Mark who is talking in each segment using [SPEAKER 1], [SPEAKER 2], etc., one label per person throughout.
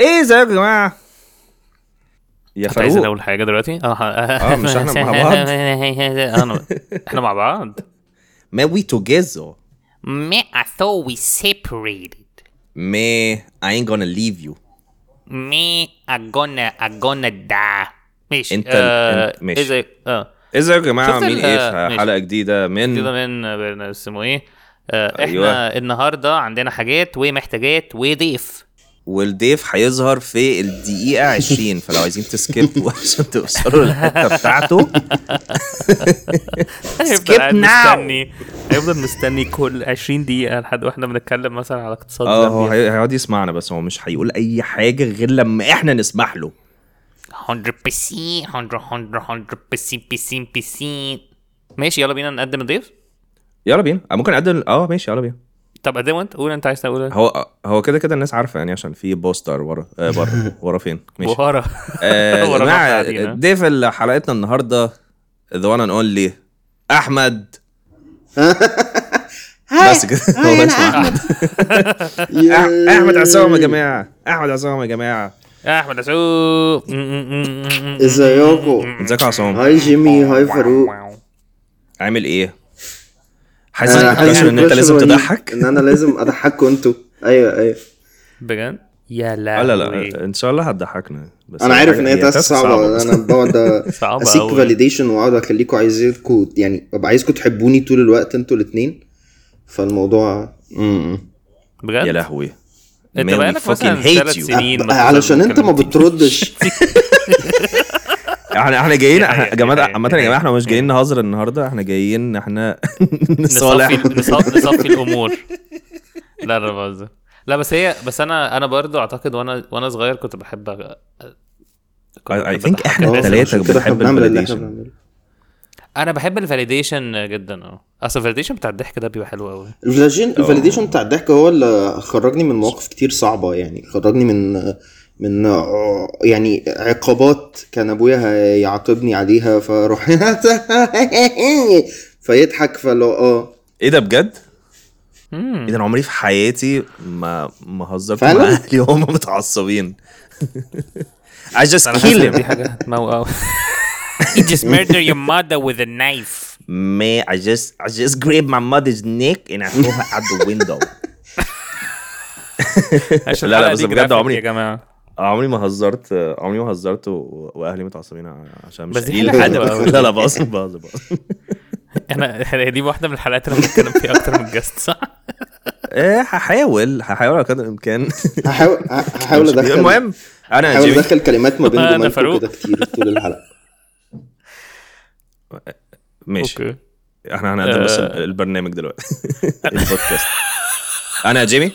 [SPEAKER 1] ايه ازيكم يا جماعه
[SPEAKER 2] يا
[SPEAKER 3] انت عايز
[SPEAKER 2] فاروق
[SPEAKER 3] اول حاجه دلوقتي اه
[SPEAKER 2] آه، مش إحنا مع بعض؟
[SPEAKER 3] انا احنا مع بعض
[SPEAKER 2] ما وي توجيزر
[SPEAKER 3] Me, I thought we separated.
[SPEAKER 2] ما I ain't gonna leave you
[SPEAKER 3] Me, I gonna, I gonna die. ماشي
[SPEAKER 2] انت-
[SPEAKER 3] آه،
[SPEAKER 2] انت- ماشي.
[SPEAKER 3] إيه زي- اه
[SPEAKER 2] ازيكم يا جماعه
[SPEAKER 3] شفت
[SPEAKER 2] عاملين
[SPEAKER 3] ال-
[SPEAKER 2] ايه في
[SPEAKER 3] ماشي.
[SPEAKER 2] حلقه جديده من
[SPEAKER 3] كده من من- اسمه ايه آه، احنا
[SPEAKER 2] أيوة.
[SPEAKER 3] النهارده عندنا حاجات ومحتاجات وضيف
[SPEAKER 2] والضيف هيظهر في الدقيقه 20 فلو عايزين تسكيبوا عشان توصلوا للحته بتاعته
[SPEAKER 3] هيفضل قاعد
[SPEAKER 2] now.
[SPEAKER 3] مستني هيفضل مستني كل 20 دقيقه لحد واحنا بنتكلم مثلا على اقتصاد
[SPEAKER 2] اه هو
[SPEAKER 3] زامبيا.
[SPEAKER 2] هي- هيقعد يسمعنا بس هو مش هيقول اي حاجه غير لما احنا نسمح له
[SPEAKER 3] 100% 100 100% 100% ماشي يلا بينا نقدم الضيف
[SPEAKER 2] يلا بينا آه، ممكن اقدم اه ماشي يلا بينا
[SPEAKER 3] طب قدم انت قول انت عايز تقول إيه؟
[SPEAKER 2] هو هو كده كده الناس عارفه يعني عشان في بوستر ورا آه بره ورا فين ماشي
[SPEAKER 3] بهارة
[SPEAKER 2] آه،
[SPEAKER 3] ورا
[SPEAKER 2] جماعه
[SPEAKER 3] النقطة دي، ها؟
[SPEAKER 2] ضيف ال- حلقتنا النهارده ذا وان اند اونلي احمد بس كده والله اسمه احمد أح- احمد عصام يا جماعه احمد عصام يا جماعه
[SPEAKER 3] احمد عسوب
[SPEAKER 4] ازيكم
[SPEAKER 2] ازيك يا عصام
[SPEAKER 4] هاي جيمي هاي فاروق
[SPEAKER 2] عامل ايه حاسس
[SPEAKER 4] أنا
[SPEAKER 2] إنك بتكشف ان انت
[SPEAKER 4] pressure
[SPEAKER 2] لازم
[SPEAKER 4] رهيب
[SPEAKER 2] تضحك
[SPEAKER 4] ان انا لازم اضحككم انتوا ايوه ايوه
[SPEAKER 3] بجد يا
[SPEAKER 2] اه
[SPEAKER 3] لا
[SPEAKER 2] لا
[SPEAKER 3] إيه.
[SPEAKER 2] لا ان شاء الله هتضحكنا بس
[SPEAKER 4] انا عارف ان هي تاسك
[SPEAKER 2] يعني، تاسك
[SPEAKER 4] صعبه
[SPEAKER 2] بس.
[SPEAKER 4] انا بقعد
[SPEAKER 3] صعبة
[SPEAKER 4] اسيك
[SPEAKER 3] أوي.
[SPEAKER 4] فاليديشن واقعد اخليكم عايزينكم يعني ببقى عايزكم تحبوني طول الوقت انتوا الاثنين فالموضوع م- م.
[SPEAKER 2] يا
[SPEAKER 3] بجد
[SPEAKER 2] لهوي
[SPEAKER 3] انت
[SPEAKER 2] Man, we
[SPEAKER 3] بقالك مثلا
[SPEAKER 2] fucking hate
[SPEAKER 3] ثلاث
[SPEAKER 2] you.
[SPEAKER 3] سنين مثلا
[SPEAKER 4] علشان انت ما
[SPEAKER 3] كلمتني.
[SPEAKER 4] بتردش
[SPEAKER 2] احنا احنا جايين
[SPEAKER 3] دي
[SPEAKER 2] احنا
[SPEAKER 3] حقيقة،
[SPEAKER 2] يا جماعه
[SPEAKER 3] دي حقيقة،
[SPEAKER 2] عامه
[SPEAKER 3] دي
[SPEAKER 2] يا جماعه احنا مش
[SPEAKER 3] حقيقة.
[SPEAKER 2] جايين نهزر النهارده احنا جايين احنا
[SPEAKER 3] إيه. نصفي
[SPEAKER 2] نصالح
[SPEAKER 3] نصفي, نصفي الامور لا لا بهزر لا بس هي بس انا انا برضو اعتقد وانا وانا صغير كنت بحب أ- كنت
[SPEAKER 2] I
[SPEAKER 3] بحب
[SPEAKER 2] think
[SPEAKER 3] أضحك
[SPEAKER 2] إحنا
[SPEAKER 3] الناس.
[SPEAKER 2] التلاتة
[SPEAKER 4] أه، عشان كده احنا
[SPEAKER 2] بنحب
[SPEAKER 4] بنعمل اللي
[SPEAKER 2] الvalidation.
[SPEAKER 4] احنا بنعمله
[SPEAKER 3] انا بحب الفاليديشن جدا اه اصل الفاليديشن بتاع الضحك ده بيبقى حلو قوي
[SPEAKER 4] الفاليديشن الفاليديشن بتاع الضحك هو اللي خرجني من مواقف كتير صعبه يعني خرجني من من يعني عقابات كان ابويا هيعاقبني عليها فاروح فيضحك فلو اه
[SPEAKER 2] ايه ده بجد؟ ايه ده انا عمري في حياتي ما ما هزرت مع
[SPEAKER 4] فعلاً؟
[SPEAKER 2] اهلي وهم متعصبين I just
[SPEAKER 3] انا حاسس
[SPEAKER 2] kill
[SPEAKER 3] إن
[SPEAKER 2] him
[SPEAKER 3] دي حاجه تموت قوي You just murder your mother with a knife
[SPEAKER 2] May I just I just grab my mother's neck and I throw her out the window
[SPEAKER 3] عشان
[SPEAKER 2] لا، لا،
[SPEAKER 3] الحلقة
[SPEAKER 2] بس
[SPEAKER 3] دي
[SPEAKER 2] بجد
[SPEAKER 3] جرافيك
[SPEAKER 2] عمري-
[SPEAKER 3] يا جماعه
[SPEAKER 2] عمري ما هزرت عمري ما هزرت و... واهلي متعصبين عشان مش
[SPEAKER 3] بس دي
[SPEAKER 2] قليل
[SPEAKER 3] حاجة
[SPEAKER 2] الأدب.
[SPEAKER 3] حلوة أوي.
[SPEAKER 2] لا لا بهزر بهزر بهزر.
[SPEAKER 3] انا إحنا دي واحده من الحلقات اللي أنا بتكلم فيها اكتر من جاست صح؟
[SPEAKER 2] ايه هحاول هحاول على قدر الامكان
[SPEAKER 4] هحاول هحاول ادخل
[SPEAKER 2] المهم انا
[SPEAKER 4] هحاول
[SPEAKER 2] جيمي
[SPEAKER 4] ادخل كلمات ما بين
[SPEAKER 3] أنا
[SPEAKER 4] جملتكم
[SPEAKER 3] فاروق.
[SPEAKER 4] كده كتير طول الحلقه
[SPEAKER 2] ماشي
[SPEAKER 3] اوكي
[SPEAKER 2] احنا هنقدم بس
[SPEAKER 3] آه.
[SPEAKER 2] البرنامج دلوقتي البودكاست انا جيمي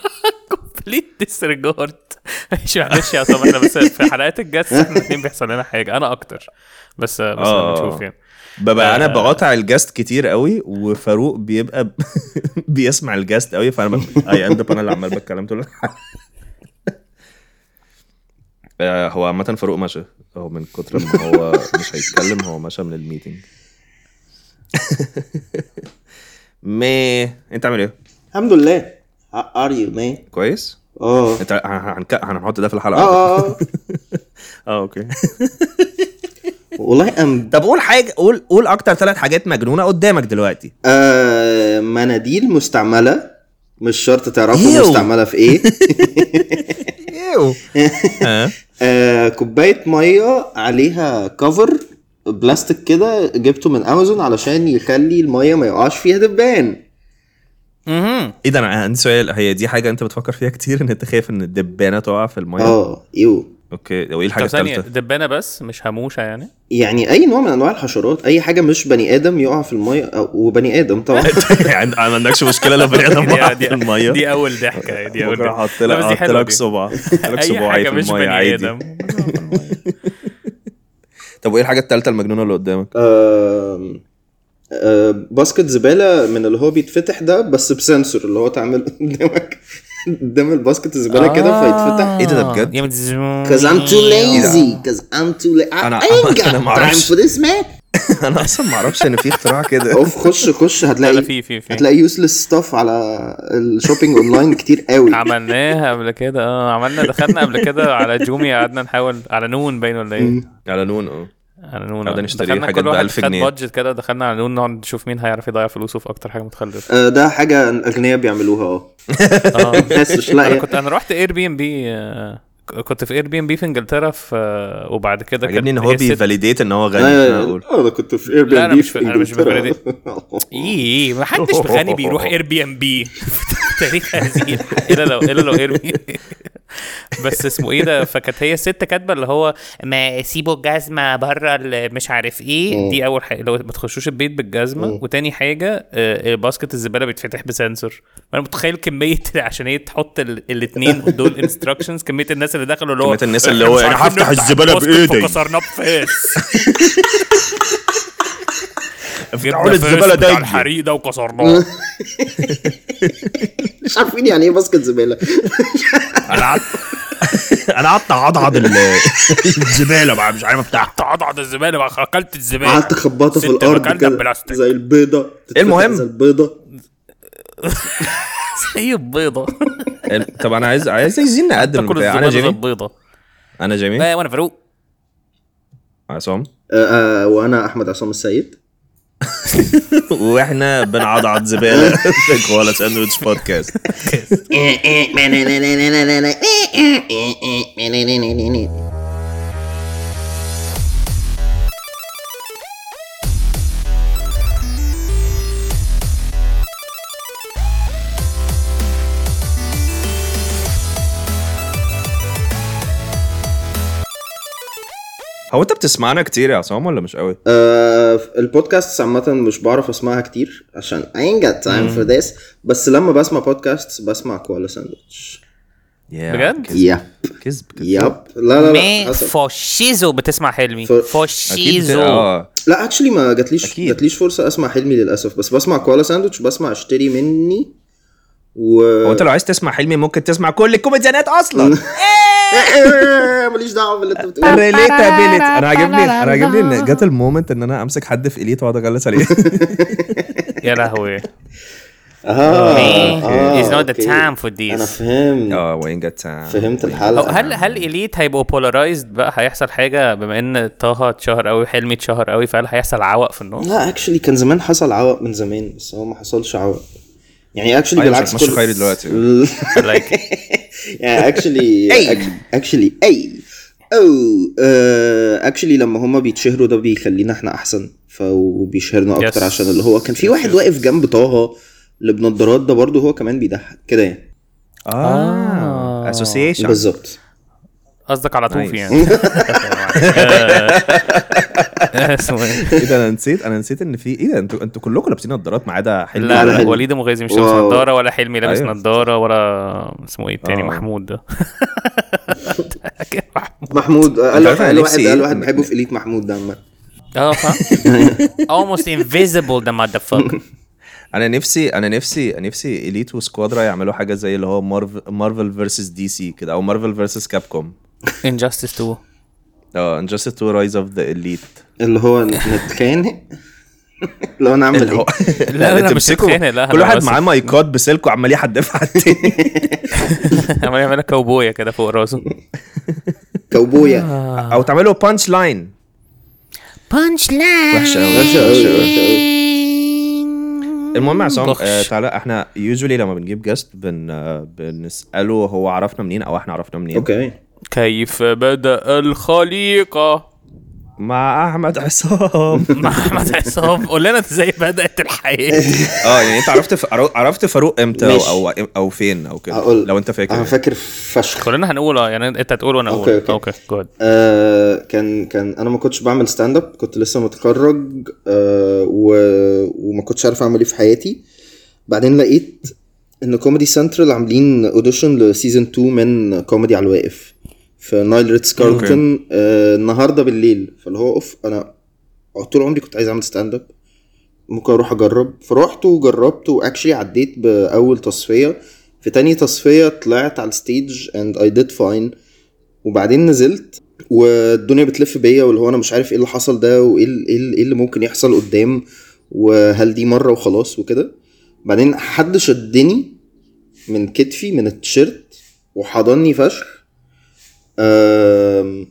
[SPEAKER 3] كومبليت ديسريجارد ماشي معلش يا طب احنا بس في حلقات الجاست احنا الاثنين بيحصل لنا حاجه انا اكتر بس بس
[SPEAKER 2] آه.
[SPEAKER 3] نشوف يعني
[SPEAKER 2] ببقى انا بقاطع الجاست كتير قوي وفاروق بيبقى ب... بيسمع الجاست قوي فانا ب... اي اند انا اللي عمال بتكلم طول الحلقة. آه، هو عامة فاروق مشى هو من كتر ما هو مش هيتكلم هو مشى من الميتنج ما انت عامل ايه؟
[SPEAKER 4] الحمد لله ار يو مان
[SPEAKER 2] كويس؟
[SPEAKER 4] اه
[SPEAKER 2] انت هن- هنك- هنحط ده في
[SPEAKER 4] اه
[SPEAKER 2] الحلقة
[SPEAKER 4] اه آه.
[SPEAKER 2] اه اوكي
[SPEAKER 4] والله ام
[SPEAKER 2] طب قول حاجة قول قول أكتر ثلاث حاجات مجنونة قدامك دلوقتي
[SPEAKER 4] آه مناديل مستعمله مش شرط
[SPEAKER 2] يو.
[SPEAKER 4] تعرفوا مستعمله في ايه إيوه.
[SPEAKER 2] ها؟
[SPEAKER 4] آه كوبايه ميه عليها كفر بلاستيك كده جبته من امازون علشان يخلي الميه ما يقعش فيها دبان
[SPEAKER 2] ايه ده انا عندي سؤال هي دي حاجه انت بتفكر فيها كتير ان انت خايف ان الدبانه تقع في الميه
[SPEAKER 4] اه يو
[SPEAKER 2] اوكي وايه الحاجه
[SPEAKER 3] طب ثانيه
[SPEAKER 2] الثالثه
[SPEAKER 3] دبانه بس مش هموشه يعني
[SPEAKER 4] يعني اي نوع من انواع الحشرات اي حاجه مش بني ادم يقع في الميه أو- وبني ادم طبعا
[SPEAKER 2] عند- يعني ما عندكش مشكله لو بني ادم
[SPEAKER 3] دي- آه،
[SPEAKER 2] وقع
[SPEAKER 3] دي-
[SPEAKER 2] في الميه
[SPEAKER 3] دي اول ضحكه يعني، دي اول
[SPEAKER 2] بكره
[SPEAKER 3] ضحكه
[SPEAKER 2] هحط
[SPEAKER 3] لا،
[SPEAKER 2] لك
[SPEAKER 3] بس دي
[SPEAKER 2] هحط
[SPEAKER 3] حلوه
[SPEAKER 2] لك
[SPEAKER 3] دي.
[SPEAKER 2] صباع هحط لك
[SPEAKER 3] اي
[SPEAKER 2] صباعي
[SPEAKER 3] حاجه
[SPEAKER 2] في
[SPEAKER 3] مش
[SPEAKER 2] الميه
[SPEAKER 3] بني
[SPEAKER 2] عادي
[SPEAKER 3] ادم
[SPEAKER 2] طب وايه الحاجه الثالثه المجنونه اللي قدامك
[SPEAKER 4] آم، آه، باسكت زباله من اللي هو بيتفتح ده بس بسنسور اللي هو تعمل قدامك قدام الباسكت الزباله كده فيتفتح
[SPEAKER 2] ايه ده ده بجد؟
[SPEAKER 3] يا إيه
[SPEAKER 4] Cause I'm too lazy cause I'm too lazy
[SPEAKER 2] أنا-
[SPEAKER 4] I ain't
[SPEAKER 2] أنا
[SPEAKER 4] got time
[SPEAKER 2] معرفش.
[SPEAKER 4] for this man
[SPEAKER 2] انا اصلا ما اعرفش ان في اختراع كده
[SPEAKER 4] اوف خش خش
[SPEAKER 3] لا
[SPEAKER 4] هتلاقي
[SPEAKER 3] في في في
[SPEAKER 4] هتلاقي يوسلس ستاف على الشوبينج اونلاين كتير قوي
[SPEAKER 3] عملناها قبل كده اه عملنا دخلنا قبل كده على جوميا قعدنا نحاول على نون باين ولا ايه
[SPEAKER 4] مم.
[SPEAKER 2] على نون اه
[SPEAKER 3] على نون
[SPEAKER 2] قعدنا
[SPEAKER 3] آه.
[SPEAKER 2] نشتري
[SPEAKER 3] دخلنا
[SPEAKER 2] حاجات
[SPEAKER 3] كل واحد
[SPEAKER 2] ب1000
[SPEAKER 3] خد
[SPEAKER 2] جنيه.
[SPEAKER 3] بادجت كده دخلنا على نون نقعد نشوف مين هيعرف يضيع فلوسه في اكتر حاجه متخلفه
[SPEAKER 4] آه، ده حاجه الاغنياء بيعملوها اه
[SPEAKER 3] اه
[SPEAKER 4] الناس مش
[SPEAKER 3] انا
[SPEAKER 4] لاقيه
[SPEAKER 3] كنت انا رحت اير بي ام بي كنت في اير بي ام بي في انجلترا في وبعد كده
[SPEAKER 2] عجبني ان
[SPEAKER 3] كانت
[SPEAKER 2] هو
[SPEAKER 3] هي الست-
[SPEAKER 2] بيفاليديت ان هو غني عشان
[SPEAKER 4] ايوه
[SPEAKER 2] اقول
[SPEAKER 4] آه، انا كنت في
[SPEAKER 3] لا،
[SPEAKER 4] اير بي
[SPEAKER 3] أنا
[SPEAKER 4] ان بي
[SPEAKER 3] مش-
[SPEAKER 4] في
[SPEAKER 3] أنا مش
[SPEAKER 4] انجلترا
[SPEAKER 3] ايه ما حدش بغني بيروح اير بي ام بي في تاريخ هذه الحياة. الا لو الا لو اير بي بس اسمه ايه ده فكانت هي الست كاتبه اللي هو ما سيبوا الجزمه بره ال- مش عارف ايه دي اول حاجه لو ما تخشوش البيت بالجزمه وتاني حاجه آه، باسكت الزباله بيتفتح بسنسور انا متخيل كميه عشان هي تحط الاثنين دول انستراكشنز كميه الناس اللي دخلوا اللي هو
[SPEAKER 2] كمية الناس اللي هو
[SPEAKER 3] مش
[SPEAKER 2] أنا
[SPEAKER 3] عارفين
[SPEAKER 2] هفتح
[SPEAKER 3] نفتح
[SPEAKER 2] الزبالة
[SPEAKER 3] الباسكت
[SPEAKER 2] بإيدي.
[SPEAKER 3] فكسرناه بفيس
[SPEAKER 2] تعالوا الزبالة ده يجي.
[SPEAKER 3] الحريقه وكسرناه
[SPEAKER 4] مش عارفين يعني ايه باسكت زباله
[SPEAKER 2] انا قعدت انا قعدت اعضعض الزباله بقى مش عارف افتحها
[SPEAKER 3] تعضعض الزباله بقى اكلت الزباله
[SPEAKER 4] قعدت اخبطها في
[SPEAKER 3] ست
[SPEAKER 4] الارض
[SPEAKER 3] بكلب
[SPEAKER 4] كده
[SPEAKER 3] بلاستيك.
[SPEAKER 4] زي البيضه تتفتح
[SPEAKER 2] المهم.
[SPEAKER 4] زي البيضه
[SPEAKER 3] هي البيضه
[SPEAKER 2] طب انا عايز عايز عايزين نقدم
[SPEAKER 3] تاكل
[SPEAKER 2] بتاع انا
[SPEAKER 3] الزباله زي
[SPEAKER 2] جيمي
[SPEAKER 3] البيضه
[SPEAKER 2] انا جيمي
[SPEAKER 3] آه، وانا فاروق
[SPEAKER 2] عصام
[SPEAKER 4] آه، آه، وانا احمد عصام السيد
[SPEAKER 2] واحنا بنعضعض زباله في كوالا ساندويتش بودكاست هو انت بتسمعنا كتير يا عصام ولا مش قوي؟
[SPEAKER 4] آه، البودكاست عامة مش بعرف اسمعها كتير عشان I ain't got time for this بس لما بسمع بودكاست بسمع كوالا ساندوتش
[SPEAKER 3] بجد؟
[SPEAKER 2] كذب
[SPEAKER 4] يب
[SPEAKER 2] كذب كذب.
[SPEAKER 4] يب لا لا لا
[SPEAKER 3] ما
[SPEAKER 4] حسب.
[SPEAKER 3] فوشيزو بتسمع حلمي
[SPEAKER 4] ف-
[SPEAKER 2] اكيد
[SPEAKER 3] فوشيزو
[SPEAKER 2] اه
[SPEAKER 4] لا اكشلي ما جاتليش
[SPEAKER 2] أكيد.
[SPEAKER 4] جاتليش فرصة اسمع حلمي للاسف بس بسمع كوالا ساندوتش بسمع اشتري مني و
[SPEAKER 2] هو انت لو عايز تسمع حلمي ممكن تسمع كل الكوميديانات اصلا
[SPEAKER 4] ماليش دعوه باللي انت بتقوله
[SPEAKER 2] ريليتابيلتي انا عاجبني انا عاجبني ان جت المومنت ان انا امسك حد في ايدي واقعد اغلس عليه
[SPEAKER 3] يا لهوي آه.
[SPEAKER 4] اه
[SPEAKER 3] It's not the
[SPEAKER 4] أوكي.
[SPEAKER 3] time for
[SPEAKER 4] انا
[SPEAKER 3] this
[SPEAKER 4] فهمت
[SPEAKER 2] اه وين جت
[SPEAKER 4] فهمت
[SPEAKER 3] أو
[SPEAKER 4] الحلقه
[SPEAKER 3] هل هل اليت هيبقوا بولارايزد بقى هيحصل حاجه بما ان طه اتشهر قوي حلمي اتشهر قوي فهل هيحصل عوق في النص؟
[SPEAKER 4] لا اكشلي كان زمان حصل عوق من زمان بس هو ما حصلش عوق يعني اكشلي
[SPEAKER 2] أيوة،
[SPEAKER 4] بالعكس
[SPEAKER 2] مش هتمشي خيري دلوقتي.
[SPEAKER 3] I like it.
[SPEAKER 4] يعني اكشلي اكشلي اي او اكشلي آه، لما هما بيتشهروا ده بيخلينا احنا احسن ف- وبيشهرنا اكتر
[SPEAKER 3] Yes.
[SPEAKER 4] عشان اللي هو كان في واحد واقف جنب طه اللي بنضارات ده برضه هو كمان بيضحك كده يعني
[SPEAKER 2] آه.
[SPEAKER 3] آه.
[SPEAKER 2] اه اسوسيشن
[SPEAKER 4] بالظبط
[SPEAKER 3] قصدك على طوف
[SPEAKER 2] Nice.
[SPEAKER 3] يعني آه، اسمه ايه؟
[SPEAKER 2] ايه ده انا نسيت انا نسيت ان في ايه ده انتوا انتوا كلكم لابسين نظارات ما عدا حلمي
[SPEAKER 3] لا لا
[SPEAKER 4] حلمي.
[SPEAKER 3] وليد مغازي مش لابس
[SPEAKER 4] واو. أيوه.
[SPEAKER 3] نضاره ولا حلمي لابس
[SPEAKER 2] أيوة.
[SPEAKER 3] نضاره ولا اسمه ايه التاني
[SPEAKER 2] آه.
[SPEAKER 3] محمود ده
[SPEAKER 4] محمود
[SPEAKER 2] أنت
[SPEAKER 4] قال
[SPEAKER 2] عارف أنا
[SPEAKER 4] قال
[SPEAKER 2] نفسي
[SPEAKER 4] واحد
[SPEAKER 2] إيه؟
[SPEAKER 4] قال واحد بحبه في اليت محمود ده عامة.
[SPEAKER 3] اه فاهم almost invisible the motherfucker
[SPEAKER 2] انا نفسي انا نفسي نفسي اليت وسكوادرا يعملوا حاجه زي اللي هو مارف- مارفل فيرسس دي سي كده او مارفل فيرسس كاب كوم
[SPEAKER 3] injustice 2
[SPEAKER 2] اه انجستس تو رايز اوف ذا اليت
[SPEAKER 4] اللي هو نتخانق لو انا اعمل
[SPEAKER 2] اللي
[SPEAKER 4] ايه
[SPEAKER 2] هو
[SPEAKER 3] لا، لا، مش
[SPEAKER 2] تمسكوا-
[SPEAKER 3] هتخانق، لا،
[SPEAKER 2] كل
[SPEAKER 3] أنا
[SPEAKER 2] واحد
[SPEAKER 3] بس-
[SPEAKER 2] معاه مايكات بسلكه عمال يحدف على التاني
[SPEAKER 3] عمال يعملها كاوبويا كده فوق راسه
[SPEAKER 4] كوبويا
[SPEAKER 2] او تعملوا بانش لاين وحشه
[SPEAKER 1] Punch
[SPEAKER 2] قوي
[SPEAKER 4] وحشة أوي،
[SPEAKER 2] وحشه
[SPEAKER 4] وحشة أوي.
[SPEAKER 2] المهم يا عصام آه،
[SPEAKER 3] بخش.
[SPEAKER 2] تعالى احنا يوجولي لما بنجيب جاست بن آه، بنساله هو عرفنا منين او احنا عرفنا منين
[SPEAKER 4] اوكي
[SPEAKER 3] كيف بدا الخليقه
[SPEAKER 2] مع احمد عصام
[SPEAKER 3] مع احمد عصام قول لنا ازاي بدات الحياه
[SPEAKER 2] اه يعني انت عرفت ف... عرو- عرفت فاروق امتى
[SPEAKER 4] ماشي.
[SPEAKER 2] او او, أو فين او كده
[SPEAKER 4] هقول
[SPEAKER 2] لو انت فاكر
[SPEAKER 4] انا
[SPEAKER 2] يعني.
[SPEAKER 4] فاكر فشخ
[SPEAKER 3] كلنا هنقول اه يعني انت هتقول وانا اقول
[SPEAKER 4] أوكي، أوكي.
[SPEAKER 3] اوكي جود
[SPEAKER 4] آه كان كان انا ما كنتش بعمل ستاند اب كنت لسه متخرج آه و... وما كنتش عارف اعمل ايه في حياتي بعدين لقيت ان كوميدي سنترال عاملين اوديشن لسيزون 2 من كوميدي على الواقف في نايل ريتس كارلتون آه النهارده بالليل فاللي هو اوف انا طول عمري كنت عايز اعمل ستاند اب ممكن اروح اجرب فروحت وجربت واكشلي عديت باول تصفيه في تاني تصفيه طلعت على الستيج اند اي ديد فاين وبعدين نزلت والدنيا بتلف بيا واللي هو انا مش عارف ايه اللي حصل ده وايه ال- إيه ال- إيه اللي ممكن يحصل قدام وهل دي مره وخلاص وكده بعدين حد شدني من كتفي من التيشيرت وحضني فشخ آم،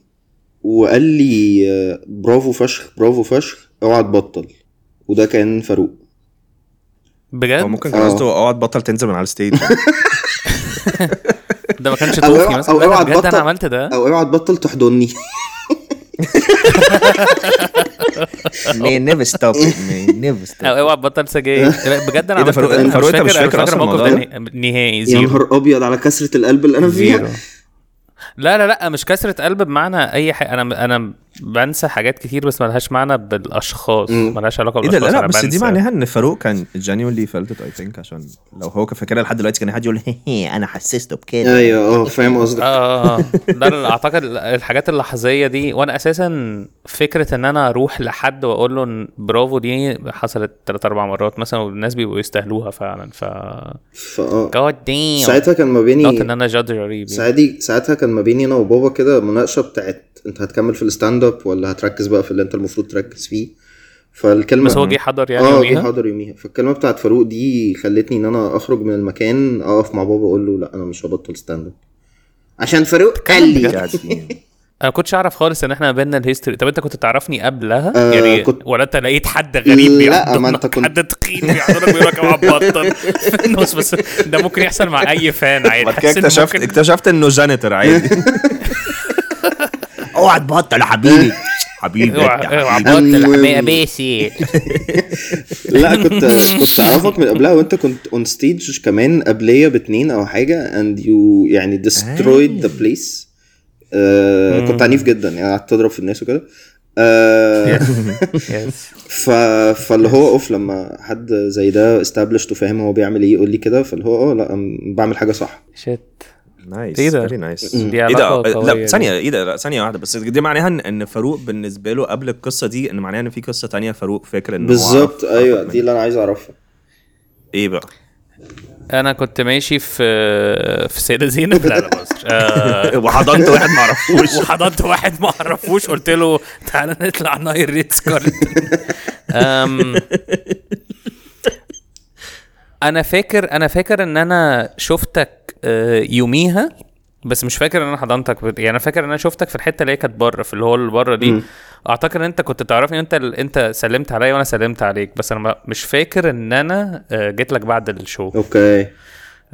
[SPEAKER 4] وقال لي آه، برافو فشخ برافو فشخ اوعى تبطل وده كان فاروق
[SPEAKER 2] هو
[SPEAKER 3] بجد
[SPEAKER 2] ممكن
[SPEAKER 4] آه.
[SPEAKER 2] كان قصده اوعى تبطل تنزل من على الستيج
[SPEAKER 3] ده ما كانش
[SPEAKER 4] أو
[SPEAKER 3] توفي
[SPEAKER 4] اوعى-
[SPEAKER 3] مثلا
[SPEAKER 4] أو
[SPEAKER 3] لا، ده
[SPEAKER 4] اوعى
[SPEAKER 3] بجد
[SPEAKER 4] تبطل.
[SPEAKER 3] انا عملت ده
[SPEAKER 4] او اوعى تبطل تحضني
[SPEAKER 2] may never stop may never
[SPEAKER 3] او اوعى تبطل سجاير لا، بجد انا
[SPEAKER 2] إيه ده،
[SPEAKER 3] عملت
[SPEAKER 2] فاروق-
[SPEAKER 3] ده. أنا
[SPEAKER 2] فاروق أنت مش
[SPEAKER 3] أنا
[SPEAKER 2] فاكر أصلاً
[SPEAKER 3] الموقف
[SPEAKER 2] الموضوع
[SPEAKER 3] ده نها- نهائي
[SPEAKER 4] يا
[SPEAKER 3] زيرو
[SPEAKER 4] نهار ابيض على كسره القلب اللي انا فيها
[SPEAKER 3] لا لا لا مش كسرة قلب بمعنى اي حاجه انا انا بنسى حاجات كتير بس ملهاش معنى بالاشخاص
[SPEAKER 4] مم.
[SPEAKER 3] ملهاش علاقه
[SPEAKER 2] ايه ده
[SPEAKER 3] بالاشخاص
[SPEAKER 2] لا لا
[SPEAKER 3] أنا
[SPEAKER 2] بس دي
[SPEAKER 3] بنسى.
[SPEAKER 2] معناها ان فاروق كان genuinely felt it I think عشان لو هو كان فاكرها لحد دلوقتي كان حد يقول هي هي انا حسسته بكده
[SPEAKER 4] ايوه اه فاهم قصدك
[SPEAKER 3] اه آه. لا لا لا، اعتقد الحاجات اللحظيه دي وانا اساسا فكره ان انا اروح لحد واقول له إن برافو دي حصلت ثلاث اربع مرات مثلا والناس بيبقوا يستاهلوها فعلا ف
[SPEAKER 4] فاه
[SPEAKER 3] جاد دام
[SPEAKER 4] آه. ساعتها كان ما
[SPEAKER 3] نوت ان
[SPEAKER 4] بيني
[SPEAKER 3] انا جادج قريب يعني.
[SPEAKER 4] ساعتي ساعتها كان ما بيني انا وبابا كده مناقشه بتاعت انت هتكمل في الستاند اب ولا هتركز بقى في اللي انت المفروض تركز فيه فالكلمه
[SPEAKER 3] بس هو جه حضر يعني
[SPEAKER 4] اه جه
[SPEAKER 3] يوميها؟
[SPEAKER 4] حاضر يوميها فالكلمه بتاعت فاروق دي خلتني ان انا اخرج من المكان اقف مع بابا اقول له لا انا مش هبطل ستاند اب عشان فاروق قال لي
[SPEAKER 3] انا ما كنتش اعرف خالص ان احنا بينا الهيستوري طب انت كنت تعرفني قبلها
[SPEAKER 4] آه،
[SPEAKER 3] يعني
[SPEAKER 4] كنت-
[SPEAKER 3] ولا انت لقيت حد غريب
[SPEAKER 4] لا،
[SPEAKER 3] بيحضنك،
[SPEAKER 4] ما أنت كنت-
[SPEAKER 3] حد تخين بيحضنك بيقول لك اوعى تبطل في النص بس ده ممكن يحصل مع اي فان عادي
[SPEAKER 2] بعد كده
[SPEAKER 3] بس إن
[SPEAKER 2] اكتشفت
[SPEAKER 3] ممكن-
[SPEAKER 2] اكتشفت انه جانيتور عادي اوعى تبطل يا حبيبي حبيبي
[SPEAKER 3] اوعى اوعى
[SPEAKER 2] انت
[SPEAKER 3] تبطل
[SPEAKER 4] المهم.
[SPEAKER 3] يا بيسي
[SPEAKER 4] لا كنت كنت اعرفك من قبلها وانت كنت اون ستيج كمان قبليه باتنين او حاجه اند يو يعني destroyed
[SPEAKER 3] آه.
[SPEAKER 4] ذا بليس كنت عنيف جدا يعني قعدت تضرب في الناس وكده آه، ف... فاللي هو اوف لما حد زي ده استابلش وفاهم هو بيعمل ايه يقول لي كده فاللي هو اه لا أم- بعمل حاجه صح
[SPEAKER 3] شيت
[SPEAKER 2] نايس
[SPEAKER 3] إيه ده؟
[SPEAKER 2] فيري نايس
[SPEAKER 3] دي
[SPEAKER 2] ايه ده
[SPEAKER 3] علاقة قوية
[SPEAKER 2] لا
[SPEAKER 3] دي.
[SPEAKER 2] ثانيه ايه ده لا ثانيه واحده بس دي معناها ان ان فاروق بالنسبه له قبل القصه دي ان معناها ان في قصه تانية فاروق فاكر ان هو عرف-
[SPEAKER 4] بالظبط
[SPEAKER 2] عرفت
[SPEAKER 4] ايوه دي
[SPEAKER 2] منها.
[SPEAKER 4] اللي انا عايز اعرفها
[SPEAKER 2] ايه بقى
[SPEAKER 3] انا كنت ماشي في في سيدة زينب لا لا مصر آه،
[SPEAKER 2] وحضنت واحد ما اعرفوش
[SPEAKER 3] وحضنت واحد ما اعرفوش قلت له تعالى نطلع ناير ريتس كارلتون أم، انا فاكر انا فاكر ان انا شفتك آه، يوميها بس مش فاكر ان انا حضنتك بت- يعني انا فاكر ان انا شفتك في الحته اللي هي كانت بره في اللي هو اللي بره دي اعتقد ان انت كنت تعرفني انت انت سلمت عليا وانا سلمت عليك بس انا ما- مش فاكر ان انا آه، جيت لك بعد الشو
[SPEAKER 4] اوكي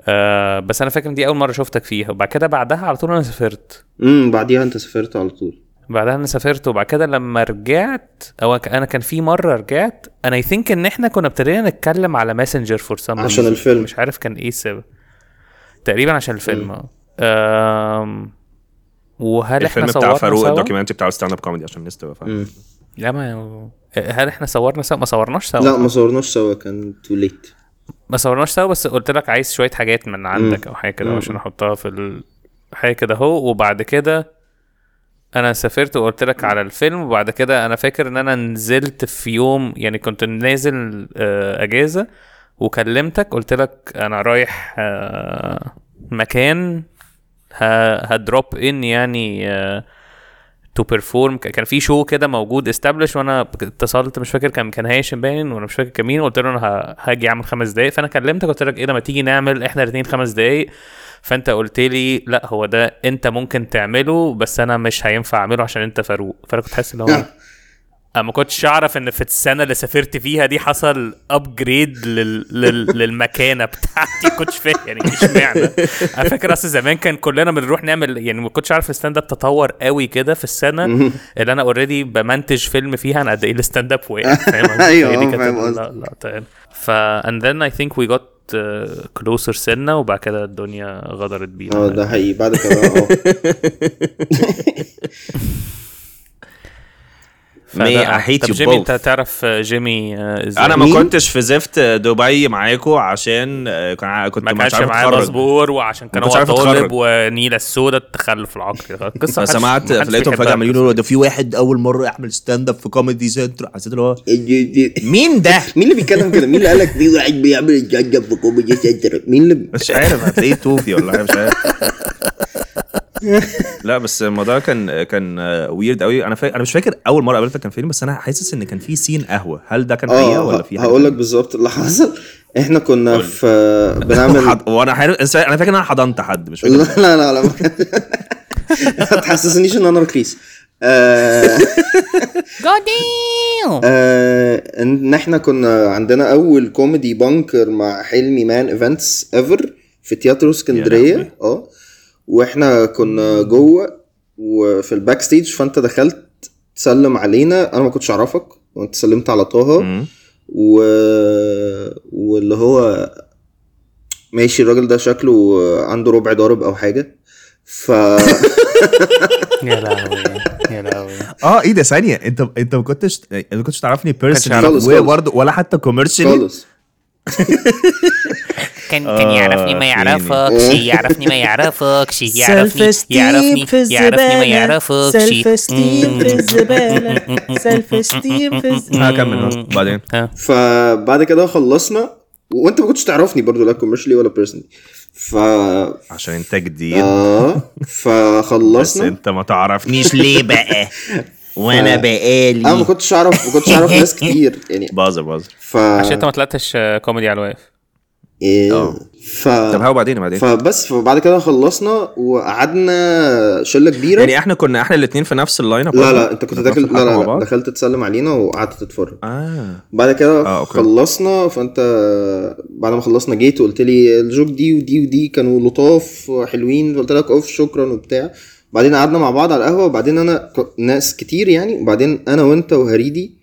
[SPEAKER 3] آه، بس انا فاكر ان دي اول مره شفتك فيها وبعد كده بعدها على طول انا سافرت
[SPEAKER 4] امم بعديها انت سافرت على طول
[SPEAKER 3] بعدها انا سافرت وبعد كده لما رجعت او ك- انا كان في مره رجعت انا اي ثينك ان احنا كنا ابتدينا نتكلم على ماسنجر فور سم
[SPEAKER 4] عشان الفيلم.
[SPEAKER 3] مش عارف كان ايه السبب تقريبا عشان الفيلم اه آم، وهل
[SPEAKER 2] الفيلم بتاع
[SPEAKER 3] احنا صورنا
[SPEAKER 2] فاروق
[SPEAKER 3] سوا؟
[SPEAKER 2] الدوكيومنتري بتاع ستاند اب كوميدي عشان الناس تبقى فاهمه
[SPEAKER 4] مم.
[SPEAKER 3] لا ما هل احنا صورنا سوا ما صورناش سوا
[SPEAKER 4] لا ما صورناش سوا كان تو ليت
[SPEAKER 3] ما صورناش سوا بس قلت لك عايز شويه حاجات من عندك او حاجه كده
[SPEAKER 4] مم.
[SPEAKER 3] عشان احطها في ال- حاجه كده اهو وبعد كده انا سافرت وقلت لك على الفيلم وبعد كده انا فاكر ان انا نزلت في يوم يعني كنت نازل آه، اجازه وكلمتك قلت لك انا رايح آه، مكان ه- هدروب ان يعني تو بيرفورم كان في شو كده موجود استابلش وانا اتصلت مش فاكر كان كان هاشم باين وانا مش فاكر كان مين قلت له انا ه- هاجي اعمل خمس دقايق فانا كلمتك قلت لك ايه ده ما تيجي نعمل احنا الاثنين خمس دقايق فانت قلت لي لا هو ده انت ممكن تعمله بس انا مش هينفع اعمله عشان انت فاروق فانا كنت حاسس ان هو انا ما كنتش اعرف ان في السنه اللي سافرت فيها دي حصل ابجريد لل... لل... للمكانه بتاعتي ما كنتش فاهم يعني اشمعنى انا فاكر اصل زمان كان كلنا بنروح نعمل يعني ما كنتش عارف الستاند اب تطور قوي كده في السنه اللي انا اوريدي بمنتج فيلم فيها انا قد ايه الستاند اب واقع فاهم قصدي؟
[SPEAKER 4] أيوة،
[SPEAKER 3] هي دي كانت
[SPEAKER 4] فاهم
[SPEAKER 3] ال-
[SPEAKER 4] قصدي.
[SPEAKER 3] لا لا طيب. ف and then I think we got uh, closer سنه وبعد كده الدنيا غدرت بينا
[SPEAKER 4] اه ده حقيقي بعد كده اه
[SPEAKER 3] فده-
[SPEAKER 2] May I hate
[SPEAKER 3] طب
[SPEAKER 2] you
[SPEAKER 3] جيمي
[SPEAKER 2] both.
[SPEAKER 3] انت تعرف آه، جيمي آه، ازاي؟
[SPEAKER 2] انا ما
[SPEAKER 4] مين؟
[SPEAKER 2] كنتش في زفت دبي معاكم عشان آه، كان ع- كنت
[SPEAKER 3] ما
[SPEAKER 2] مش
[SPEAKER 3] كانش
[SPEAKER 2] عارف
[SPEAKER 3] معاه
[SPEAKER 2] اتخرج
[SPEAKER 3] باسبور وعشان كان
[SPEAKER 2] ما كنتش
[SPEAKER 3] هو
[SPEAKER 2] عارف
[SPEAKER 3] طالب
[SPEAKER 2] أتخرج.
[SPEAKER 3] ونيله السوداء التخلف العقلي قصه محدش-
[SPEAKER 2] فسمعت
[SPEAKER 3] محدش
[SPEAKER 2] لقيتهم
[SPEAKER 3] بيحبها.
[SPEAKER 2] فجاه عمالين يقولوا ده في واحد اول مره يعمل ستاند اب في كوميدي سنتر حسيت اللي هو مين ده؟
[SPEAKER 4] مين اللي بيتكلم كده مين اللي قالك في واحد بيعمل الجنجب في كوميدي سنتر مين اللي
[SPEAKER 2] مش عارف هتلاقيه توفي ولا حاجة، مش عارف لا بس الموضوع كان كان ويرد قوي انا فا... انا مش فاكر اول مره قابلتك كان فين بس انا حاسس ان كان في سين قهوه هل ده كان حقيقه ولا في حاجه
[SPEAKER 4] آه، هقول لك بالظبط اللي حصل احنا كنا في آه، بنعمل
[SPEAKER 2] وحض... وانا حارب... انا فاكر ان انا حضنت حد مش
[SPEAKER 4] لا
[SPEAKER 2] فاكر
[SPEAKER 4] لا لا لا ما كان- ما تحسسنيش ان انا رخيص آه،
[SPEAKER 1] God damn.
[SPEAKER 4] آه، ان احنا كنا عندنا اول كوميدي بانكر مع حلمي مان ايفنتس ايفر في تياترو اسكندريه
[SPEAKER 2] لهوي.
[SPEAKER 4] اه واحنا كنا جوه وفي الباك ستيج فانت دخلت تسلم علينا انا ما كنتش اعرفك وانت سلمت على طه
[SPEAKER 2] مم.
[SPEAKER 4] و... واللي هو ماشي الراجل ده شكله عنده ربع ضارب او حاجه ف
[SPEAKER 3] يا لهوي يا لهوي
[SPEAKER 2] اه ايه ده ثانيه انت انت ما كنتش انت ما كنتش تعرفني
[SPEAKER 4] يعرف.
[SPEAKER 2] بيرسونال برضه ولا حتى كوميرشال
[SPEAKER 4] خالص
[SPEAKER 1] كان كان يعرفني ما
[SPEAKER 2] آه،
[SPEAKER 1] يعرفكش يعرفني ما يعرفكش يعرفني
[SPEAKER 5] Self-esteem
[SPEAKER 1] يعرفني
[SPEAKER 5] في
[SPEAKER 1] يعرفني ما
[SPEAKER 5] الزبالة.
[SPEAKER 1] يعرفكش
[SPEAKER 5] سيلف ستيم
[SPEAKER 6] Mm.
[SPEAKER 5] في الزباله سيلف ستيم في الزباله
[SPEAKER 2] هكمل آه، بعدين
[SPEAKER 4] فبعد كده خلصنا وانت ما كنتش تعرفني برضو لا كوميرشلي ولا بيرسونلي ف
[SPEAKER 2] عشان انت جديد
[SPEAKER 4] اه
[SPEAKER 2] بس
[SPEAKER 4] فخلصنا
[SPEAKER 2] انت ما تعرفنيش
[SPEAKER 1] ليه بقى وانا
[SPEAKER 4] انا آه. ما
[SPEAKER 1] بقالي
[SPEAKER 4] كنتش اعرف ما كنتش اعرف ناس كتير يعني
[SPEAKER 2] بازر بازر
[SPEAKER 4] ف
[SPEAKER 3] عشان انت ما طلعتش آه، كوميدي على الواقف
[SPEAKER 4] إيه،
[SPEAKER 2] اه.
[SPEAKER 4] ف
[SPEAKER 2] طب هو بعدين بعدين
[SPEAKER 4] فبس فبعد كده خلصنا وقعدنا شله كبيره
[SPEAKER 2] يعني احنا كنا احنا الاثنين في نفس اللاين اب
[SPEAKER 4] لا لا انت كنت
[SPEAKER 2] داخل
[SPEAKER 4] داخل لا لا, لا
[SPEAKER 2] بعض
[SPEAKER 4] دخلت تسلم علينا وقعدت تتفرج
[SPEAKER 2] اه
[SPEAKER 4] بعد كده
[SPEAKER 2] اه، اوكي.
[SPEAKER 4] خلصنا فانت بعد ما خلصنا جيت وقلت لي الجوك دي ودي ودي كانوا لطاف وحلوين فقلت لك اوف شكرا وبتاع بعدين قعدنا مع بعض على القهوه وبعدين انا ك- ناس كتير يعني وبعدين انا وانت وهريدي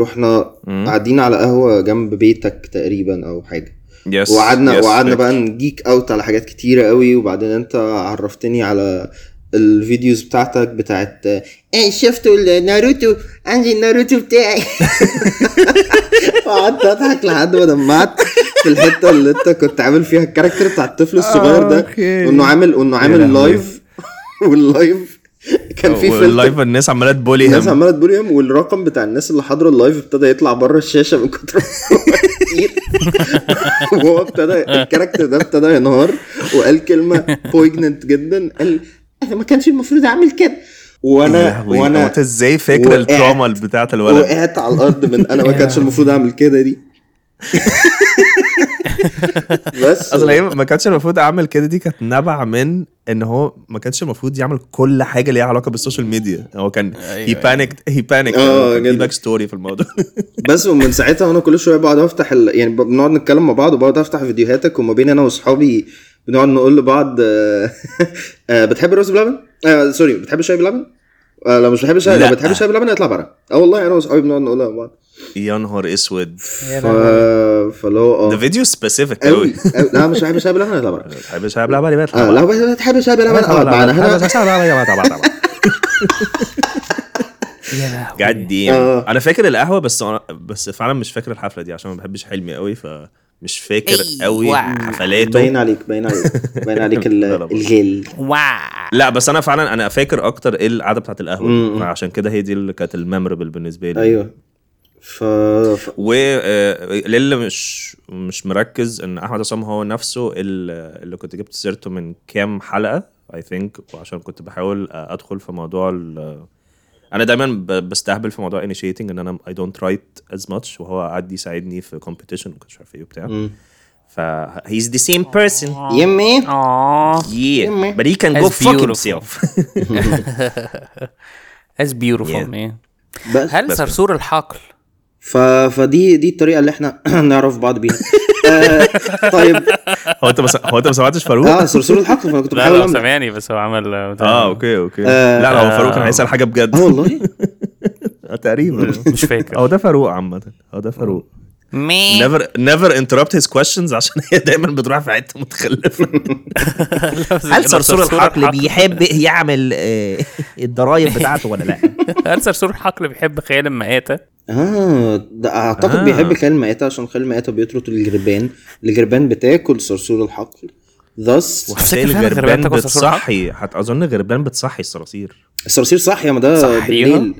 [SPEAKER 4] رحنا
[SPEAKER 2] مم.
[SPEAKER 4] قاعدين على قهوه جنب بيتك تقريبا او حاجه
[SPEAKER 2] يس
[SPEAKER 4] وقعدنا
[SPEAKER 2] يس.
[SPEAKER 4] وقعدنا بقى نجيك اوت على حاجات كتيره قوي وبعدين انت عرفتني على الفيديوز بتاعتك بتاعت ايه شفتوا ناروتو عندي الناروتو بتاعي وقعدت اضحك لحد ما دمعت في الحته اللي انت كنت عامل فيها الكاركتر بتاع الطفل الصغير ده
[SPEAKER 2] آه، أوكي.
[SPEAKER 4] وانه عامل وانه عامل
[SPEAKER 2] لهوي. آه،
[SPEAKER 4] لايف واللايف كان في فيلتر
[SPEAKER 2] واللايف Oh, الناس عماله تبولي
[SPEAKER 4] الناس
[SPEAKER 2] هم
[SPEAKER 4] عماله تقول يوم والرقم بتاع الناس اللي حاضره اللايف ابتدى يطلع بره الشاشه من كتر ما هو كتير وهو ابتدى الكاركتر ده ابتدى ينهار وقال كلمه بويجننت جدا قال انا ما كانش المفروض اعمل كده وانا
[SPEAKER 2] وانا
[SPEAKER 4] وانا
[SPEAKER 2] انت ازاي فاكر
[SPEAKER 4] وقعت.
[SPEAKER 2] التروما بتاعت الولد
[SPEAKER 4] وقعت على الارض من انا ما كانش المفروض اعمل كده دي بس
[SPEAKER 2] اصل هي ما كانش المفروض اعمل كده دي كانت نبع من ان هو ما كانش المفروض يعمل كل حاجه ليها علاقه بالسوشيال ميديا هو كان هي بانيك هي بانيك
[SPEAKER 4] أيوة، آه،
[SPEAKER 2] في
[SPEAKER 4] جدا.
[SPEAKER 2] باك ستوري في الموضوع
[SPEAKER 4] بس ومن ساعتها وانا كل شويه بقعد افتح ال... يعني بنقعد نتكلم مع بعض وبقعد افتح فيديوهاتك وما بين انا واصحابي بنقعد نقول لبعض آه، آه، بتحب الرز بلبن؟ آه سوري بتحب الشاي بلبن؟ آه لو مش بحب الشاي لو
[SPEAKER 2] لا.
[SPEAKER 4] بتحب الشاي بلبن اطلع بره اه والله انا واصحابي بنقعد نقولها مع بعض
[SPEAKER 2] يا نهار اسود
[SPEAKER 4] ف... فاللي هو
[SPEAKER 2] ده
[SPEAKER 4] اه
[SPEAKER 2] فيديو سبيسيفيك قوي
[SPEAKER 4] قوي قوي. لا مش بحب الشاي بلبن اطلع بره
[SPEAKER 2] حابب شايب لعبه ليه
[SPEAKER 4] آه لو بت- بتحب الشاي بلبن اقعد معانا هنا
[SPEAKER 3] يا لهوي
[SPEAKER 2] جدي
[SPEAKER 4] آه.
[SPEAKER 2] انا فاكر القهوه بس أنا بس فعلا مش فاكر الحفله دي عشان ما بحبش حلمي قوي فمش فاكر قوي
[SPEAKER 1] أيوة.
[SPEAKER 2] حفلاته
[SPEAKER 4] باين عليك باين عليك باين عليك ال-
[SPEAKER 2] لا، لا، بقى.
[SPEAKER 4] الغل
[SPEAKER 1] واو
[SPEAKER 2] لا بس انا فعلا انا فاكر اكتر ايه القعده بتاعت القهوه
[SPEAKER 4] مم.
[SPEAKER 2] دي عشان كده هي دي اللي كانت الميموربل بالنسبه لي
[SPEAKER 4] ايوه ف... ف...
[SPEAKER 2] و آه، للي مش مش مركز ان احمد عصام هو نفسه ال- اللي كنت جبت سيرته من كام حلقه اي ثينك وعشان كنت بحاول ادخل في موضوع ال- انا دايما ب- بستهبل في موضوع initiating ان انا اي دونت رايت از ماتش وهو قعد يساعدني في كومبيتيشن ومش عارف ايه وبتاع
[SPEAKER 4] مم.
[SPEAKER 2] ف هيز ذا سيم بيرسون
[SPEAKER 4] يمي
[SPEAKER 3] اه
[SPEAKER 2] yeah but he can go
[SPEAKER 3] That's
[SPEAKER 2] fuck
[SPEAKER 3] beautiful.
[SPEAKER 2] himself
[SPEAKER 3] از
[SPEAKER 2] Yeah.
[SPEAKER 3] بيوتيفول مان
[SPEAKER 4] بس
[SPEAKER 3] هل صرصور الحقل
[SPEAKER 4] ف... فدي دي الطريقه اللي احنا نعرف بعض بيها آه طيب
[SPEAKER 2] هو انت ما س- هو انت ما سمعتش فاروق؟
[SPEAKER 4] اه صرصور الحقل فانا كنت
[SPEAKER 3] لا
[SPEAKER 4] بحاول
[SPEAKER 3] لا
[SPEAKER 4] أعمل-
[SPEAKER 3] سامعني بس هو عمل آه، بتاع-
[SPEAKER 2] اه اوكي اوكي لا لا هو فاروق كان هيسال حاجه
[SPEAKER 4] اه
[SPEAKER 2] بجد
[SPEAKER 4] والله
[SPEAKER 2] تقريبا
[SPEAKER 3] مش فاكر
[SPEAKER 2] هو ده فاروق عامه هو ده فاروق
[SPEAKER 1] مين
[SPEAKER 2] نيفر نيفر انتربت هيز كويشنز عشان هي دايما بتروح في حته متخلفه
[SPEAKER 1] هل صرصور الحقل بيحب يعمل آه، الضرايب بتاعته ولا لا
[SPEAKER 3] هل صرصور الحقل بيحب خيال المآتة؟
[SPEAKER 4] اه ده اعتقد
[SPEAKER 2] آه.
[SPEAKER 4] بيحب خيال مآتة عشان خيال مآتة بيطرد الجربان الجربان بتاكل صرصور الحقل thus
[SPEAKER 2] وهتلاقي
[SPEAKER 3] فعلا غربان
[SPEAKER 2] الغربان
[SPEAKER 3] تاكل صرصور حق؟
[SPEAKER 2] بتصحي هت- اظن غربان بتصحي الصراصير
[SPEAKER 4] الصرصير صح يا ما ده
[SPEAKER 3] صحيها؟
[SPEAKER 4] بالليل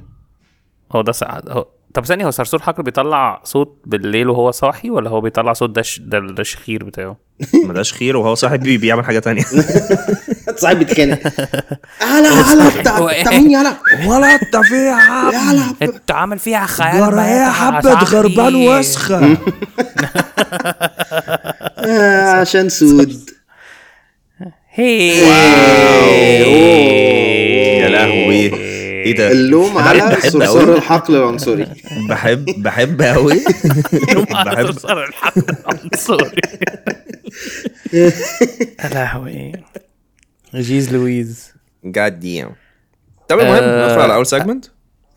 [SPEAKER 3] هو ده صح هو طب ثانية هو صرصور حقل بيطلع صوت بالليل وهو صاحي ولا هو بيطلع صوت ده ش- ده ده الشخير بتاعه؟
[SPEAKER 2] ما داش خير وهو صاحب بي بيعمل حاجه تانية
[SPEAKER 4] صاحب بيتخانق على على
[SPEAKER 3] هو
[SPEAKER 4] بتاع
[SPEAKER 3] إيه؟
[SPEAKER 4] بتاع مين يلا
[SPEAKER 2] ولا انت فيها
[SPEAKER 4] يلا
[SPEAKER 3] انت عامل فيها خيال
[SPEAKER 4] آه، عشان سود
[SPEAKER 2] إيه، يا لهوي ايه ده
[SPEAKER 4] اللوم
[SPEAKER 2] أنا
[SPEAKER 4] على
[SPEAKER 2] بحب
[SPEAKER 4] صرصار
[SPEAKER 2] أوي-
[SPEAKER 4] الحقل العنصري
[SPEAKER 2] بحب بحب قوي بحب
[SPEAKER 3] صرصار الحقل سوري يا
[SPEAKER 2] إيه.
[SPEAKER 3] لهوي جيز لويز
[SPEAKER 2] جاد ديم طب المهم
[SPEAKER 3] آه،
[SPEAKER 2] ندخل على اول سيجمنت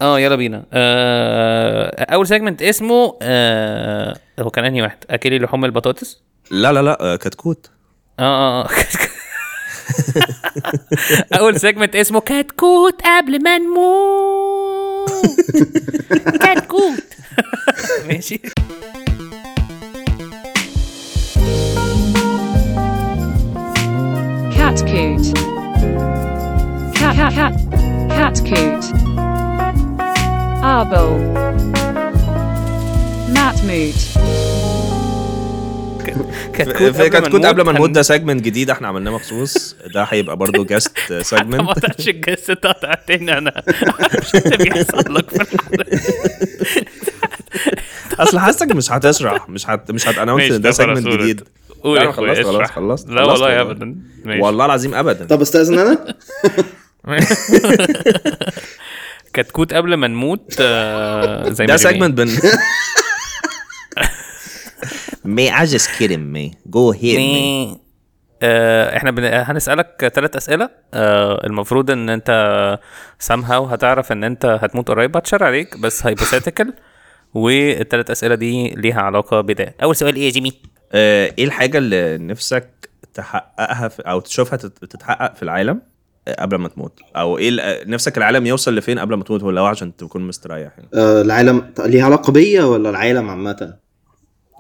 [SPEAKER 3] اه يلا بينا آه، اول سيجمنت اسمه آه، هو كان انهي واحد اكلي لحوم البطاطس
[SPEAKER 2] لا لا لا آه، كتكوت
[SPEAKER 3] اه اه اه اول سيجمنت اسمه كتكوت قبل ما نموت كتكوت ماشي
[SPEAKER 7] Cat coot. Cat cat cat. Cat coot. Arbol. Matmoot.
[SPEAKER 2] في كتكوت قبل ما نموت
[SPEAKER 3] هن-
[SPEAKER 2] ده سيجمنت جديد احنا عملناه مخصوص ده هيبقى برضو جاست
[SPEAKER 3] حتى ما
[SPEAKER 2] سيجمنت
[SPEAKER 3] اقدرش الجس تقطع تاني انا مش إيه اللي بيحصل لك في الحلقه
[SPEAKER 2] اصل حاسك مش هتشرح مش هت مش هتانونس
[SPEAKER 3] ماشي،
[SPEAKER 2] ان ده
[SPEAKER 3] طب خلاص،
[SPEAKER 2] سيجمنت
[SPEAKER 3] قول
[SPEAKER 2] جديد
[SPEAKER 3] انت. قول
[SPEAKER 2] لا،
[SPEAKER 3] يا
[SPEAKER 2] أنا
[SPEAKER 3] اخويا،
[SPEAKER 2] خلصت خلاص
[SPEAKER 3] اشرح.
[SPEAKER 2] خلاص
[SPEAKER 3] لا
[SPEAKER 2] خلصت
[SPEAKER 3] والله ابدا ماشي.
[SPEAKER 2] والله العظيم ابدا
[SPEAKER 4] طب استاذن انا
[SPEAKER 3] كتكوت قبل ما نموت آه، زي ما
[SPEAKER 2] ده
[SPEAKER 3] جيمي.
[SPEAKER 2] سيجمنت بن
[SPEAKER 1] مي I just kidding me go ahead me
[SPEAKER 3] إيه. آه، احنا بن... هنسالك ثلاث اسئله آه، المفروض ان انت somehow هتعرف ان انت هتموت قريب هتشر عليك بس هايبوثيتيكال والثلاث اسئله دي ليها علاقه بده اول سؤال ايه يا جيمي
[SPEAKER 2] آه، ايه الحاجه اللي نفسك تحققها في او تشوفها تت- تتحقق في العالم آه، قبل ما تموت او ايه ال- نفسك العالم يوصل لفين قبل ما تموت هو لو عشان تكون مستريح يعني
[SPEAKER 4] آه، العالم طب ليها علاقه بيا ولا العالم عامه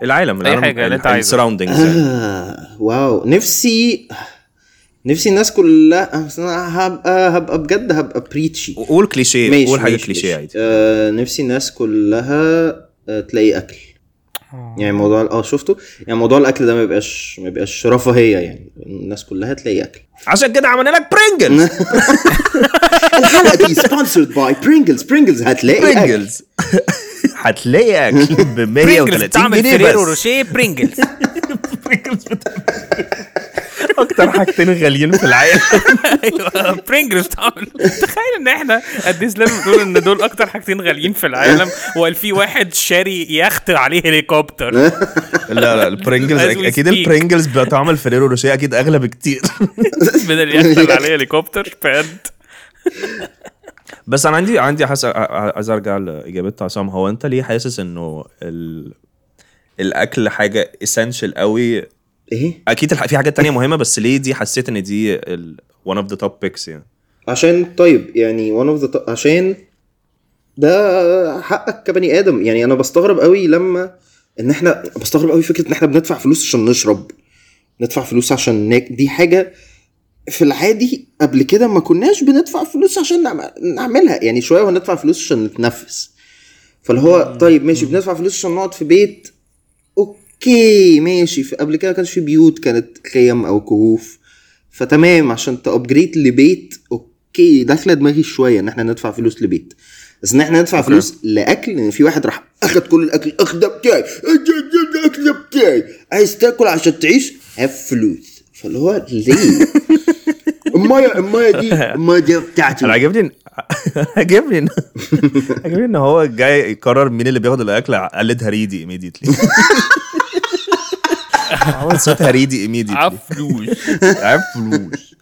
[SPEAKER 2] العالم العالم
[SPEAKER 3] حاجة اللي أنت عايزها.
[SPEAKER 2] السراوندنجز
[SPEAKER 4] آه، واو نفسي نفسي الناس كلها أصل أنا هبقى هبقى بجد هبقى بريتشي
[SPEAKER 2] قول كليشيه قول حاجه كليشيه عادي
[SPEAKER 4] آه نفسي الناس كلها آه تلاقي اكل يعني موضوع ال- اه شفته يعني موضوع الاكل ده ما يبقاش ما يبقاش رفاهيه يعني الناس كلها تلاقي اكل
[SPEAKER 2] عشان كده عملنا لك برينجلز
[SPEAKER 4] الحلقه دي سبونسرد باي برينجلز برينجلز هتلاقي اكل
[SPEAKER 2] برينجلز هتلاقي اكل ب
[SPEAKER 3] برينجلز
[SPEAKER 2] 130
[SPEAKER 3] بتعمل
[SPEAKER 2] جنيه
[SPEAKER 3] فريرو
[SPEAKER 2] بس
[SPEAKER 3] روشيه برينجلز
[SPEAKER 2] اكتر حاجتين غاليين في العالم
[SPEAKER 3] ايوه برينجلز طبعا تخيل ان احنا قد ايه سلام بتقول ان دول اكتر حاجتين غاليين في العالم وقال في واحد شاري يخت عليه هليكوبتر
[SPEAKER 2] لا لا البرينجلز
[SPEAKER 3] As we
[SPEAKER 2] اكيد
[SPEAKER 3] speak.
[SPEAKER 2] البرينجلز بتعمل فريرو روشيه اكيد اغلى بكتير
[SPEAKER 3] بدل اليخت اللي عليه هليكوبتر بجد
[SPEAKER 2] بس انا عندي عندي حس... عايز ارجع لاجابه عصام هو انت ليه حاسس انه ال... الاكل حاجه اسينشال قوي
[SPEAKER 4] ايه
[SPEAKER 2] اكيد الح... في حاجات تانية مهمه بس ليه دي حسيت ان دي ال... one of the top picks يعني
[SPEAKER 4] عشان طيب يعني one اوف ذا عشان ده حقك كبني ادم يعني انا بستغرب قوي لما ان احنا بستغرب قوي فكره ان احنا بندفع فلوس عشان نشرب ندفع فلوس عشان ناك دي حاجه في العادي قبل كده ما كناش بندفع فلوس عشان نعم- نعملها يعني شويه وندفع فلوس عشان نتنفس فاللي هو طيب ماشي بندفع فلوس عشان نقعد في بيت اوكي ماشي في قبل كده ما كانش في بيوت كانت خيم او كهوف فتمام عشان تابجريد لبيت اوكي داخله دماغي شويه ان احنا ندفع فلوس لبيت بس ان احنا ندفع فلوس لاكل لان في واحد راح اخد كل الاكل اخ ده بتاعي اخ ده- ده- الاكل ده بتاعي عايز تاكل عشان تعيش هاف فلوس فاللي هو ليه؟ المايه المايه دي المايه دي بتاعتي
[SPEAKER 2] انا عاجبني إن- عاجبني ان عاجبني ان هو جاي يقرر مين اللي بياخد الاكل قلد هريدي immediately عمل صوت هريدي immediately
[SPEAKER 3] فلوس
[SPEAKER 2] عارف فلوس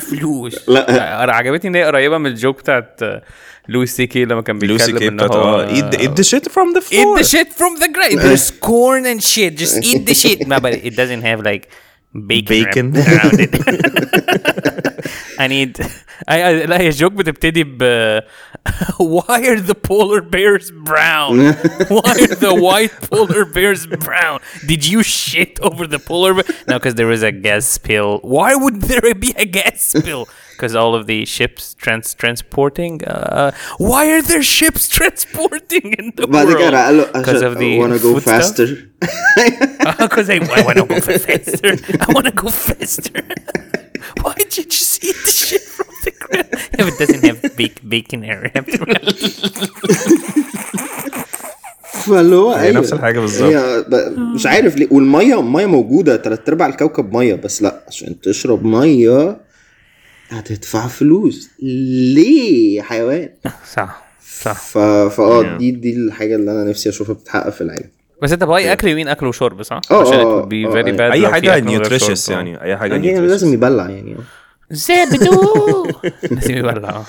[SPEAKER 3] فلوس لا انا عجبتني ان هي قريبه من الجوك بتاعت آه، لويس سي كي لما كان
[SPEAKER 2] لوسي
[SPEAKER 3] بيتكلم
[SPEAKER 2] كي
[SPEAKER 3] ان
[SPEAKER 2] بتاعت
[SPEAKER 3] هو
[SPEAKER 2] اه eat the- eat the shit from the
[SPEAKER 3] eat
[SPEAKER 2] floor
[SPEAKER 3] the shit from the grave. There's corn and shit. Just eat the shit. No, but it doesn't have like bacon,
[SPEAKER 2] Bacon.
[SPEAKER 3] wrapped around it. I need. I, I لا هي الجوك بتبتدي ب Why are the polar bears brown? Why are the white polar bears brown? Did you shit over the polar bear? No, because there was a gas spill. Why would there be a gas spill? because all of the ships trans transporting. Uh, why are there ships transporting in the
[SPEAKER 4] بعد كده
[SPEAKER 3] world?
[SPEAKER 4] قال له
[SPEAKER 3] Because of
[SPEAKER 4] I
[SPEAKER 3] the
[SPEAKER 4] uh, wanna go
[SPEAKER 3] food stuff?
[SPEAKER 4] faster
[SPEAKER 3] Because I, I want to go faster. I want to go faster. Why did you just eat the shit from the ground? If it doesn't have big bacon air after all.
[SPEAKER 4] فاللي هو أيوة.
[SPEAKER 2] هي نفس الحاجة بالظبط.
[SPEAKER 4] هي ب- مش عارف ليه والميه الميه موجوده تلات ارباع الكوكب ميه بس لا عشان تشرب ميه هتدفع فلوس ليه يا حيوان
[SPEAKER 3] صح صح
[SPEAKER 4] ف... فاه دي دي الحاجه اللي انا نفسي اشوفها بتتحقق في العالم
[SPEAKER 3] بس انت باي اكل يمين اكل وشرب صح؟
[SPEAKER 4] اه،
[SPEAKER 3] عشان it
[SPEAKER 4] اه،
[SPEAKER 3] would be
[SPEAKER 4] اه،
[SPEAKER 3] very
[SPEAKER 4] اه.
[SPEAKER 3] bad لو
[SPEAKER 2] اي
[SPEAKER 3] في
[SPEAKER 2] حاجه
[SPEAKER 3] أكل من غير
[SPEAKER 2] نيوتريشس
[SPEAKER 3] شرب.
[SPEAKER 2] يعني اي حاجه
[SPEAKER 4] يعني
[SPEAKER 2] nutritious.
[SPEAKER 4] لازم يبلع يعني
[SPEAKER 3] زبدو لازم يبلع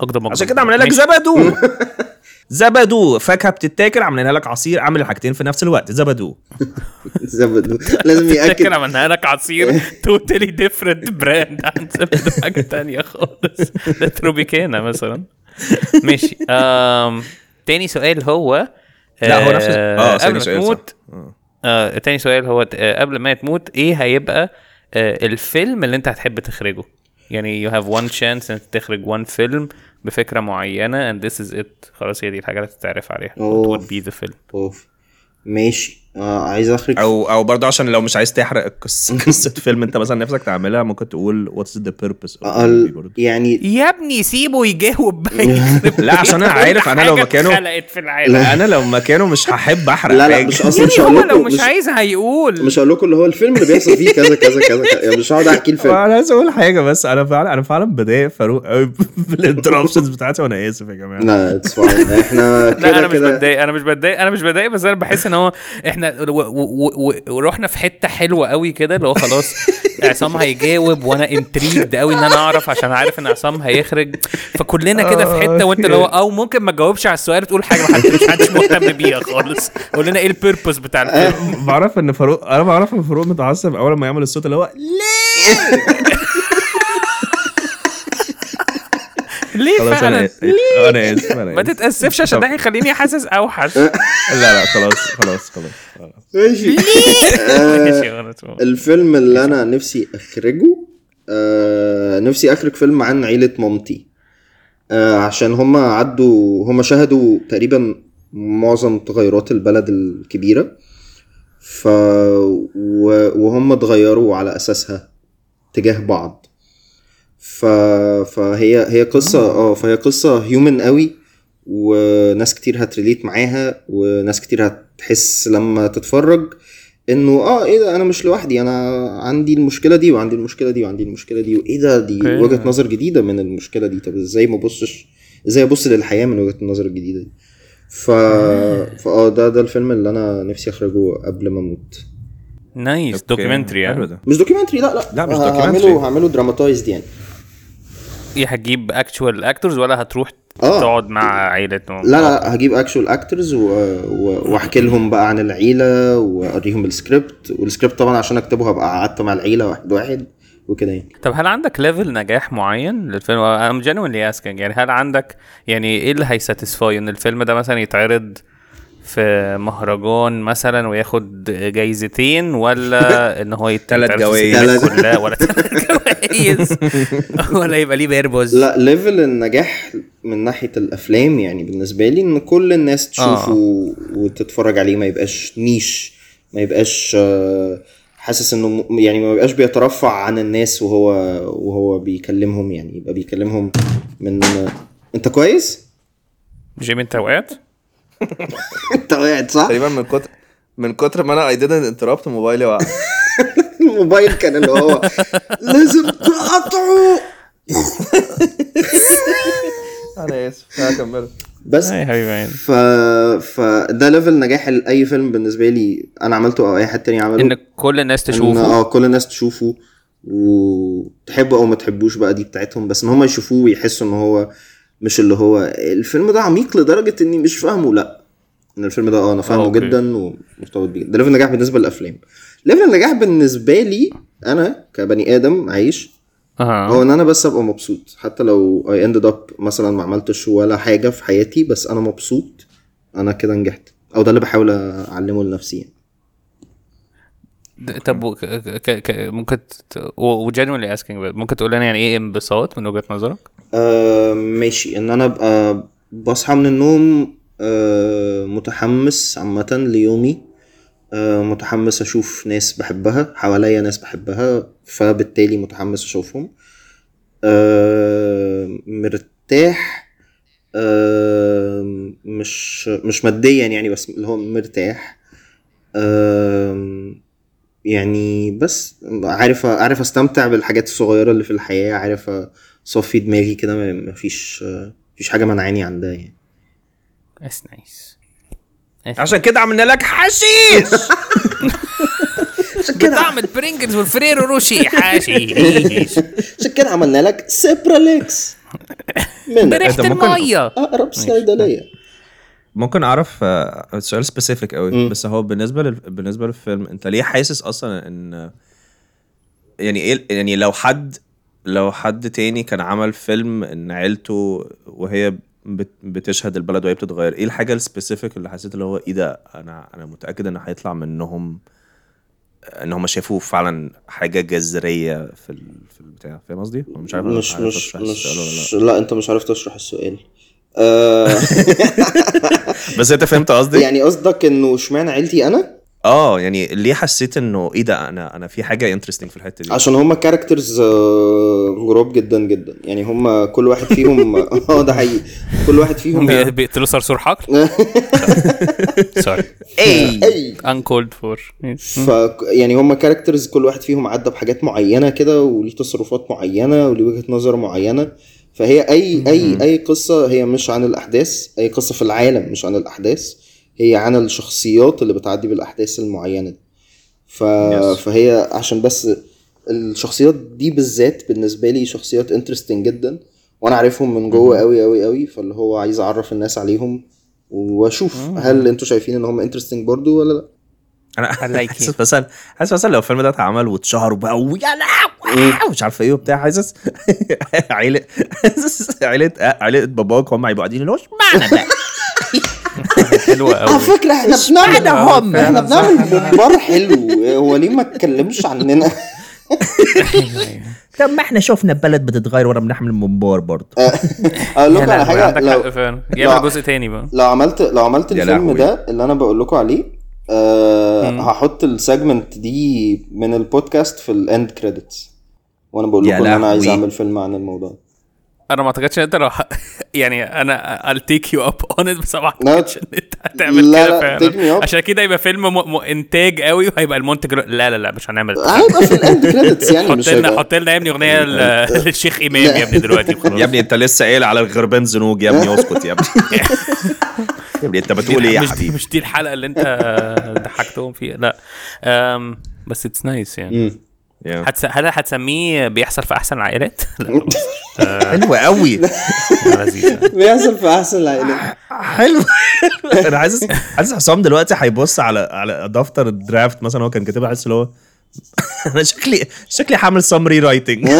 [SPEAKER 3] اقدم
[SPEAKER 2] عشان كده عاملين لك زبدو زبدو فاكهه بتتاكل عاملين لك عصير عامل الحاجتين في نفس الوقت زبدو
[SPEAKER 4] زبد لازم
[SPEAKER 2] يعني
[SPEAKER 3] فاكر
[SPEAKER 4] ياكل
[SPEAKER 3] عملنا لك عصير توتالي ديفرنت براند عن زبدو حاجه تانية خالص ده تروبيكانا مثلا ماشي أم... تاني سؤال هو
[SPEAKER 2] لا هو نفس
[SPEAKER 3] اه
[SPEAKER 2] اه
[SPEAKER 3] قبل
[SPEAKER 2] ثاني
[SPEAKER 3] ما
[SPEAKER 2] سؤال صح.
[SPEAKER 3] تموت
[SPEAKER 2] آه.
[SPEAKER 3] آه تاني سؤال هو آه قبل ما تموت ايه هيبقى آه الفيلم اللي انت هتحب تخرجه يعني يو هاف وان شانس انك تخرج وان فيلم بفكره معينه and this is it خلاص هي دي الحاجه اللي هتتعرف عليها what
[SPEAKER 4] أوه.
[SPEAKER 3] would be the film
[SPEAKER 4] اوف ماشي آه عايز اخرج
[SPEAKER 2] او او برضه عشان لو مش عايز تحرق القصه قصه فيلم انت مثلا نفسك تعملها ممكن تقول واتس ذا بيربز
[SPEAKER 4] اقل يعني
[SPEAKER 3] يا ابني سيبه يجاوب بقى
[SPEAKER 2] لا عشان انا عارف انا لو مكانه
[SPEAKER 3] اتخلقت في العالم يعني
[SPEAKER 2] انا لو مكانه مش هحب احرق
[SPEAKER 4] لا لا
[SPEAKER 2] حاجة.
[SPEAKER 4] مش اصلا مش هقول
[SPEAKER 3] هو
[SPEAKER 4] لكم
[SPEAKER 3] لو مش
[SPEAKER 4] مش,
[SPEAKER 3] عايز هيقول
[SPEAKER 4] مش هقول لكم اللي هو الفيلم اللي بيحصل فيه كذا كذا كذا, كذا. يعني مش هقعد احكي الفيلم
[SPEAKER 2] انا عايز اقول حاجه بس انا فعلا انا فعلا بضايق فاروق قوي بالانتربشنز بتاعتي وانا اسف يا جماعه
[SPEAKER 4] لا it's fine. احنا
[SPEAKER 3] لا انا
[SPEAKER 4] كده
[SPEAKER 3] مش
[SPEAKER 4] كده
[SPEAKER 3] بتضايق انا مش بتضايق انا مش بتضايق بس انا بحس ان هو احنا و- و- و- و- ورحنا في حته حلوه قوي كده اللي هو خلاص عصام هيجاوب وانا انتريجد قوي ان انا اعرف عشان عارف ان عصام هيخرج فكلنا كده في حته وانت اللي هو او ممكن ما تجاوبش على السؤال وتقول حاجه محدش مش حدش مهتم بيها خالص قول لنا ايه البيربز بتاع الفيلم
[SPEAKER 2] بعرف ان فاروق انا بعرف ان فاروق متعصب اول ما يعمل الصوت اللي هو
[SPEAKER 3] ليه
[SPEAKER 2] خلاص إيه؟ انا
[SPEAKER 3] فعلا
[SPEAKER 2] آسف. انا اسف انا
[SPEAKER 3] ما
[SPEAKER 2] آسف.
[SPEAKER 3] تتاسفش عشان ده هيخليني حاسس اوحش
[SPEAKER 2] لا لا خلاص خلاص خلاص خلاص.
[SPEAKER 4] ماشي
[SPEAKER 3] ماشي يا غلط.
[SPEAKER 4] آه، الفيلم اللي انا نفسي اخرجه آه نفسي اخرج فيلم عن عيلة مامتي آه عشان هما عدوا هما شهدوا تقريبا معظم تغيرات البلد الكبيرة ف و- وهم اتغيروا على اساسها تجاه بعض ف... فهي هي قصة اه فهي قصة هيومن قوي وناس كتير هتريليت معاها وناس كتير هتحس لما تتفرج انه اه ايه ده انا مش لوحدي انا عندي المشكله دي وعندي المشكله دي وعندي المشكله دي وايه ده دي
[SPEAKER 3] أوكي.
[SPEAKER 4] وجهه نظر جديده من المشكله دي طب ازاي ما ابصش ازاي ابص للحياه من وجهه النظر الجديده دي ف فاه ده ده الفيلم اللي انا نفسي اخرجه قبل ما اموت
[SPEAKER 3] نايس
[SPEAKER 2] أوكي.
[SPEAKER 3] دوكيومنتري
[SPEAKER 2] حلو
[SPEAKER 3] يعني
[SPEAKER 2] ده
[SPEAKER 4] مش دوكيومنتري لا لا
[SPEAKER 2] لا، مش documentary.
[SPEAKER 4] هعمله هعمله دراماتايزد يعني
[SPEAKER 3] ايه هتجيب اكتشوال اكتورز ولا هتروح
[SPEAKER 4] آه.
[SPEAKER 3] تقعد مع عيله ماما؟
[SPEAKER 4] لا لا هجيب اكشوال اكترز واحكي لهم بقى عن العيله واوريهم السكريبت والسكريبت طبعا عشان اكتبه هبقى قعدت مع العيله واحد واحد وكده يعني
[SPEAKER 3] طب هل عندك ليفل نجاح معين للفيلم؟ I'm genuinely asking يعني هل عندك يعني ايه اللي هيساتيسفاي ان الفيلم ده مثلا يتعرض في مهرجان مثلا وياخد جايزتين ولا ان هو يت-
[SPEAKER 2] تلات
[SPEAKER 3] يتعرض في
[SPEAKER 2] جوايز.
[SPEAKER 3] السينما
[SPEAKER 4] تلات-
[SPEAKER 3] كلها ولا تلات جوايز ولا يبقى ليه بيربوز
[SPEAKER 4] لا ليفل النجاح من ناحيه الافلام يعني بالنسبه لي ان كل الناس تشوفه آه. وتتفرج عليه ما يبقاش نيش ما يبقاش آه، حاسس انه م- يعني ما يبقاش بيترفع عن الناس وهو وهو بيكلمهم يعني يبقى بيكلمهم من انت كويس؟
[SPEAKER 3] جيمي انت وقعت؟
[SPEAKER 4] انت وقعت صح؟
[SPEAKER 2] تقريبا من كتر من كتر ما انا اي ديدنت انتربت موبايلي وقع
[SPEAKER 4] الموبايل كان اللي هو لازم تقطعه
[SPEAKER 2] انا اسف هكمل
[SPEAKER 4] بس
[SPEAKER 3] إيه يا حبيبي عيني.
[SPEAKER 4] ف... فده ليفل نجاح لاي فيلم بالنسبه لي انا عملته او اي حد تاني عمله
[SPEAKER 3] ان كل الناس
[SPEAKER 4] ان
[SPEAKER 3] تشوفه
[SPEAKER 4] اه كل الناس تشوفه وتحبه او ما تحبوش بقى دي بتاعتهم بس ان هم يشوفوه ويحسوا ان هو مش اللي هو الفيلم ده عميق لدرجه اني مش فاهمه لا ان الفيلم ده اه انا فاهمه
[SPEAKER 3] آه، أوكي.
[SPEAKER 4] جدا ومرتبط بيه ده ليفل النجاح بالنسبه للافلام ليفل النجاح بالنسبه لي انا كبني ادم عايش
[SPEAKER 3] اه
[SPEAKER 4] هو ان انا بس ابقى مبسوط حتى لو اي اندد اب مثلا ما عملتش ولا حاجه في حياتي بس انا مبسوط انا كده نجحت او ده اللي بحاول اعلمه لنفسي يعني
[SPEAKER 3] د- طب و- ك- ك- ك- ممكن وجنرالي اسكينج ممكن تقول لنا يعني ايه انبساط من وجهه نظرك؟
[SPEAKER 4] آه ماشي ان انا ابقى بصحى من النوم آه متحمس عامة ليومي آه متحمس اشوف ناس بحبها حواليا ناس بحبها فبالتالي متحمس اشوفهم آه مرتاح آه مش مش ماديا يعني بس اللي هو مرتاح آه يعني بس عارف عارف استمتع بالحاجات الصغيرة اللي في الحياة عارف أ... صفي دماغي كده ما- مفيش مفيش حاجه منعاني عن ده يعني
[SPEAKER 3] اتس نايس
[SPEAKER 2] عشان كده عملنا لك حشيش
[SPEAKER 3] طعم البرينجلز والفريرو روشي حاشي
[SPEAKER 4] عشان كده عملنا لك سيبراليكس من
[SPEAKER 3] بريحه
[SPEAKER 2] ممكن-
[SPEAKER 3] الميه
[SPEAKER 4] اقرب صيدليه
[SPEAKER 2] ممكن اعرف آه، سؤال سبيسيفيك قوي
[SPEAKER 4] مم.
[SPEAKER 2] بس هو بالنسبه لل... بالنسبه للفيلم انت ليه حاسس اصلا ان يعني ايه يعني لو حد لو حد تاني كان عمل فيلم ان عيلته وهي بت... بتشهد البلد وهي بتتغير ايه الحاجه السبيسيفيك اللي حسيت اللي هو ايه ده انا انا متاكد ان هيطلع منهم ان هم شافوه فعلا حاجه جذريه في ال... في البتاع فاهم قصدي؟ أنا مش عارف أنا
[SPEAKER 4] مش
[SPEAKER 2] عارف
[SPEAKER 4] مش
[SPEAKER 2] أشرح السؤال ولا
[SPEAKER 4] مش لا انت مش عارف تشرح السؤال آه
[SPEAKER 2] لا. بس انت فهمت قصدي؟
[SPEAKER 4] يعني قصدك انه اشمعنى عيلتي انا
[SPEAKER 2] اه يعني ليه حسيت انه ايه ده انا انا في حاجه انترستنج في الحته دي
[SPEAKER 4] عشان هما كاركترز غراب جدا جدا يعني هما كل واحد فيهم اه ده حقيقي كل واحد فيهم
[SPEAKER 3] بي- بيقتلوا صرصور حقل سوري
[SPEAKER 4] اي
[SPEAKER 3] انكولد فور
[SPEAKER 4] ف يعني هم كاركترز كل واحد فيهم عدى بحاجات معينه كده وليه تصرفات معينه وليه وجهه نظر معينه فهي اي اي اي قصه هي مش عن الاحداث اي قصه في العالم مش عن الاحداث هي عن الشخصيات اللي بتعدي بالاحداث المعينه دي ف...
[SPEAKER 2] Yes.
[SPEAKER 4] فهي عشان بس الشخصيات دي بالذات بالنسبه لي شخصيات انترستنج جدا وانا عارفهم من جوه قوي قوي قوي فاللي هو عايز اعرف الناس عليهم واشوف هل انتوا شايفين ان هم انترستنج برضو ولا لا
[SPEAKER 2] انا
[SPEAKER 3] like it.
[SPEAKER 2] حاسس مثلا حاسس مثلا لو الفيلم ده اتعمل واتشهر بقى ويا لا مش عارف ايه وبتاع حاسس عيله حاسس عيله عيله باباك هم هيبقوا قاعدين اللي هو اشمعنى ده؟
[SPEAKER 3] حلوه
[SPEAKER 4] على
[SPEAKER 3] قوي
[SPEAKER 4] فكره احنا بنعمل
[SPEAKER 1] اشمعنى هم؟
[SPEAKER 3] آه،
[SPEAKER 4] احنا بنعمل بومبار حلو هو ليه ما اتكلمش عننا
[SPEAKER 1] طب ما احنا شفنا البلد بتتغير وانا بنحمل ممبار برضه
[SPEAKER 4] اقول
[SPEAKER 3] يا
[SPEAKER 4] لكم على
[SPEAKER 3] لهوي،
[SPEAKER 4] حاجه
[SPEAKER 3] عندك حق
[SPEAKER 4] لو
[SPEAKER 3] فعلا
[SPEAKER 4] لا.
[SPEAKER 3] يعمل جزء تاني بقى
[SPEAKER 4] لو عملت لو عملت
[SPEAKER 2] يا
[SPEAKER 4] الفيلم
[SPEAKER 2] لهوي.
[SPEAKER 4] ده اللي انا بقول لكم عليه أه هحط السيجمنت دي من البودكاست في الاند كريدتس وانا بقول
[SPEAKER 2] يا
[SPEAKER 4] لكم ان انا عايز
[SPEAKER 2] لهوي.
[SPEAKER 4] اعمل فيلم عن الموضوع ده.
[SPEAKER 3] انا ما اعتقدش ان انت لو ح- يعني انا I'll take you up on it بس ما
[SPEAKER 4] لا،
[SPEAKER 3] اعتقدش ان انت هتعمل
[SPEAKER 4] لا،
[SPEAKER 3] كده
[SPEAKER 4] لا، take
[SPEAKER 3] فعلا
[SPEAKER 4] me up.
[SPEAKER 3] عشان كده يبقى فيلم م... م... انتاج قوي وهيبقى المنتج رو- لا لا لا مش هنعمل ده.
[SPEAKER 4] هيبقى في الاند كريدتس يعني
[SPEAKER 3] حط
[SPEAKER 4] مش
[SPEAKER 3] لنا
[SPEAKER 4] هيبقى
[SPEAKER 3] حط لنا يا ابني اغنيه ل- للشيخ امام يا ابني دلوقتي وخلاص
[SPEAKER 2] يا ابني انت لسه قايل على الغربان زنوج يا ابني اسكت يا ابني يا ابني انت بتقول ايه يا
[SPEAKER 3] مش دي-
[SPEAKER 2] حبيبي؟
[SPEAKER 3] مش دي الحلقه اللي انت آه، ضحكتهم فيها لا أم... بس اتس نايس يعني
[SPEAKER 4] مم.
[SPEAKER 2] يا.
[SPEAKER 3] هتس... هل هتسميه بيحصل في احسن العائلات؟ لا
[SPEAKER 2] حلو قوي
[SPEAKER 3] لذيذ يعني.
[SPEAKER 4] بيحصل في احسن العائلات
[SPEAKER 2] حلو انا حاسس حاسس حسام دلوقتي هيبص على على دفتر الدرافت مثلا هو كان كاتبها حاسس اللي هو انا شكلي شكلي حامل سمري رايتنج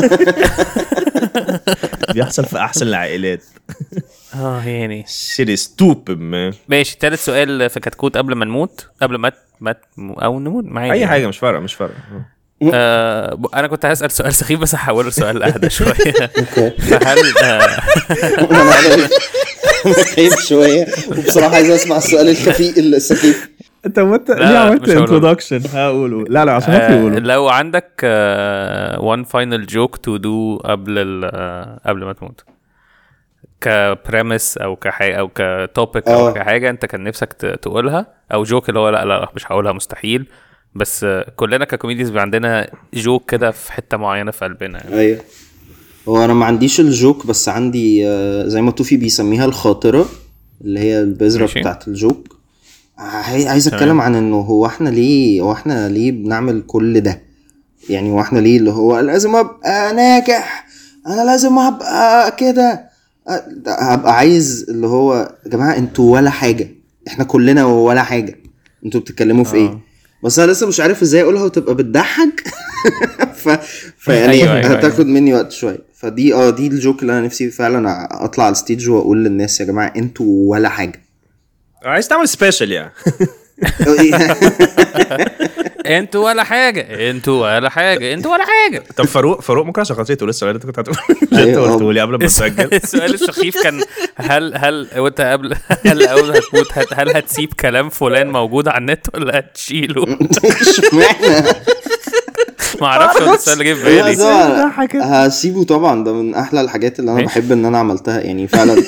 [SPEAKER 2] بيحصل في احسن العائلات
[SPEAKER 3] اه يعني
[SPEAKER 2] شيت ستوبد مان
[SPEAKER 3] ماشي تالت سؤال في كتكوت قبل ما نموت قبل ما ما او نموت معايا
[SPEAKER 2] اي حاجه مش فارقه مش فارقه
[SPEAKER 3] آه ب- انا كنت هسال سؤال سخيف بس هحوله سؤال اهدى شويه فهل آه
[SPEAKER 4] انا عارف. خايف شويه وبصراحه عايز اسمع السؤال الخفيف السخيف
[SPEAKER 2] انت وانت
[SPEAKER 3] لا، ليه عملت مش هقوله.
[SPEAKER 2] هقوله لا لا عشان
[SPEAKER 3] آه لو عندك آه، وان فاينل جوك تو دو قبل ال- آه قبل ما تموت كبريمس او كحاجه او كتوبيك او
[SPEAKER 4] آه.
[SPEAKER 3] كحاجه انت كان نفسك ت- تقولها او جوك اللي هو لا لا مش هقولها مستحيل بس آه، كلنا ككوميديز بيبقى عندنا جوك كده في حته معينه في قلبنا يعني
[SPEAKER 4] ايوه هو انا ما عنديش الجوك بس عندي آه، زي ما توفي بيسميها الخاطره اللي هي البذره
[SPEAKER 3] ماشي.
[SPEAKER 4] بتاعت الجوك عاي- عايز اتكلم عن انه هو احنا ليه هو احنا ليه بنعمل كل ده يعني هو احنا ليه اللي هو لازم ابقى ناجح انا لازم ابقى كده أ- ده هبقى عايز اللي هو يا جماعه انتوا ولا حاجه احنا كلنا ولا حاجه انتوا بتتكلموا في
[SPEAKER 3] اه.
[SPEAKER 4] ايه بس انا لسه مش عارف ازاي اقولها وتبقى بتضحك ف... فيعني
[SPEAKER 3] أيوة، أيوة، أيوة.
[SPEAKER 4] هتاخد مني وقت شويه فدي اه دي الجوك اللي انا نفسي فعلا أ- اطلع على الستيج واقول للناس يا جماعه انتوا ولا حاجه
[SPEAKER 2] عايز تعمل سبيشال يعني
[SPEAKER 3] انتوا ولا حاجه انتوا ولا حاجه انتوا ولا حاجه
[SPEAKER 2] طب فاروق فاروق ممكن عشان خاطري لسه انت كنت هتقول اللي انت
[SPEAKER 4] أيوة.
[SPEAKER 2] قلته لي قبل ما اسجل
[SPEAKER 3] السؤال السخيف كان هل هل وانت قبل هل اول هتموت هت- هل هتسيب كلام فلان موجود على النت ولا هتشيله؟
[SPEAKER 4] اشمعنى
[SPEAKER 3] ما اعرفش هو ده السؤال اللي جه في
[SPEAKER 4] لا،
[SPEAKER 3] بالي
[SPEAKER 4] ده هسيبه طبعا ده من احلى الحاجات اللي انا
[SPEAKER 3] ماشي.
[SPEAKER 4] بحب ان انا عملتها يعني فعلا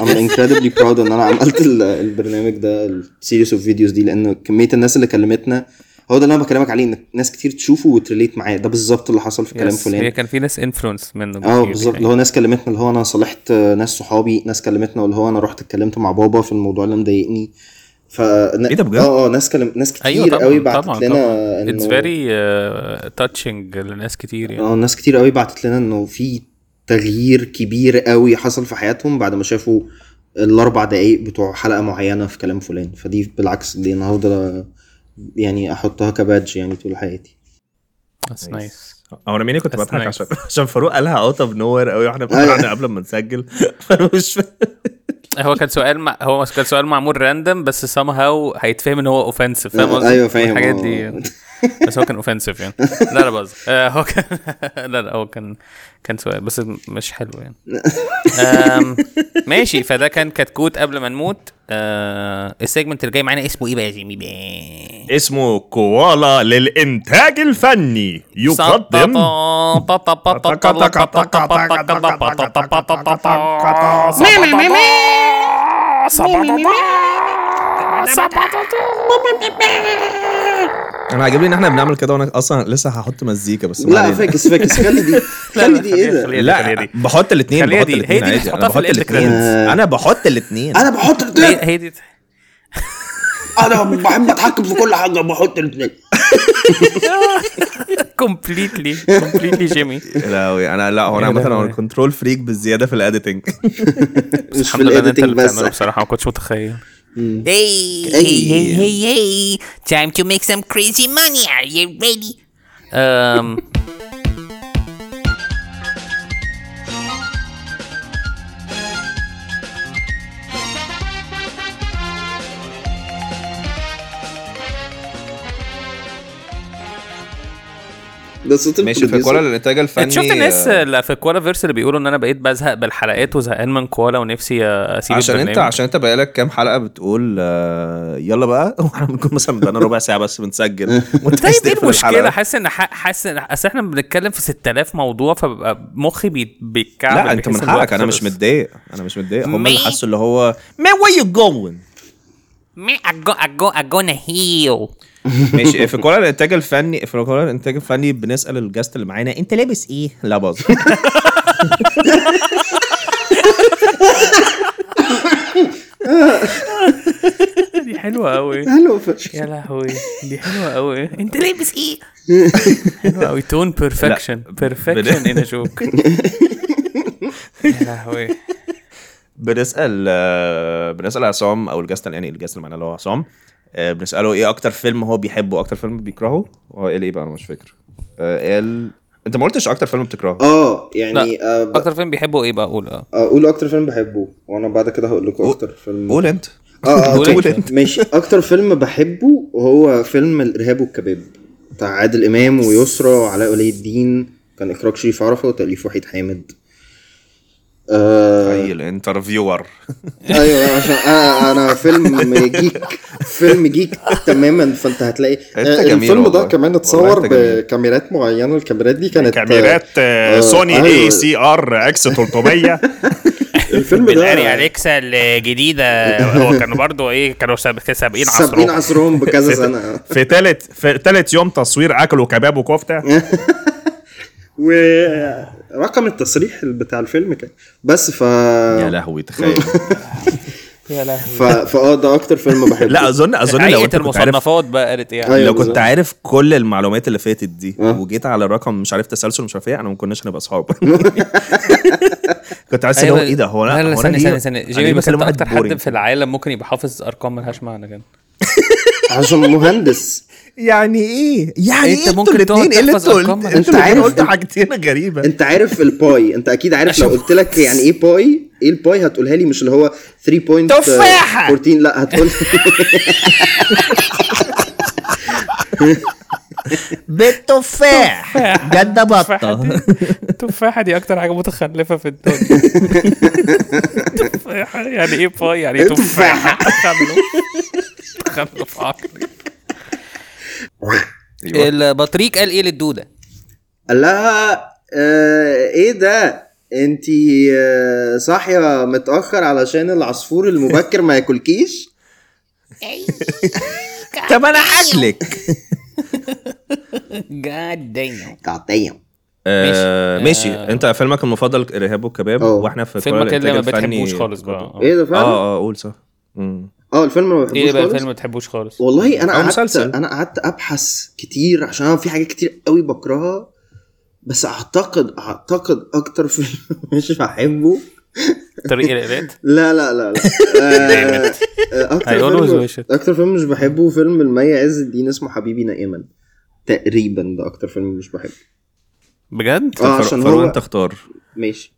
[SPEAKER 4] I'm incredibly proud ان انا عملت ال- البرنامج ده السيريس اوف فيديوز دي لان كميه الناس اللي كلمتنا هو ده اللي انا بكلمك عليه ان ناس كتير تشوفه وتريليت معاه ده بالظبط اللي حصل في كلام
[SPEAKER 3] يس، هي
[SPEAKER 4] فلان
[SPEAKER 3] كان في ناس انفلونس منه
[SPEAKER 4] اه
[SPEAKER 3] كتير
[SPEAKER 4] بالظبط
[SPEAKER 3] يعني.
[SPEAKER 4] اللي هو ناس كلمتنا اللي هو انا صالحت آه، ناس صحابي ناس كلمتنا اللي هو انا رحت اتكلمت مع بابا في الموضوع اللي مضايقني ف ايه
[SPEAKER 2] إيه ده بجد؟ أيوة
[SPEAKER 4] اه اه ناس كلم ناس كتير
[SPEAKER 3] ايوه طبعا
[SPEAKER 4] قوي
[SPEAKER 3] طبعا
[SPEAKER 4] بعتت
[SPEAKER 3] طبعا
[SPEAKER 4] لنا انه
[SPEAKER 3] اتس فيري تاتشنج آه، لناس كتير يعني
[SPEAKER 4] اه ناس كتير قوي بعتت لنا انه في تغيير كبير قوي حصل في حياتهم بعد ما شافوا الاربع دقايق بتوع حلقه معينه في كلام فلان فدي بالعكس دي انا هفضل يعني احطها كبادج يعني طول حياتي آه.
[SPEAKER 3] That's nice.
[SPEAKER 2] هو انا مين كنت
[SPEAKER 3] That's
[SPEAKER 2] بضحك
[SPEAKER 3] nice.
[SPEAKER 2] عشان عشان فاروق قالها اوت اوف نو وير قوي واحنا بنقعد قبل ما نسجل فانا مش فاهم
[SPEAKER 3] هو كان سؤال مع... هو كان سؤال معمول راندم بس سام هاو هيتفهم ان هو اوفنسيف فاهم قصدي؟
[SPEAKER 4] ايوه فاهم
[SPEAKER 3] الحاجات
[SPEAKER 4] اه.
[SPEAKER 3] دي يعني. بس هو كان اوفنسيف يعني لا لا بهزر آه، هو كان لا لا هو كان كان سؤال بس مش حلو يعني آم، ماشي فده كان كتكوت قبل ما نموت آه، السيجمنت اللي جاي معانا اسمه ايه بقى يا جيمي بقى؟
[SPEAKER 2] اسمه كوالا للإنتاج الفني يقدم أنا عاجبني إن إحنا بنعمل كده وأنا أصلا لسه هحط مزيكا بس ما
[SPEAKER 4] لا
[SPEAKER 2] علينا.
[SPEAKER 4] فاكس فاكس خلي دي خلي دي ايه ده
[SPEAKER 3] خليها دي، خليها
[SPEAKER 2] لا
[SPEAKER 3] دي.
[SPEAKER 2] بحط الاثنين
[SPEAKER 3] خليها
[SPEAKER 2] بحط
[SPEAKER 3] دي. هي
[SPEAKER 2] الاثنين
[SPEAKER 3] دي
[SPEAKER 2] عادي
[SPEAKER 3] اللي تحطها
[SPEAKER 2] انا
[SPEAKER 3] في
[SPEAKER 2] بحط
[SPEAKER 3] الإند
[SPEAKER 2] الاثنين
[SPEAKER 4] credits.
[SPEAKER 2] انا بحط الاثنين
[SPEAKER 4] انا بحط
[SPEAKER 3] هي
[SPEAKER 4] الاثنين
[SPEAKER 3] هي دي
[SPEAKER 4] انا بحب اتحكم في كل حاجه بحط الاثنين
[SPEAKER 3] كومبليتلي كومبليتلي جيمي
[SPEAKER 2] لا أوي. انا لا هو انا
[SPEAKER 3] يا
[SPEAKER 2] عامه
[SPEAKER 3] لهوي.
[SPEAKER 2] انا كنترول فريك بالزياده في الاديتنج
[SPEAKER 4] مش في
[SPEAKER 3] الحمد لله إن انت
[SPEAKER 4] الايديتنج
[SPEAKER 3] اللي
[SPEAKER 4] بس
[SPEAKER 3] بتعمله بصراحه ما كنتش متخيل
[SPEAKER 6] Hey, hey, hey, hey, hey. Time to make some crazy money. Are you ready?
[SPEAKER 3] أم،
[SPEAKER 4] ده صوت
[SPEAKER 2] ماشي في كوالا
[SPEAKER 4] البروديوسر.
[SPEAKER 2] للانتاج الفني
[SPEAKER 3] انت شفت الناس
[SPEAKER 2] آه،
[SPEAKER 3] اللي في كوالا فيرس اللي بيقولوا ان انا بقيت بزهق بالحلقات وزهقان من كوالا ونفسي اسيب
[SPEAKER 2] عشان انت
[SPEAKER 3] البرنامج
[SPEAKER 2] عشان انت بقالك كام حلقه بتقول آه، يلا بقى واحنا بنكون مثلا بقالنا ربع ساعه بس بنسجل وانت عايز
[SPEAKER 3] طيب ايه
[SPEAKER 2] تقفل
[SPEAKER 3] المشكله
[SPEAKER 2] الحلقة.
[SPEAKER 3] حاسس ان ح- حاسس ان اصل احنا بنتكلم في 6000 موضوع فببقى مخي بي- بيتكعب
[SPEAKER 2] لا انت من حقك انا مش متضايق انا مش متضايق هم اللي حسوا اللي هو ما وي جوين
[SPEAKER 6] Man, I go, I go, I gonna heal.
[SPEAKER 2] ماشي إيه، في كل الانتاج الفني في كل الانتاج الفني بنسال الجاست اللي معانا انت لابس ايه؟ لا باظ
[SPEAKER 3] دي حلوه قوي
[SPEAKER 4] حلو فشخ
[SPEAKER 3] يا لهوي دي حلوه قوي انت لابس ايه حلوه قوي تون بيرفكشن بيرفكشن ان اشوك يا لهوي
[SPEAKER 2] بنسال آه، بنسال عصام او الجاست يعني الجاست اللي معانا اللي هو عصام آه، بنساله ايه اكتر فيلم هو بيحبه اكتر فيلم بيكرهه هو قال ايه بقى انا مش فاكر آه، قال انت ما قلتش اكتر فيلم بتكرهه
[SPEAKER 4] اه يعني
[SPEAKER 3] لا،
[SPEAKER 4] آه، ب-
[SPEAKER 3] اكتر فيلم بيحبوا ايه بقى قول اه
[SPEAKER 4] اقول اكتر فيلم بحبه وانا بعد كده هقول لكم
[SPEAKER 2] قول-
[SPEAKER 4] اكتر فيلم
[SPEAKER 2] قول انت
[SPEAKER 4] اه
[SPEAKER 3] قول
[SPEAKER 4] آه،
[SPEAKER 2] أنت.
[SPEAKER 4] طيب، ماشي اكتر فيلم بحبه هو فيلم الارهاب والكباب بتاع عادل امام ويسرى وعلاء ولي الدين كان اخراج شريف عرفه وتاليف وحيد حامد آه
[SPEAKER 2] اي الانترفيور
[SPEAKER 4] ايوه عشان آه انا فيلم جيك فيلم جيك تماما فانت هتلاقي
[SPEAKER 2] أنت
[SPEAKER 4] آه،
[SPEAKER 2] جميل
[SPEAKER 4] الفيلم ده
[SPEAKER 2] والله.
[SPEAKER 4] كمان
[SPEAKER 2] والله
[SPEAKER 4] اتصور
[SPEAKER 2] أنت جميل.
[SPEAKER 4] بكاميرات معينه الكاميرات دي كانت آه، آه،
[SPEAKER 2] آه،
[SPEAKER 4] أيوة.
[SPEAKER 2] ار اكس 300
[SPEAKER 4] الفيلم ده
[SPEAKER 2] يعني
[SPEAKER 3] الاري اليكسا الجديده هو كانوا برضو
[SPEAKER 2] إيه،
[SPEAKER 3] ايه كانوا ساب- سابقين
[SPEAKER 4] سابقين
[SPEAKER 3] عصرهم
[SPEAKER 4] عصرهم بكذا سنه
[SPEAKER 2] في ثالث في ثالث يوم تصوير اكلوا كباب وكفته
[SPEAKER 4] ورقم التصريح بتاع الفيلم كان بس ف
[SPEAKER 2] يا لهوي تخيل
[SPEAKER 3] يا لهوي
[SPEAKER 4] ف... فاه ده اكتر فيلم بحبه
[SPEAKER 2] لا اظن اظن لو انت
[SPEAKER 3] هيئه
[SPEAKER 2] كنت عارف
[SPEAKER 3] المصنفات بقى قالت ايه
[SPEAKER 4] أيوة
[SPEAKER 2] لو كنت
[SPEAKER 4] بالظبط.
[SPEAKER 2] عارف كل المعلومات اللي فاتت دي
[SPEAKER 4] آه.
[SPEAKER 2] وجيت على رقم مش عارف تسلسل مش عارف ايه انا ما كناش هنبقى اصحاب كنت عايز اللي هو
[SPEAKER 3] أيوة.
[SPEAKER 2] ايه ده هو
[SPEAKER 3] لا
[SPEAKER 2] انا
[SPEAKER 3] لا
[SPEAKER 2] هو أنا
[SPEAKER 3] استنى
[SPEAKER 2] ليه-
[SPEAKER 3] استنى استنى
[SPEAKER 2] أنا
[SPEAKER 3] جيمي
[SPEAKER 2] ليه
[SPEAKER 3] بس
[SPEAKER 2] بكلم واحد
[SPEAKER 3] انت اكتر حد
[SPEAKER 2] boring؟
[SPEAKER 3] في العالم ممكن يبقى حافظ ارقام ملهاش معنى كده
[SPEAKER 4] عشان مهندس
[SPEAKER 2] يعني ايه يعني
[SPEAKER 3] أنت
[SPEAKER 2] إيه انتوا
[SPEAKER 3] ممكن
[SPEAKER 2] الاثنين
[SPEAKER 3] تقعد
[SPEAKER 2] ايه اللي
[SPEAKER 3] تحفظ
[SPEAKER 2] انتوا قلت-
[SPEAKER 3] أرقام
[SPEAKER 2] انتوا الاثنين
[SPEAKER 4] عارف-
[SPEAKER 2] قلت حاجتين غريبه
[SPEAKER 4] انت عارف الباي انت اكيد عارف لو قلت لك يعني ايه باي ايه الباي آه، هتقولها لي مش اللي هو 3.14
[SPEAKER 3] تفاحة!
[SPEAKER 4] لا هتقول
[SPEAKER 1] بيت تفاح جد بطه
[SPEAKER 3] التفاحه دي اكتر حاجه متخلفه في الدنيا تفاحه يعني ايه باي يعني إيه تفاحه تخلف تخلف عقلي
[SPEAKER 2] أيوة.
[SPEAKER 6] البطريق قال ايه
[SPEAKER 3] إيه
[SPEAKER 6] للدوده
[SPEAKER 4] قال لها آه ايه ده انتي آه، صاحيه متاخر علشان العصفور المبكر ما ياكلكيش
[SPEAKER 1] طب انا هاكلك
[SPEAKER 6] جاد
[SPEAKER 2] طيب،
[SPEAKER 6] دايم
[SPEAKER 4] قاطعيا
[SPEAKER 2] آه ماشي انت فيلمك المفضل ارهاب والكباب
[SPEAKER 4] أوه.
[SPEAKER 2] واحنا في
[SPEAKER 3] فيلمك
[SPEAKER 2] قرار
[SPEAKER 3] اللي ما
[SPEAKER 2] الإنتاج الفني
[SPEAKER 3] بتحبوش خالص بقى
[SPEAKER 2] طيب، برضه.
[SPEAKER 3] آه.
[SPEAKER 4] ايه ده فعلا
[SPEAKER 2] اه اه قول صح مم.
[SPEAKER 4] اه الفيلم ما بحبوش
[SPEAKER 3] ايه بقى
[SPEAKER 4] خالص
[SPEAKER 3] الفيلم ما بتحبوش خالص
[SPEAKER 4] والله انا
[SPEAKER 2] أو
[SPEAKER 4] قعدت
[SPEAKER 2] مسلسل.
[SPEAKER 4] انا قعدت ابحث كتير عشان أنا في حاجات كتير قوي بكرهها بس اعتقد اعتقد اكتر فيلم مش بحبه
[SPEAKER 3] طريق الالات
[SPEAKER 4] لا لا لا لا
[SPEAKER 3] إيه؟
[SPEAKER 4] آه، آه،
[SPEAKER 3] I always
[SPEAKER 4] اكتر
[SPEAKER 3] wish
[SPEAKER 4] فيلم
[SPEAKER 3] it.
[SPEAKER 4] اكتر فيلم مش بحبه فيلم المي عز الدين اسمه حبيبي نائما تقريبا ده اكتر فيلم مش بحبه
[SPEAKER 3] بجد
[SPEAKER 2] طب فر-
[SPEAKER 4] آه، عشان
[SPEAKER 2] فروه
[SPEAKER 4] هو-
[SPEAKER 2] انت اختار
[SPEAKER 4] ماشي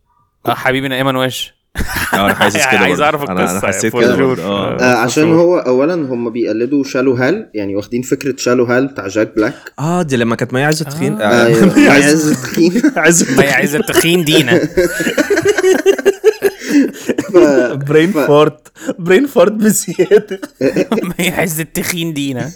[SPEAKER 3] آه، حبيبي نائما وش
[SPEAKER 2] اه انا حاسس كده
[SPEAKER 3] عايز
[SPEAKER 2] برضه.
[SPEAKER 3] أعرف
[SPEAKER 2] أنا-
[SPEAKER 3] القصة
[SPEAKER 2] انا حسيت
[SPEAKER 3] for
[SPEAKER 2] كده
[SPEAKER 3] sure.
[SPEAKER 2] برضه. اه
[SPEAKER 4] آه عشان
[SPEAKER 3] مشهور.
[SPEAKER 4] هو اولا هم بيقلدوا شالو هال يعني واخدين فكره شالو هال بتاع جاك بلاك
[SPEAKER 2] اه دي لما كانت مي عز تخين آه،
[SPEAKER 4] آه
[SPEAKER 2] مي
[SPEAKER 4] مي عز الدين
[SPEAKER 2] عز
[SPEAKER 3] ما هي عايزه التخين دينا
[SPEAKER 2] برين فورت برين فورت بزياده
[SPEAKER 3] ما هي عايزه التخين دينا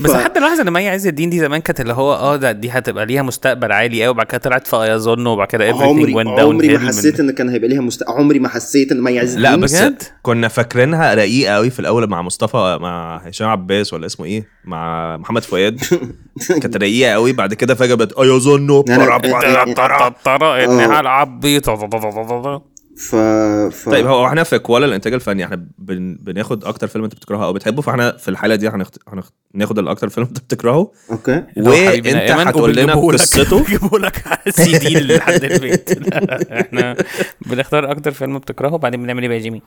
[SPEAKER 3] بس حد لاحظ ان مي عز الدين دي زمان كانت اللي هو اه ده دي هتبقى ليها مستقبل عالي قوي وبعد كده طلعت في ايظن وبعد كده
[SPEAKER 4] عمري
[SPEAKER 3] went
[SPEAKER 4] عمري ما
[SPEAKER 3] downhill من-
[SPEAKER 4] حسيت ان كان هيبقى ليها مست... عمري ما حسيت ان مي عز
[SPEAKER 2] لا
[SPEAKER 4] الدين
[SPEAKER 2] بس
[SPEAKER 3] بجد؟
[SPEAKER 2] كنا فاكرينها رقيقه قوي في الاول مع مصطفى مع هشام عباس ولا اسمه ايه مع محمد فؤاد كانت رقيقه قوي بعد كده فجاه بقت "أيوة ايظن
[SPEAKER 3] طرا
[SPEAKER 4] يعني- آه.
[SPEAKER 3] انها العبيط
[SPEAKER 4] ف... ف...
[SPEAKER 2] طيب هو احنا في كوالا الانتاج الفني احنا بن... بناخد اكتر فيلم انت بتكرهه او بتحبه فاحنا في الحاله دي هنخت... هنخت... ناخد الاكتر فيلم انت بتكرهه
[SPEAKER 4] اوكي
[SPEAKER 2] وانت هتقول لنا قصته
[SPEAKER 3] جيبوا لك على السي دي لحد البيت لا، لا، احنا بنختار اكتر فيلم بتكرهه وبعدين بنعمل ايه بقى يا جيمي؟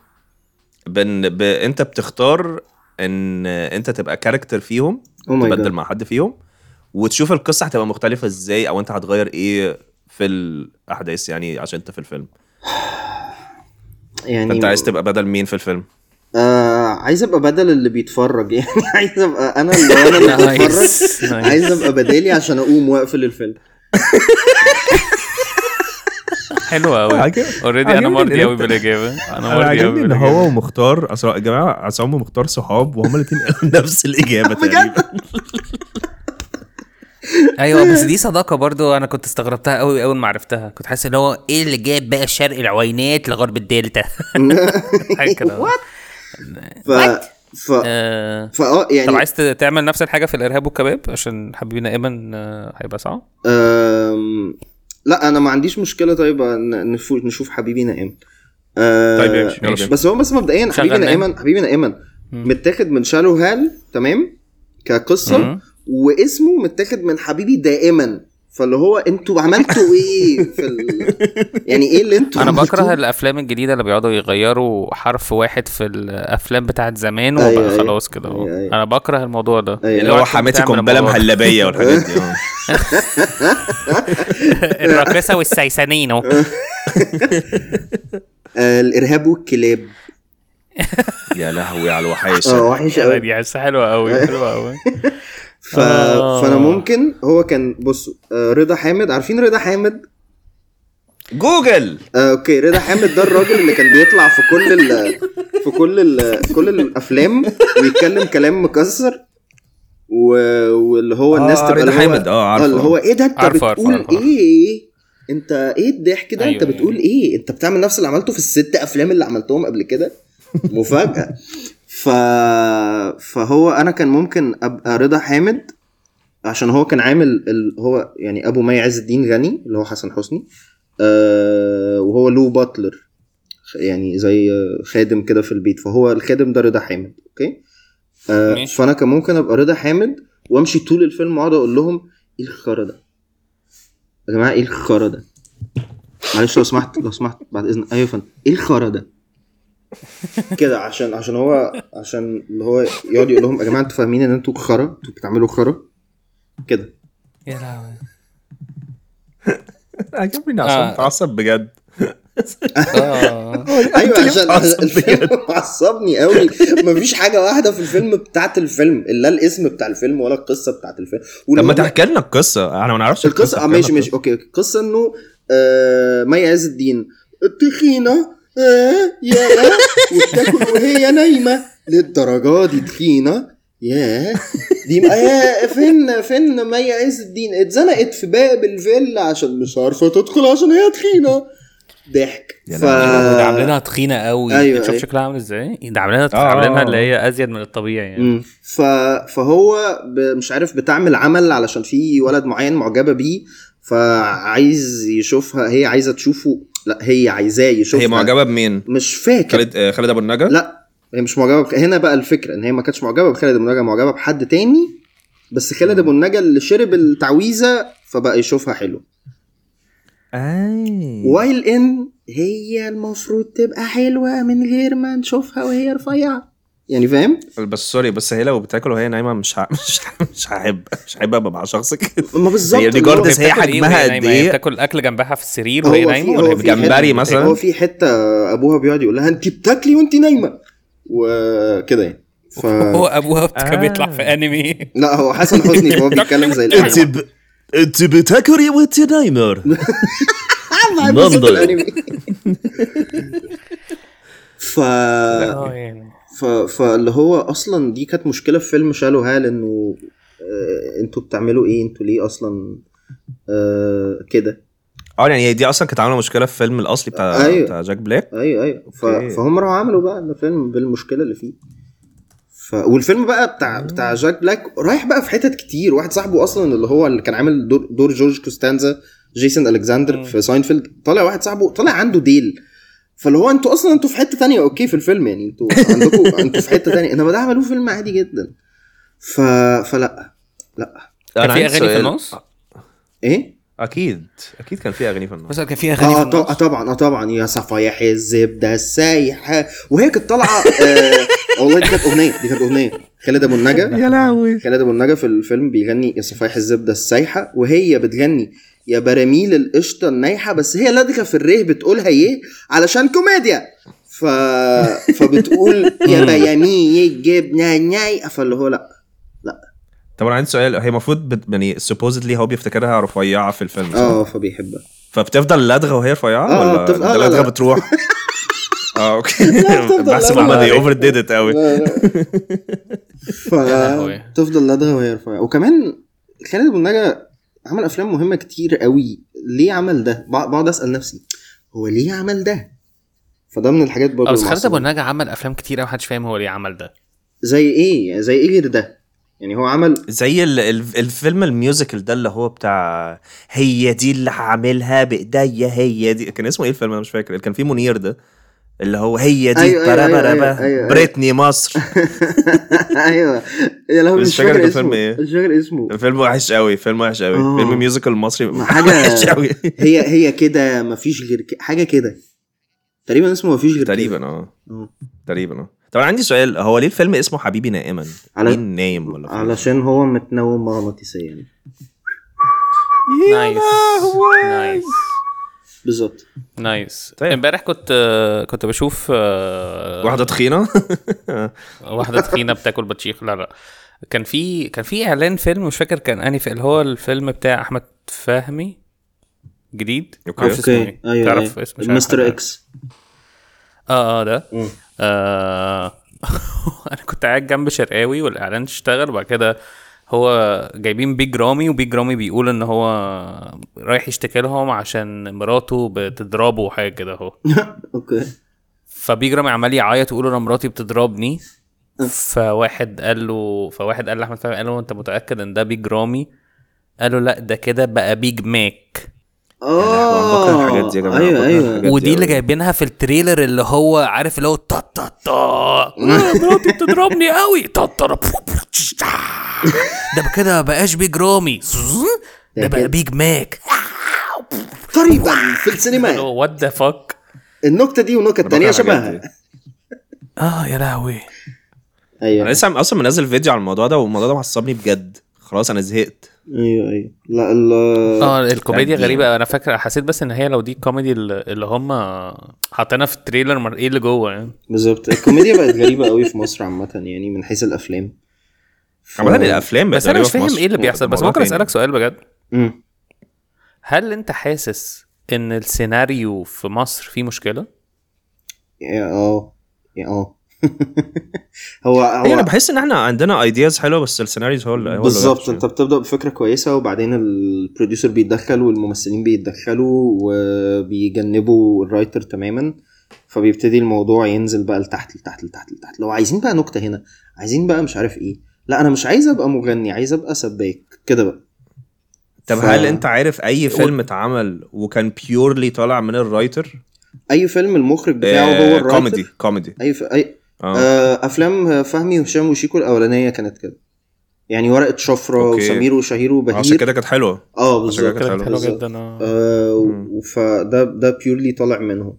[SPEAKER 2] بن... ب... انت بتختار ان انت تبقى كاركتر فيهم
[SPEAKER 4] Oh my
[SPEAKER 2] تبدل
[SPEAKER 4] God.
[SPEAKER 2] مع حد فيهم وتشوف القصه هتبقى مختلفه ازاي او انت هتغير ايه في الاحداث يعني عشان انت في الفيلم
[SPEAKER 4] يعني
[SPEAKER 2] فانت عايز تبقى بدل مين في الفيلم
[SPEAKER 4] آه... عايز ابقى بدل اللي بيتفرج يعني عايز ابقى انا اللي انا اللي بتفرج
[SPEAKER 3] نايس نايس.
[SPEAKER 4] عايز ابقى بدالي عشان اقوم واقفل الفيلم
[SPEAKER 3] حلو قوي اوريدي انا
[SPEAKER 2] عجبني
[SPEAKER 3] مرضي
[SPEAKER 2] إن
[SPEAKER 3] قوي
[SPEAKER 2] أنت-
[SPEAKER 3] بالاجابه انا
[SPEAKER 2] انا
[SPEAKER 3] مرضي قوي
[SPEAKER 2] عاجبني ان
[SPEAKER 3] بالإجابة.
[SPEAKER 2] هو ومختار اصل يا جماعه عصام ومختار صحاب وهما الاثنين قالوا نفس الاجابه تقريبا
[SPEAKER 3] أيوة،
[SPEAKER 6] ايوه بس دي صداقه برضو انا كنت استغربتها قوي اول ما عرفتها كنت حاسس ان هو
[SPEAKER 3] إيه
[SPEAKER 6] ايه اللي جاب بقى شرق العوينات لغرب الدلتا
[SPEAKER 3] حاجه كده
[SPEAKER 4] ف... ف...
[SPEAKER 3] آه،
[SPEAKER 4] فاه يعني
[SPEAKER 3] طب عايز ت- تعمل نفس الحاجه في الارهاب والكباب عشان حبيبنا ايمن آه، هيبقى صعب
[SPEAKER 4] آم... لا انا ما عنديش مشكله طيب ن- نفو... نشوف حبيبي نائم آه...
[SPEAKER 2] طيب ماشي، يلا بينا.
[SPEAKER 4] بس هو بس مبدئيا
[SPEAKER 3] شغل
[SPEAKER 4] حبيبي
[SPEAKER 3] نائم.
[SPEAKER 4] نائما حبيبي نائما متاخد من شالو هال تمام كقصه
[SPEAKER 3] مم.
[SPEAKER 4] واسمه متاخد من حبيبي دائما فاللي هو انتوا عملتوا ايه في ال... يعني ايه اللي انتوا
[SPEAKER 3] انا
[SPEAKER 4] عملتوه؟
[SPEAKER 3] بكره الافلام الجديده اللي بيقعدوا يغيروا حرف واحد في الافلام بتاعت زمان
[SPEAKER 4] أيوة،
[SPEAKER 3] وبقى
[SPEAKER 4] أيوة.
[SPEAKER 3] خلاص كده هو.
[SPEAKER 4] أيوة، أيوة.
[SPEAKER 3] انا بكره الموضوع ده
[SPEAKER 4] أيوة.
[SPEAKER 2] اللي هو
[SPEAKER 3] أنت
[SPEAKER 2] حماتي
[SPEAKER 3] بتعمل
[SPEAKER 2] قنبله
[SPEAKER 3] الموضوع ده.
[SPEAKER 2] مهلبيه والحاجات دي آه.
[SPEAKER 3] الراقصه والسيسانين اهو
[SPEAKER 4] أيوة. آه الارهاب والكلاب
[SPEAKER 2] يا لهوي على الوحاشه
[SPEAKER 4] اه وحش قوي
[SPEAKER 3] دي بس حلوه قوي حلوه قوي
[SPEAKER 4] ف...
[SPEAKER 3] آه.
[SPEAKER 4] فانا ممكن هو كان بصوا آه، رضا حامد عارفين رضا حامد
[SPEAKER 2] جوجل
[SPEAKER 4] آه، اوكي رضا حامد ده الراجل اللي كان بيطلع في كل ال في كل ال كل الافلام ويتكلم كلام مكسر و... واللي هو
[SPEAKER 2] آه،
[SPEAKER 4] الناس تبقى
[SPEAKER 2] رضا
[SPEAKER 4] اللي هو-
[SPEAKER 2] حامد، آه، عارفه.
[SPEAKER 4] اللي هو ايه ده انت
[SPEAKER 3] عارفه، عارفه،
[SPEAKER 4] بتقول
[SPEAKER 3] عارفه، عارفه.
[SPEAKER 4] ايه انت ايه الضحك ده انت
[SPEAKER 2] أيوه.
[SPEAKER 3] أيوة،
[SPEAKER 4] بتقول ايه انت بتعمل نفس اللي عملته في الست افلام اللي عملتهم قبل كده مفاجاه ف... فهو انا كان ممكن ابقى رضا حامد عشان هو كان عامل ال... هو يعني ابو مي عز الدين غني اللي هو حسن حسني آه وهو له باتلر يعني زي خادم كده في البيت فهو الخادم ده رضا حامد اوكي آه
[SPEAKER 3] ماشي.
[SPEAKER 4] فانا كان ممكن ابقى رضا حامد وامشي طول الفيلم واقعد اقول لهم ايه الخرا ده يا جماعه ايه الخرا ده معلش لو سمحت لو سمحت بعد اذن ايوه يا فندم ايه الخرا ده كده عشان عشان هو عشان اللي هو يقعد يقول لهم يا جماعه انتوا فاهمين ان انتوا خرا انتوا بتعملوا خرا كده
[SPEAKER 3] يا لهوي
[SPEAKER 2] عجبني عشان
[SPEAKER 3] آه.
[SPEAKER 2] متعصب بجد
[SPEAKER 3] اه
[SPEAKER 2] أيوة،
[SPEAKER 4] ايوه عشان الفيلم معصبني قوي مفيش حاجه واحده في الفيلم بتاعت الفيلم لا الاسم بتاع الفيلم ولا القصه بتاعت الفيلم
[SPEAKER 2] طب ما
[SPEAKER 4] ولما-
[SPEAKER 2] تحكي لنا القصه انا ما نعرفش
[SPEAKER 4] القصه اه
[SPEAKER 2] احكي لنا
[SPEAKER 4] ماشي ماشي اوكي القصه انه آه، مي عز الدين تخينه آه، يا وبتاكل وهي نايمه للدرجه دي تخينه ياه دي بقى يا فين فين مي عز الدين اتزنقت في باب الفيلا عشان مش عارفه تدخل عشان هي تخينه ضحك
[SPEAKER 2] يا
[SPEAKER 4] ف...
[SPEAKER 6] ده عاملينها تخينه قوي
[SPEAKER 4] آه، أيوة،
[SPEAKER 3] شوف
[SPEAKER 4] أيوة.
[SPEAKER 3] شكلها عامل ازاي ده عاملينها
[SPEAKER 2] آه.
[SPEAKER 3] عاملينها اللي هي ازيد من الطبيعي يعني
[SPEAKER 4] مم. ف... فهو ب... مش عارف بتعمل عمل علشان في ولد معين معجبه بيه فعايز يشوفها هي عايزه تشوفه لا هي عايزاه يشوفها
[SPEAKER 2] هي معجبه بمين؟
[SPEAKER 4] مش فاكر
[SPEAKER 2] خالد آه، خالد ابو النجا؟
[SPEAKER 4] لا هي مش معجبه بخ... هنا بقى الفكره ان هي ما كانتش معجبه بخالد ابو النجا معجبه بحد تاني بس خالد ابو النجا اللي شرب التعويذه فبقى يشوفها حلو وايل ان هي المفروض تبقى حلوه من غير ما نشوفها وهي رفيعه يعني فاهم
[SPEAKER 2] بس سوري بس هي لو بتاكل وهي نايمه مش ه... مش ه... مش هحب مش هحب ابقى مع شخص كده
[SPEAKER 4] ما بالظبط
[SPEAKER 2] هي دي
[SPEAKER 4] اللي هو-
[SPEAKER 2] جاردس. بس هي
[SPEAKER 3] بتاكل إيه
[SPEAKER 2] حجمها
[SPEAKER 3] وهي
[SPEAKER 2] قد
[SPEAKER 3] نايمة؟ هي
[SPEAKER 2] إيه؟
[SPEAKER 3] بتاكل اكل جنبها في السرير
[SPEAKER 4] هو
[SPEAKER 3] وهي
[SPEAKER 4] في-
[SPEAKER 3] نايمه
[SPEAKER 4] هو
[SPEAKER 3] ولا هي
[SPEAKER 4] في
[SPEAKER 3] بتجمع-
[SPEAKER 2] جمبري
[SPEAKER 4] حتة-
[SPEAKER 2] مثلاً؟
[SPEAKER 4] هو في حته ابوها بيقعد يقول لها انت بتاكلي وانت نايمه وكده يعني ف...
[SPEAKER 6] هو ابوها
[SPEAKER 2] آه.
[SPEAKER 6] كان بيطلع في انمي
[SPEAKER 4] لا هو حسن حسني فهو بيتكلم زي الأهل.
[SPEAKER 2] انت بتاكلي وانت نايمر
[SPEAKER 4] بالظبط
[SPEAKER 2] منظر.
[SPEAKER 4] الانمي ف...
[SPEAKER 2] آه،
[SPEAKER 3] اه يعني
[SPEAKER 4] ف... فاللي هو اصلا دي كانت مشكله في فيلم شالو هال انه آه، انتوا بتعملوا ايه انتوا ليه اصلا آه كده
[SPEAKER 2] اه يعني هي دي اصلا كانت عامله مشكله في الفيلم الاصلي بتاع
[SPEAKER 4] أيوة.
[SPEAKER 2] بتاع جاك بلاك
[SPEAKER 4] ايوه ايوه ف...
[SPEAKER 2] أوكي.
[SPEAKER 4] فهم راحوا عملوا بقى الفيلم بالمشكله اللي فيه ف... والفيلم بقى بتاع بتاع جاك بلاك رايح بقى في حتت كتير واحد صاحبه اصلا اللي هو اللي كان عامل دور, دور جورج كوستانزا جيسون الكساندر في ساينفيلد طالع واحد صاحبه طالع عنده ديل فاللي هو انتوا اصلا انتوا في حته تانية اوكي في الفيلم يعني انتوا عندكم انتوا في حته تانية انما ده عملوه فيلم عادي جدا ف... فلا لا
[SPEAKER 2] أنا
[SPEAKER 6] كان في
[SPEAKER 2] عندي
[SPEAKER 6] اغاني في
[SPEAKER 2] سؤال.
[SPEAKER 6] النص
[SPEAKER 4] ايه؟
[SPEAKER 2] اكيد اكيد كان في اغاني في النص
[SPEAKER 6] بس كان في اغاني في
[SPEAKER 4] اه ط-
[SPEAKER 6] النص
[SPEAKER 4] طبعا اه طبعا يا صفايح الزبده السايحه وهي كانت طالعه آه والله دي كانت اغنيه دي كانت اغنيه خالد ابو النجا
[SPEAKER 2] يا لهوي
[SPEAKER 4] خالد ابو النجا في الفيلم بيغني يا صفايح الزبده السايحه وهي بتغني يا براميل القشطه النايحه بس هي لدغه في الريه بتقولها يه علشان كوميديا ف... فبتقول يا بيامي الجبنه النايحه فاللي هو لا
[SPEAKER 2] طب انا عندي سؤال هي المفروض بت- يعني سبوزدلي هو بيفتكرها رفيعه في الفيلم صح؟
[SPEAKER 4] اه فبيحبها
[SPEAKER 2] فبتفضل لدغه وهي رفيعه
[SPEAKER 4] آه،
[SPEAKER 2] ولا
[SPEAKER 4] بتف- آه،
[SPEAKER 2] ده
[SPEAKER 4] لا،
[SPEAKER 2] لدغه
[SPEAKER 4] لا.
[SPEAKER 2] بتروح اه اوكي
[SPEAKER 4] لا، بتفضل
[SPEAKER 2] بحسب
[SPEAKER 4] لدغة.
[SPEAKER 2] هما دي اوفر ديد ات قوي
[SPEAKER 4] لا، لا. ف
[SPEAKER 3] لهوي.
[SPEAKER 4] تفضل لدغه وهي رفيعه وكمان خالد ابو النجا عمل افلام مهمه كتير قوي ليه عمل ده بع- بقعد اسال نفسي هو ليه عمل ده فده من الحاجات برضه
[SPEAKER 3] آه، بس خالد
[SPEAKER 4] المعصبة.
[SPEAKER 3] ابو النجا عمل افلام كتير قوي محدش فاهم هو ليه عمل ده
[SPEAKER 4] زي ايه يعني زي ايه غير ده يعني هو عمل
[SPEAKER 2] زي ال- ال- الفيلم الميوزيكال ده اللي هو بتاع هي دي اللي هعملها بايديا هي دي كان اسمه ايه الفيلم انا مش فاكر اللي كان فيه منير ده اللي هو هي دي
[SPEAKER 4] أيوة، أيوة،
[SPEAKER 2] برا
[SPEAKER 4] أيوة،
[SPEAKER 2] برا
[SPEAKER 4] أيوة،
[SPEAKER 2] برا،
[SPEAKER 4] أيوة، أيوة.
[SPEAKER 2] بريتني مصر
[SPEAKER 4] ايوه يا لهوي
[SPEAKER 2] مش
[SPEAKER 4] مش
[SPEAKER 2] فاكر
[SPEAKER 4] فاكر
[SPEAKER 2] كان
[SPEAKER 4] اسمه
[SPEAKER 2] فيلم إيه.
[SPEAKER 4] مش فاكر اسمه
[SPEAKER 2] فيلم وحش قوي فيلم وحش قوي
[SPEAKER 4] آه.
[SPEAKER 2] فيلم ميوزيكال مصري
[SPEAKER 4] حاجة-
[SPEAKER 2] وحش قوي
[SPEAKER 4] هي هي كده مفيش غير ك... حاجه كده تقريبا اسمه مفيش غير كده.
[SPEAKER 2] تقريبا اه
[SPEAKER 4] آه.
[SPEAKER 2] تقريبا اه طب انا عندي سؤال هو ليه الفيلم اسمه حبيبي نائما؟
[SPEAKER 4] على-
[SPEAKER 2] مين نايم ولا فين؟
[SPEAKER 4] علشان هو متنوم مغناطيسيا يعني.
[SPEAKER 3] نايس نايس
[SPEAKER 4] بالظبط
[SPEAKER 3] نايس
[SPEAKER 2] طيب.
[SPEAKER 3] امبارح كنت آه، كنت بشوف آه،
[SPEAKER 2] واحده تخينه
[SPEAKER 3] واحده تخينه بتاكل بطيخ لا لا كان في كان في اعلان فيلم مش فاكر كان انهي في- اللي هو الفيلم بتاع احمد فهمي جديد
[SPEAKER 2] أوكي.
[SPEAKER 3] معرفش اسمه إيه.
[SPEAKER 4] ايوه
[SPEAKER 3] تعرف
[SPEAKER 4] تعرف
[SPEAKER 3] اسمه مش عارف
[SPEAKER 4] مستر
[SPEAKER 3] حاجة.
[SPEAKER 4] اكس
[SPEAKER 3] اه اه ده
[SPEAKER 4] مم.
[SPEAKER 3] آه انا كنت قاعد جنب شرقاوي والاعلان اشتغل وبعد كده هو جايبين بيج رامي وبيج رامي بيقول ان هو رايح يشتكي لهم عشان مراته بتضربه وحاجه كده اهو
[SPEAKER 4] اوكي
[SPEAKER 3] فبيجرام عمال يعيط ويقول انا مراتي بتضربني فواحد قال له فواحد قال لاحمد فهمي قال له انت متاكد ان ده بيج رامي قال له لا ده كده بقى بيج ماك
[SPEAKER 2] بكره
[SPEAKER 4] اه
[SPEAKER 2] الحاجات دي يا جماعة،
[SPEAKER 4] ايوه
[SPEAKER 2] بكره
[SPEAKER 4] ايوه
[SPEAKER 2] الحاجات. بجد
[SPEAKER 6] ودي اللي
[SPEAKER 2] أوي.
[SPEAKER 6] جايبينها في التريلر اللي هو عارف اللي هو تا تا تا آه، مراتي بتضربني قوي تا تا را، بو- بو- تش- تا. ده بقى كده ما بقاش بيج رامي ده بقى بيج ماك
[SPEAKER 3] قال
[SPEAKER 4] قريبا في
[SPEAKER 3] له
[SPEAKER 2] أيوة.
[SPEAKER 4] السينما
[SPEAKER 3] وات ذا فاك
[SPEAKER 4] النكته دي والنكت
[SPEAKER 2] بكره
[SPEAKER 4] تانية
[SPEAKER 2] الحاجات
[SPEAKER 4] شبهها
[SPEAKER 2] دي.
[SPEAKER 6] اه يا لهوي
[SPEAKER 2] انا
[SPEAKER 4] ايوه أيوة.
[SPEAKER 2] لسه عم- اصلا منزل فيديو على الموضوع ده والموضوع ده معصبني بجد خلاص انا زهقت
[SPEAKER 4] ايوه ايوه لا ال-
[SPEAKER 3] اه الكوميديا
[SPEAKER 2] يعني-
[SPEAKER 3] غريبه انا فاكر حسيت بس ان هي لو دي الكوميدي ال- اللي هم حاطينها في التريلر مر... ايه اللي جوه يعني
[SPEAKER 4] بالظبط الكوميديا بقت غريبه قوي في مصر عامه يعني من حيث الافلام ف-
[SPEAKER 2] عامة الافلام بقت
[SPEAKER 3] بس انا
[SPEAKER 2] غريبة
[SPEAKER 3] مش
[SPEAKER 2] في
[SPEAKER 3] فاهم
[SPEAKER 2] مصر.
[SPEAKER 3] ايه اللي بيحصل بس
[SPEAKER 2] الموضوع
[SPEAKER 3] ممكن
[SPEAKER 2] تاني.
[SPEAKER 3] اسالك سؤال بجد
[SPEAKER 4] مم.
[SPEAKER 3] هل انت حاسس ان السيناريو في مصر فيه مشكله؟
[SPEAKER 4] يا اه يا اه هو
[SPEAKER 2] ايه انا
[SPEAKER 4] هو
[SPEAKER 2] بحس ان احنا عندنا ايدياز حلوه بس السيناريوز هو اللي هو اللي
[SPEAKER 4] بالظبط
[SPEAKER 2] وحش. يعني.
[SPEAKER 4] انت بتبدا بفكره كويسه وبعدين البروديوسر بيتدخل والممثلين بيتدخلوا وبيجنبوا الرايتر تماما فبيبتدي الموضوع ينزل بقى لتحت لتحت لتحت لتحت لو عايزين بقى نكته هنا عايزين بقى مش عارف ايه لا انا مش عايز ابقى مغني عايز ابقى سباك كده بقى
[SPEAKER 2] طب
[SPEAKER 4] ف-
[SPEAKER 2] هل انت عارف اي فيلم اتعمل وكان بيورلي طالع من الرايتر
[SPEAKER 4] اي فيلم المخرج بتاعه
[SPEAKER 2] آه،
[SPEAKER 4] هو الرايتر
[SPEAKER 2] كوميدي كوميدي
[SPEAKER 4] اي ف... اي
[SPEAKER 2] اه
[SPEAKER 4] آه، افلام فهمي وهشام وشيكو الاولانيه كانت كده يعني ورقه شفره
[SPEAKER 2] أوكي.
[SPEAKER 4] وسمير وشهير وبهير
[SPEAKER 2] آه، عشان كده كانت حلوه
[SPEAKER 4] اه
[SPEAKER 2] عشان كده
[SPEAKER 4] بالظبط
[SPEAKER 2] كانت
[SPEAKER 3] كانت حلوه
[SPEAKER 4] بالظبط.
[SPEAKER 3] جدا اه
[SPEAKER 4] آه
[SPEAKER 2] مم.
[SPEAKER 4] فده ده بيورلي طالع منهم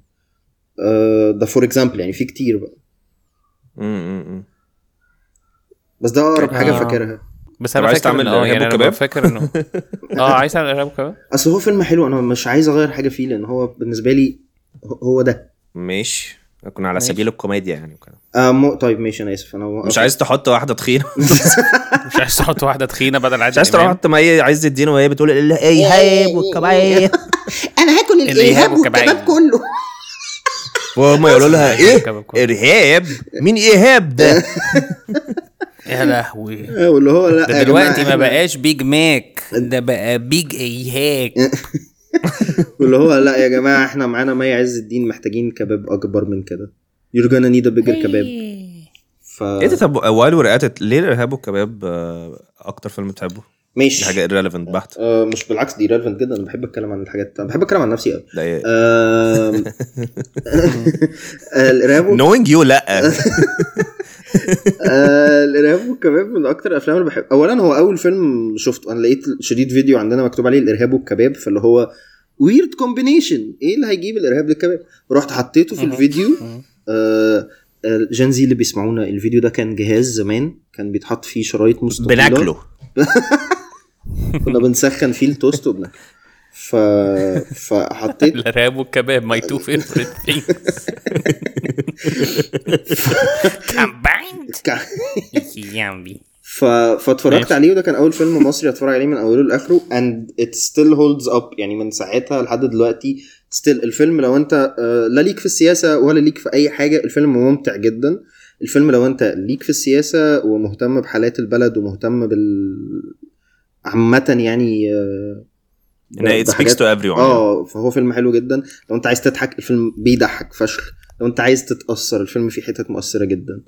[SPEAKER 4] آه ده فور اكزامبل يعني في كتير بقى
[SPEAKER 2] امم امم
[SPEAKER 4] بس ده اقرب حاجه
[SPEAKER 3] آه.
[SPEAKER 4] فاكرها
[SPEAKER 3] بس
[SPEAKER 2] طب
[SPEAKER 3] انا
[SPEAKER 2] عايز
[SPEAKER 3] فاكر
[SPEAKER 2] تعمل
[SPEAKER 3] إن- اه
[SPEAKER 2] إرهاب
[SPEAKER 3] يعني انا
[SPEAKER 2] وكباب؟
[SPEAKER 3] فاكر انه اه عايز تعمل ارهاب كباب
[SPEAKER 4] اصل هو فيلم حلو انا مش عايز اغير حاجه فيه لان هو بالنسبه لي هو ده
[SPEAKER 2] ماشي كنا على
[SPEAKER 3] ماشي.
[SPEAKER 2] سبيل الكوميديا يعني وكده
[SPEAKER 4] آه مو... طيب ماشي انا اسف انا
[SPEAKER 2] مش عايز تحط واحده تخينه
[SPEAKER 3] مش عايز تحط واحده تخينه بدل عادل
[SPEAKER 2] مش عايز
[SPEAKER 3] امام
[SPEAKER 2] تحط ما هي عايز الدين وهي بتقول إيه،
[SPEAKER 4] إيه،
[SPEAKER 1] الايهاب والكبعيه
[SPEAKER 5] انا هاكل
[SPEAKER 3] الإرهاب والكباب
[SPEAKER 5] كله
[SPEAKER 2] وهم يقولوا لها ايه
[SPEAKER 3] كباب كله.
[SPEAKER 2] ارهاب مين ايهاب ده
[SPEAKER 6] يا
[SPEAKER 2] إيه؟
[SPEAKER 6] لهوي
[SPEAKER 4] آه واللي هو لا
[SPEAKER 6] ده
[SPEAKER 4] يا جماعة
[SPEAKER 6] دلوقتي ما
[SPEAKER 4] إحنا-
[SPEAKER 6] بقاش بيج ماك ده بقى بيج ايهاك
[SPEAKER 2] إيه؟
[SPEAKER 4] واللي هو لا يا جماعه احنا معانا مي عز الدين محتاجين كباب اكبر من كده you're gonna need a
[SPEAKER 5] إيه.
[SPEAKER 4] bigger كباب ف
[SPEAKER 2] ايه ده طب وائل ورقات ليه الارهاب والكباب آه، اكتر فيلم بتحبه؟
[SPEAKER 4] ماشي
[SPEAKER 2] دي حاجه irrelevant بحت
[SPEAKER 4] آه مش بالعكس دي relevant جدا انا بحب اتكلم عن الحاجات انا بحب اتكلم عن نفسي قوي
[SPEAKER 2] ده إيه؟
[SPEAKER 4] آم، آه، الارهاب وال-
[SPEAKER 2] knowing you لا
[SPEAKER 4] آه، الارهاب والكباب من اكتر الافلام اللي بحب اولا هو اول فيلم شفته انا لقيت شريط فيديو عندنا مكتوب عليه الارهاب والكباب فاللي هو ويرد كومبينيشن ايه اللي هيجيب الارهاب للكباب رحت حطيته في الفيديو آه، الجنزي اللي بيسمعونا الفيديو ده كان جهاز زمان كان بيتحط فيه شرايط مستطيله
[SPEAKER 2] بناكله
[SPEAKER 4] كنا بنسخن فيه التوست وبناكله ف... فحطيت
[SPEAKER 3] الارهاب والكباب ماي تو فيفرت ثينجز
[SPEAKER 6] كامبايند
[SPEAKER 4] كع-
[SPEAKER 6] يامبي
[SPEAKER 4] ف... فاتفرجت
[SPEAKER 3] ماشي.
[SPEAKER 4] عليه وده كان اول فيلم مصري اتفرج عليه من اوله لاخره اند ات ستيل هولدز اب يعني من ساعتها لحد دلوقتي ستيل الفيلم لو انت آه، لا ليك في السياسه ولا ليك في اي حاجه الفيلم ممتع جدا الفيلم لو انت ليك في السياسه ومهتم بحالات البلد ومهتم بال عامه يعني آه، ب-
[SPEAKER 2] it speaks
[SPEAKER 4] بحاجات-
[SPEAKER 2] to everyone
[SPEAKER 4] اه فهو فيلم حلو جدا لو انت عايز تضحك الفيلم بيضحك فشخ لو انت عايز تتاثر الفيلم فيه حتت مؤثره جدا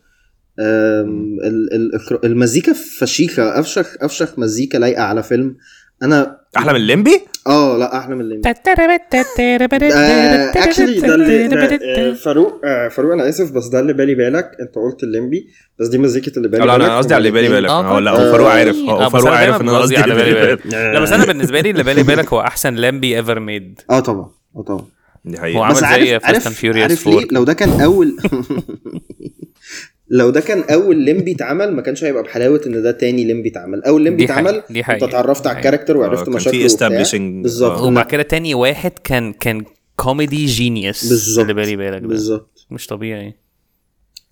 [SPEAKER 4] أم، ال- ال- الإخر- المزيكا فشيخه افشخ افشخ مزيكا لايقه على فيلم انا
[SPEAKER 2] احلى من الليمبي
[SPEAKER 4] اه لا احلى من اللي اكشلي ده اللي ده- آه، فاروق آه، فاروق انا اسف بس ده اللي بالي بالك انت قلت الليمبي بس دي مزيكه اللي بالي
[SPEAKER 2] لا
[SPEAKER 4] بالك
[SPEAKER 2] انا قصدي على اللي بالي بالك
[SPEAKER 6] آه،
[SPEAKER 2] هو لا
[SPEAKER 4] آه.
[SPEAKER 2] هو فاروق عارف
[SPEAKER 3] آه،
[SPEAKER 2] هو
[SPEAKER 3] بس
[SPEAKER 2] فاروق
[SPEAKER 3] أنا دايماً
[SPEAKER 2] عارف ان انا
[SPEAKER 3] بقصدي
[SPEAKER 2] قصدي
[SPEAKER 3] على
[SPEAKER 2] على
[SPEAKER 3] بالي
[SPEAKER 2] بالي بالك
[SPEAKER 3] لا بس انا بالنسبه لي اللي بالي بالك هو احسن لامبي ايفر ميد
[SPEAKER 4] اه طبعا اه طبعا
[SPEAKER 2] دي حقيقة
[SPEAKER 3] هو عمل زي Fast and Furious
[SPEAKER 4] عارف
[SPEAKER 3] 4
[SPEAKER 4] ليه؟ لو ده كان اول لو ده كان اول لمبي اتعمل ما كانش هيبقى بحلاوه ان ده تاني لمبي اتعمل اول لمبي
[SPEAKER 3] دي حقيقة،
[SPEAKER 4] اتعمل
[SPEAKER 3] دي
[SPEAKER 4] انت
[SPEAKER 3] حقيقة،
[SPEAKER 4] اتعرفت
[SPEAKER 3] دي
[SPEAKER 4] على
[SPEAKER 3] حقيقة.
[SPEAKER 4] الكاركتر وعرفت
[SPEAKER 2] كان في
[SPEAKER 4] مشاكله وبتاع.
[SPEAKER 2] establishing، آه.
[SPEAKER 4] بالظبط إنك-
[SPEAKER 6] وبعد كده تاني واحد كان كان كوميدي جينيوس
[SPEAKER 4] بالظبط
[SPEAKER 6] اللي بالي بالك ده
[SPEAKER 4] بالظبط
[SPEAKER 6] مش طبيعي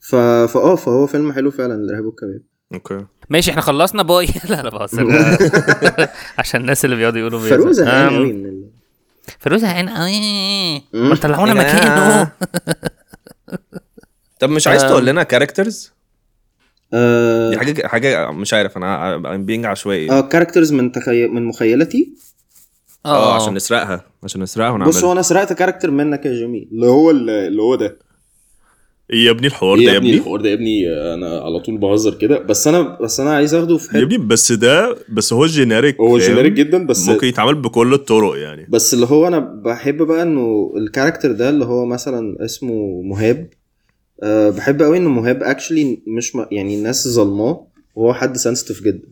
[SPEAKER 4] ف... فاه فهو فيلم حلو فعلا الارهاب والكباب
[SPEAKER 2] اوكي
[SPEAKER 6] ماشي احنا خلصنا باي لا لا بهزر عشان الناس اللي بيقعدوا يقولوا بيهزر.
[SPEAKER 3] آه،
[SPEAKER 4] فاروق زهقان
[SPEAKER 6] أم،
[SPEAKER 4] قوي من ال...
[SPEAKER 6] فيروز زهقان قوي
[SPEAKER 4] مم.
[SPEAKER 6] ما طلعونا
[SPEAKER 2] يا جماعة.
[SPEAKER 6] مكانه
[SPEAKER 2] طب مش عايز تقول لنا كاركترز
[SPEAKER 4] آه...
[SPEAKER 2] دي حاجة حاجة مش عارف انا I'm being عشوائي
[SPEAKER 4] اه كاركترز من تخي... من مخيلتي
[SPEAKER 6] آه.
[SPEAKER 3] آه.
[SPEAKER 2] اه عشان نسرقها عشان نسرقها
[SPEAKER 4] بص هو
[SPEAKER 2] ونعملها
[SPEAKER 4] انا سرقت كاركتر منك يا جميل اللي هو اللي هو ده
[SPEAKER 2] يا ابني الحوار ده يا ابني
[SPEAKER 4] الحوار ده يا ابني انا على طول بهزر كده بس انا بس انا عايز اخده في
[SPEAKER 2] يا ابني بس ده بس هو جينيريك فاهم؟
[SPEAKER 4] جدا
[SPEAKER 2] ممكن يتعمل بكل الطرق يعني
[SPEAKER 4] بس اللي هو انا بحب بقى انه الكاركتر ده اللي هو مثلا اسمه مهاب أه بحب قوي انه مهاب اكشلي مش م... يعني الناس ظلماه وهو حد سنسيتيف جدا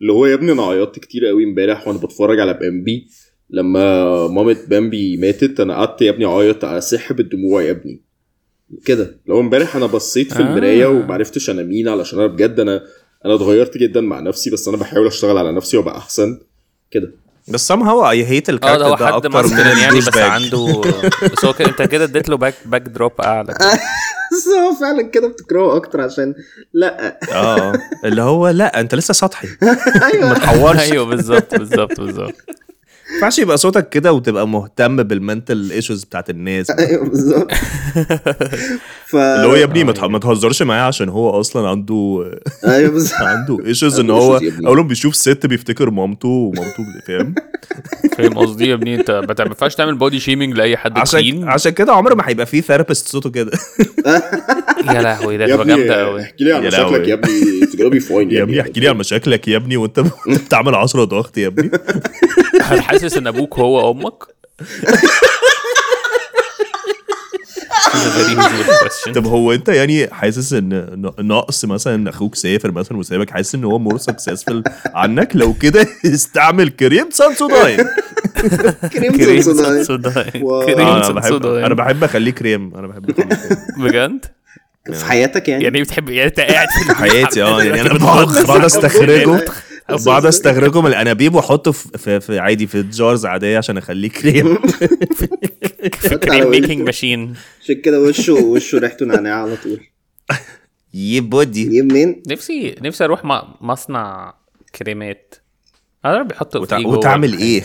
[SPEAKER 4] اللي هو يا ابني انا عيطت كتير قوي امبارح وانا بتفرج على بامبي لما مامة بامبي ماتت انا قعدت يا ابني اعيط اسحب الدموع يا ابني كده لو امبارح انا بصيت في
[SPEAKER 3] آه.
[SPEAKER 4] المرايه ومعرفتش انا مين علشان انا بجد انا
[SPEAKER 8] انا اتغيرت جدا مع نفسي بس انا بحاول اشتغل على نفسي وابقى احسن كده
[SPEAKER 2] بس somehow I hate
[SPEAKER 3] اه ده
[SPEAKER 2] الكاركتر
[SPEAKER 3] هو
[SPEAKER 2] ده
[SPEAKER 3] حد
[SPEAKER 2] اكتر من
[SPEAKER 3] ماسكلين يعني بس
[SPEAKER 2] الدوش باج
[SPEAKER 3] عنده بس هو كده- انت كده اديت له باك باك دروب اعلى
[SPEAKER 4] بس هو فعلا كده بتكرهه اكتر عشان لا
[SPEAKER 2] اه اللي هو لا انت لسه سطحي
[SPEAKER 4] ايوه
[SPEAKER 3] ايوه بالظبط بالظبط بالظبط
[SPEAKER 2] ما ينفعش يبقى صوتك كده وتبقى مهتم بالمنتال ايشوز بتاعت الناس
[SPEAKER 4] ايوه بالظبط ف
[SPEAKER 2] اللي هو يا ابني ما تح- ما تهزرش معايا عشان هو اصلا عنده
[SPEAKER 4] ايوه بالظبط
[SPEAKER 2] عنده ايشوز ان
[SPEAKER 4] عنده
[SPEAKER 2] هو
[SPEAKER 4] issues يا ابني.
[SPEAKER 2] اول ما بيشوف ست بيفتكر مامته ومامته بت- فاهم
[SPEAKER 3] فاهم قصدي يا ابني انت ما ينفعش تعمل بودي شيمينج لاي حد
[SPEAKER 2] عشان
[SPEAKER 3] تخين
[SPEAKER 2] عشان كده عمر ما هيبقى فيه ثيرابيست صوته كده
[SPEAKER 3] يا لهوي ده
[SPEAKER 8] يا
[SPEAKER 3] هتبقى جامده
[SPEAKER 8] ابني
[SPEAKER 3] قوي
[SPEAKER 8] احكي لي عن
[SPEAKER 2] يا
[SPEAKER 8] مشاكلك
[SPEAKER 2] لهوي.
[SPEAKER 8] يا ابني تجربي فاين
[SPEAKER 2] يا ابني احكي لي عن مشاكلك يا ابني وانت بتعمل 10 ضغط يا ابني
[SPEAKER 3] هل حاسس ان ابوك هو امك؟ This is a very usual question.
[SPEAKER 2] طب هو انت يعني حاسس ان ن- نقص مثلا ان اخوك سافر مثلا وسابك حاسس ان هو مور سكسسفل عنك لو كده استعمل كريم سانسوداين
[SPEAKER 4] كريم
[SPEAKER 3] كريم
[SPEAKER 4] صداي
[SPEAKER 3] سوداي
[SPEAKER 4] واو.
[SPEAKER 3] كريم
[SPEAKER 2] انا بحب
[SPEAKER 3] سوداي
[SPEAKER 2] انا بحب اخليه كريم انا بحب أخليه كريم.
[SPEAKER 3] بجد
[SPEAKER 4] في حياتك يعني
[SPEAKER 3] يعني بتحب يعني انت قاعد في
[SPEAKER 2] حياتي اه يعني انا بقعد بقعد استخرجه بقعد استخرجه من الانابيب واحطه في- في في عادي في جارز عاديه عشان اخليه كريم
[SPEAKER 3] في كريم ميكينج ماشين
[SPEAKER 4] عشان كده وشه وشه ريحته نعناع على طول
[SPEAKER 2] يي بودي
[SPEAKER 4] دي منين؟
[SPEAKER 3] نفسي نفسي اروح م- مصنع كريمات انا بيحطوا
[SPEAKER 2] وتع-
[SPEAKER 3] في جوه.
[SPEAKER 2] وتعمل ايه؟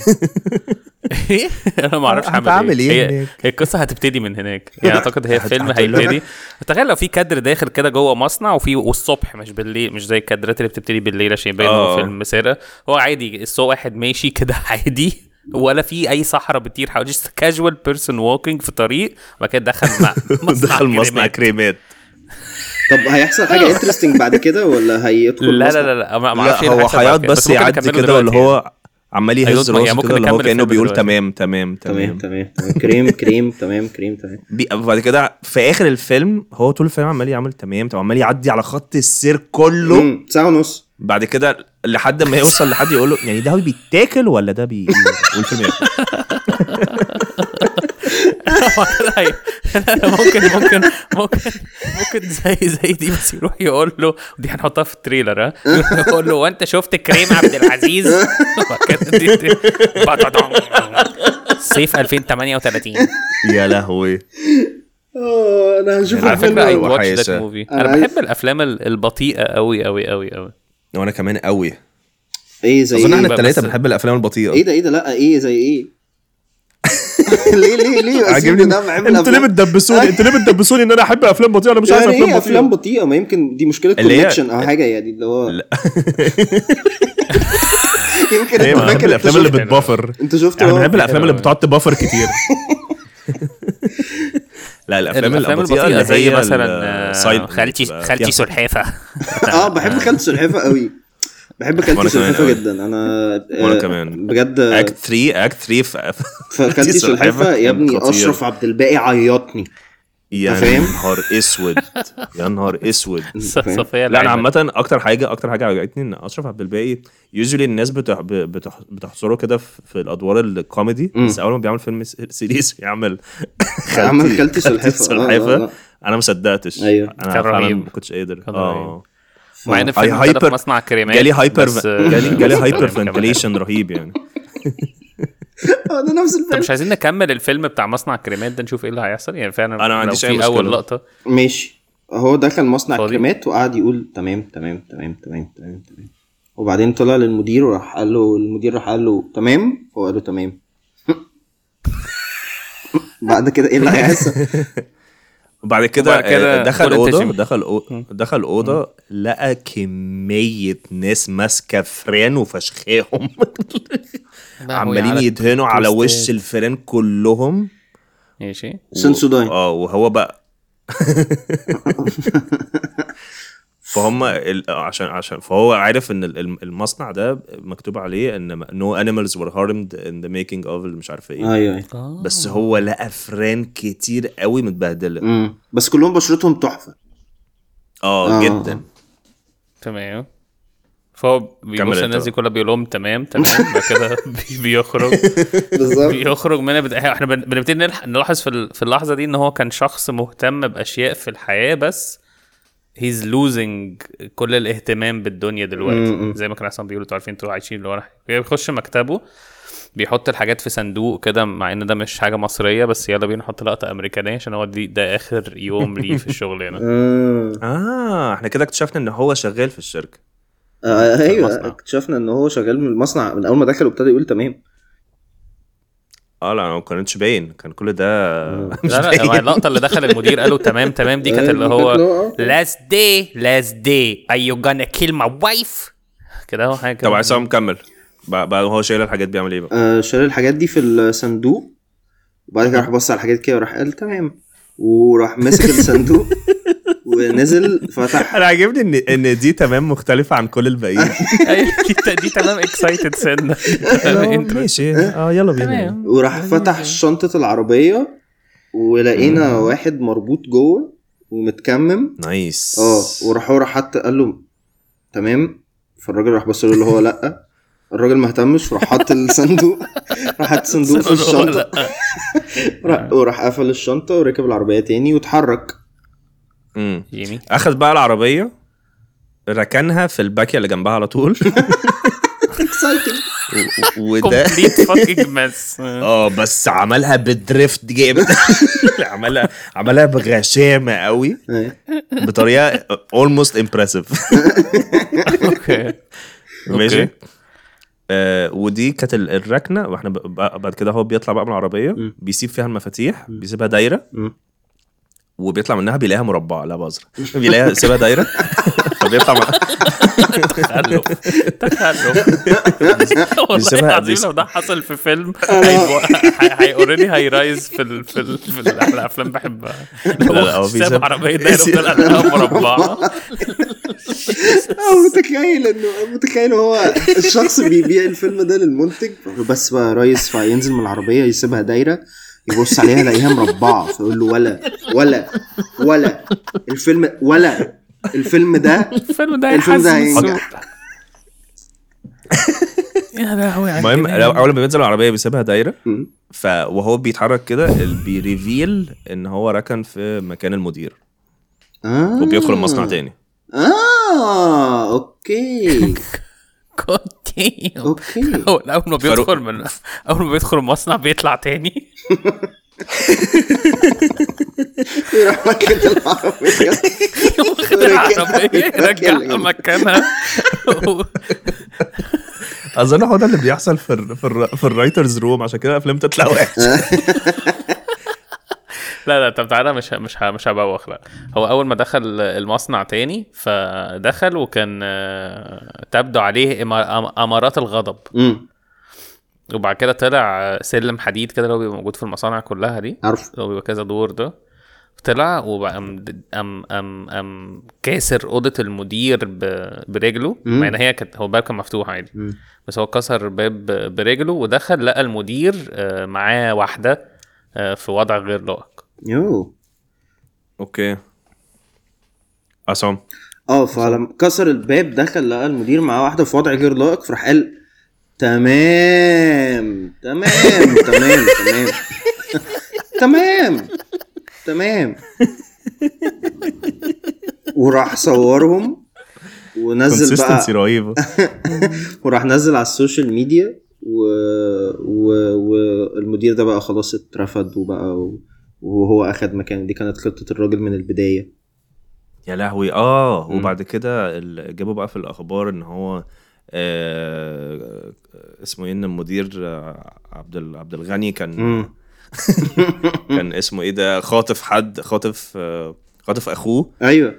[SPEAKER 3] ايه انا ما اعرفش
[SPEAKER 2] هتعمل
[SPEAKER 3] هعمل
[SPEAKER 2] إيه
[SPEAKER 3] ايه
[SPEAKER 2] هناك؟ إيه
[SPEAKER 3] هي- هي القصه هتبتدي من هناك يعني اعتقد هي
[SPEAKER 2] هت-
[SPEAKER 3] فيلم
[SPEAKER 2] هتقول لها-
[SPEAKER 3] هيبتدي تخيل لو في كادر داخل كده جوه مصنع وفي والصبح مش بالليل مش زي الكادرات اللي بتبتدي بالليل عشان يبين
[SPEAKER 2] آه.
[SPEAKER 3] هو فيلم سارة هو عادي الصو واحد ماشي كده عادي ولا في اي صحراء بتطير حواليه just كاجوال بيرسون walking في طريق وبعد كده دخل مع
[SPEAKER 2] دخل مصنع
[SPEAKER 3] كريمات.
[SPEAKER 2] كريمات
[SPEAKER 4] طب هيحصل حاجه انترستنج بعد كده ولا هيدخل
[SPEAKER 3] لا
[SPEAKER 4] مصنع؟
[SPEAKER 3] لا لا لا ما ما اعرفش
[SPEAKER 2] لا
[SPEAKER 3] ايه اللي
[SPEAKER 2] هو حيات
[SPEAKER 3] هيحصل بعد كده،
[SPEAKER 2] بس
[SPEAKER 3] ممكن
[SPEAKER 2] يعدي
[SPEAKER 3] نكمله
[SPEAKER 2] كده
[SPEAKER 3] دلوقتي
[SPEAKER 2] واللي
[SPEAKER 3] يعني.
[SPEAKER 2] هو عمال يهز
[SPEAKER 3] أيوة، ما- يعني
[SPEAKER 2] راسه
[SPEAKER 3] ممكن
[SPEAKER 2] كده اللي هو كانه
[SPEAKER 3] نكمل الفيلم
[SPEAKER 2] بيقول
[SPEAKER 3] دلوقتي.
[SPEAKER 2] تمام تمام تمام
[SPEAKER 4] تمام تمام تمام. كريم كريم تمام كريم تمام
[SPEAKER 2] بي- وبعد كده في اخر الفيلم هو طول الفيلم عمال يعمل تمام تمام عمال يعدي على خط السير كله
[SPEAKER 4] مم، ساعه ونص
[SPEAKER 2] بعد كده لحد ما يوصل لحد يقول له يعني ده بيتاكل ولا ده بي إيه؟ والفيلم يقفل.
[SPEAKER 3] طيب. ممكن ممكن ممكن ممكن زي زي دي بس يروح يقول له دي هنحطها في التريلر ها يقول له وانت شفت كريم عبد العزيز وبعد كده دي- دي- بطدم. صيف 2038
[SPEAKER 2] يا لهوي
[SPEAKER 4] اه انا هشوف
[SPEAKER 2] على
[SPEAKER 3] على
[SPEAKER 2] فيلم
[SPEAKER 3] فكره اي
[SPEAKER 2] أيوة
[SPEAKER 3] واتش ذات
[SPEAKER 2] حقيقة.
[SPEAKER 3] موفي
[SPEAKER 4] أنا
[SPEAKER 3] انا
[SPEAKER 4] عايز-
[SPEAKER 3] بحب الافلام ال- البطيئه قوي قوي قوي قوي
[SPEAKER 2] وانا كمان قوي
[SPEAKER 4] ايه زي
[SPEAKER 2] اظن
[SPEAKER 4] ايه
[SPEAKER 2] احنا
[SPEAKER 3] بقى
[SPEAKER 2] الثلاثه
[SPEAKER 3] بس-
[SPEAKER 2] بنحب الافلام البطيئه
[SPEAKER 4] ايه ده ايه ده لا ايه زي ايه ليه ليه ليه
[SPEAKER 2] عاجبني
[SPEAKER 4] عاجبني ده بحب
[SPEAKER 2] انتوا ليه
[SPEAKER 4] الأفلام.
[SPEAKER 2] بتدبسوني انتوا ليه بتدبسوني ان انا احب افلام بطيئه انا مش عايز
[SPEAKER 4] يعني ايه
[SPEAKER 2] افلام
[SPEAKER 4] افلام
[SPEAKER 2] بطيئه
[SPEAKER 4] بطيئه ما يمكن دي مشكله
[SPEAKER 2] اللي هي-
[SPEAKER 4] كونكشن او حاجه يعني اللي هو يمكن
[SPEAKER 2] ايه
[SPEAKER 4] انت
[SPEAKER 2] ما بحب
[SPEAKER 4] فاكر
[SPEAKER 2] الافلام اللي
[SPEAKER 4] انت شفت-
[SPEAKER 2] بتبافر
[SPEAKER 4] انت شفت
[SPEAKER 2] انا
[SPEAKER 4] هو-
[SPEAKER 2] بحب الافلام اللي بتقعد تبافر كتير لا الافلام,
[SPEAKER 3] الافلام
[SPEAKER 2] البطيئه اللي
[SPEAKER 3] البطيئه زي
[SPEAKER 2] هي
[SPEAKER 3] مثلا
[SPEAKER 2] ال-
[SPEAKER 3] آه،
[SPEAKER 2] side-
[SPEAKER 3] خالتي
[SPEAKER 2] بتبقى
[SPEAKER 3] خالتي
[SPEAKER 2] فيها-
[SPEAKER 3] سلحفه
[SPEAKER 4] اه بحب خالد سلحفه قوي بحب خالد
[SPEAKER 2] آه. وأنا كمان
[SPEAKER 4] سلحفه
[SPEAKER 2] قوي.
[SPEAKER 4] جدا انا آه،
[SPEAKER 2] وأنا كمان.
[SPEAKER 4] بجد
[SPEAKER 2] اكت 3 اكت 3 في
[SPEAKER 4] خالد سلحفه يا ابني
[SPEAKER 2] خطير.
[SPEAKER 4] اشرف عبد الباقي عيطني
[SPEAKER 2] يا
[SPEAKER 4] فاهم؟
[SPEAKER 2] نهار اسود يا نهار اسود
[SPEAKER 3] صفيه
[SPEAKER 2] لا انا
[SPEAKER 3] العلبة.
[SPEAKER 2] عامه اكتر حاجه اكتر حاجه عجبتني ان اشرف عبد الباقي يوجولي الناس بتح... بتح... بتحصره كده في في الادوار الكوميدي بس اول ما بيعمل فيلم س- سيريس يعمل خالتي-
[SPEAKER 4] عمل خالتي سلحفة. آه،
[SPEAKER 2] سلحفة.
[SPEAKER 4] آه، آه.
[SPEAKER 2] انا ما صدقتش
[SPEAKER 4] أيوه.
[SPEAKER 2] انا
[SPEAKER 3] كان
[SPEAKER 2] فعلا
[SPEAKER 3] رهيب.
[SPEAKER 2] ما كنتش قادر
[SPEAKER 3] كان
[SPEAKER 2] اه
[SPEAKER 3] مع ان
[SPEAKER 2] I
[SPEAKER 3] فيلم ابتدى
[SPEAKER 2] hyper-
[SPEAKER 3] في مصنع كريمات
[SPEAKER 2] جالي هايبر
[SPEAKER 3] بس-
[SPEAKER 2] جالي جالي
[SPEAKER 3] بس
[SPEAKER 2] هايبر
[SPEAKER 3] كمان.
[SPEAKER 2] فنتليشن رهيب يعني
[SPEAKER 4] آه، ده نفس
[SPEAKER 3] طب
[SPEAKER 4] الفيلم
[SPEAKER 3] مش عايزين نكمل الفيلم بتاع مصنع كريمات ده نشوف ايه اللي هيحصل يعني فعلا
[SPEAKER 2] أنا ما
[SPEAKER 3] لو
[SPEAKER 2] عنديش
[SPEAKER 3] في
[SPEAKER 2] أي مشكلة.
[SPEAKER 3] اول لقطه
[SPEAKER 4] ماشي هو دخل مصنع
[SPEAKER 3] فاضي.
[SPEAKER 4] كريمات وقعد يقول تمام تمام تمام تمام تمام تمام وبعدين طلع للمدير وراح قال له المدير راح قال له تمام فهو قال له تمام بعد كده ايه اللي هيحصل؟
[SPEAKER 2] وبعد
[SPEAKER 3] وبعد
[SPEAKER 2] كده
[SPEAKER 3] كده
[SPEAKER 2] آه، دخل
[SPEAKER 3] كل
[SPEAKER 2] اوضه
[SPEAKER 3] التجميل.
[SPEAKER 2] دخل أو- دخل اوضه لقى كميه ناس ماسكه فران وفشخاهم عمالين يدهنوا على وش الفيران كلهم
[SPEAKER 3] ماشي
[SPEAKER 4] سنسوداين
[SPEAKER 2] اه وهو بقى فهم ال- عشان عشان فهو عارف ان ال- ال- المصنع ده مكتوب عليه ان نو انيمالز were harmed in the making of مش عارف ايه
[SPEAKER 4] ايوه أيوة.
[SPEAKER 2] بس هو لقى فران كتير قوي متبهدله
[SPEAKER 4] مم. بس كلهم بشرتهم تحفه
[SPEAKER 2] اه
[SPEAKER 4] آه.
[SPEAKER 2] جدا
[SPEAKER 3] تمام فهو
[SPEAKER 2] كمل
[SPEAKER 3] بيبص
[SPEAKER 2] أنت
[SPEAKER 3] الناس دي
[SPEAKER 2] بقى.
[SPEAKER 3] كلها بيقول لهم تمام تمام بعد كده بي- بيخرج
[SPEAKER 4] بالظبط
[SPEAKER 3] بيخرج من بت... احنا بن- بنبتدي نلح- نلاحظ في ال- في اللحظه دي ان هو كان شخص مهتم باشياء في الحياه بس هيز لوزنج كل الاهتمام بالدنيا دلوقتي
[SPEAKER 4] مم.
[SPEAKER 3] زي ما كان احسن بيقولوا انتوا عارفين انتوا عايشين اللي هو راح- بيخش مكتبه بيحط الحاجات في صندوق كده مع ان ده مش حاجه مصريه بس يلا بينا نحط لقطه امريكانيه عشان هو دي ده اخر يوم ليه في الشغل هنا
[SPEAKER 4] آه.
[SPEAKER 2] اه احنا كده اكتشفنا ان هو شغال في الشركه
[SPEAKER 4] آه ايوه
[SPEAKER 2] المصنع.
[SPEAKER 4] اكتشفنا ان هو شغال من المصنع من اول ما دخل وابتدى يقول تمام
[SPEAKER 2] اه لا ما كانتش باين كان كل ده مش
[SPEAKER 3] لا لا
[SPEAKER 2] باين
[SPEAKER 3] هو اللقطه اللي دخل المدير قالوا تمام تمام دي كانت اللي هو
[SPEAKER 4] آه.
[SPEAKER 3] last day last day are you gonna kill my wife كده هو حاجه كده.
[SPEAKER 2] طب عايز مكمل بقى بقى هو شايل الحاجات بيعمل ايه بقى
[SPEAKER 4] آه، شال الحاجات دي في الصندوق وبعد كده راح بص على الحاجات كده وراح قال تمام وراح مسك الصندوق ونزل فتح
[SPEAKER 2] انا عاجبني ان ان دي تمام مختلفه عن كل الباقيين
[SPEAKER 3] أيوة، دي- دي تمام اكسايتد سنه
[SPEAKER 2] ماشي اه يلا بينا
[SPEAKER 3] تمام
[SPEAKER 4] وراح فتح شنطة العربية ولقينا واحد مربوط جوه ومتكمم
[SPEAKER 2] نايس
[SPEAKER 4] اه وراح هو راح حط قال له تمام فالراجل راح بص له اللي هو لا الراجل ما اهتمش وراح حط الصندوق راح حط صندوق في الشنطة راح- وراح قفل الشنطة وركب العربية تاني واتحرك
[SPEAKER 2] مم.
[SPEAKER 3] يمي
[SPEAKER 2] اخذ بقى العربيه ركنها في الباكيه اللي جنبها على طول و- و- وده
[SPEAKER 3] كومبليت فاكينج مس
[SPEAKER 2] اه بس عملها بدريفت جامد عملها عملها بغشامه قوي
[SPEAKER 4] آه.
[SPEAKER 2] بطريقه اولموست امبرسيف
[SPEAKER 3] اوكي
[SPEAKER 2] ماشي آه ودي كانت ال- الركنه واحنا ب- ب- بعد كده هو بيطلع بقى من العربيه
[SPEAKER 4] م.
[SPEAKER 2] بيسيب فيها المفاتيح بيسيبها دايره
[SPEAKER 4] م.
[SPEAKER 2] وبيطلع منها بيلاقيها مربعه لا بهزر بيلاقيها بيسيبها دايره فبيطلع من-
[SPEAKER 3] تخلف تخلف والله
[SPEAKER 2] بيسيبها-
[SPEAKER 3] العظيم
[SPEAKER 2] بيس-
[SPEAKER 3] لو ده حصل في فيلم هيبقى هي اوريدي هاي رايز في ال... في ال... في ال... أحلى افلام بحبها لو
[SPEAKER 2] لا، هو
[SPEAKER 3] ساب
[SPEAKER 2] بيسيب-
[SPEAKER 3] عربيه دايره وفضل قلبها مربعه
[SPEAKER 4] أو متخيل انه متخيل هو الشخص بيبيع الفيلم ده للمنتج يقول له بس بقى يا ريس فينزل من العربيه يسيبها دايره يبص عليها يلاقيها مربعه فيقول له ولا ولا ولا الفيلم ولا الفيلم ده
[SPEAKER 3] الفيلم ده
[SPEAKER 4] الفيلم ده
[SPEAKER 3] هيحسن
[SPEAKER 4] هينجح.
[SPEAKER 3] السوق. يا لهوي على
[SPEAKER 2] المهم
[SPEAKER 3] الجنان.
[SPEAKER 2] لو- اول ما بينزل العربيه بيسيبها دايره
[SPEAKER 4] م.
[SPEAKER 2] ف وهو بيتحرك كده ال- بيريفيل ان هو ركن في مكان المدير
[SPEAKER 4] آه.
[SPEAKER 2] وبيدخل المصنع تاني
[SPEAKER 4] اه اوكي
[SPEAKER 3] God damn.
[SPEAKER 4] اوكي
[SPEAKER 3] اول اول
[SPEAKER 2] فاروق.
[SPEAKER 3] ما بيدخل من اول ما بيدخل المصنع بيطلع تاني
[SPEAKER 4] راح مكن العربيه
[SPEAKER 3] واخد العربيه يرجعها مكانها
[SPEAKER 2] اظن هو ده اللي بيحصل في ال في, ال في الرايترز روم عشان كده الافلام تطلع وحشه
[SPEAKER 3] لا لا طب تعالى مش ه- مش ه- مش هبوخ لا هو اول ما دخل المصنع تاني فدخل وكان آه، تبدو عليه إما- أم- امارات الغضب
[SPEAKER 4] أمم،
[SPEAKER 3] وبعد كده طلع سلم حديد كده اللي هو بيبقى موجود في المصانع كلها دي
[SPEAKER 4] عارف
[SPEAKER 3] اللي هو بيبقى كذا دور ده طلع وبقى أم أم أم, أم كاسر أوضة المدير ب- برجله مع إن هي كانت هو الباب كان مفتوح عادي
[SPEAKER 4] مم.
[SPEAKER 3] بس هو كسر باب برجله ودخل لقى المدير آه، معاه واحدة آه، في وضع غير لائق
[SPEAKER 4] يو
[SPEAKER 2] اوكي عصام
[SPEAKER 4] اه فلما كسر الباب دخل لقى المدير معاه واحده في وضع غير لائق فراح قال تمام تمام تمام تمام تمام تمام وراح صورهم ونزل بقى
[SPEAKER 2] كونسيستنسي رهيبه
[SPEAKER 4] وراح نزل على السوشيال ميديا و... و... والمدير ده بقى خلاص اترفد وبقى و... وهو اخد مكانه دي كانت خطه الراجل من البدايه
[SPEAKER 2] يا لهوي اه
[SPEAKER 4] مم.
[SPEAKER 2] وبعد كده ال- جابوا بقى في الاخبار ان هو آه اسمه ايه ان المدير آه، عبد ال- عبد الغني كان
[SPEAKER 4] مم.
[SPEAKER 2] كان اسمه ايه ده خاطف حد خاطف آه، خاطف اخوه
[SPEAKER 4] ايوه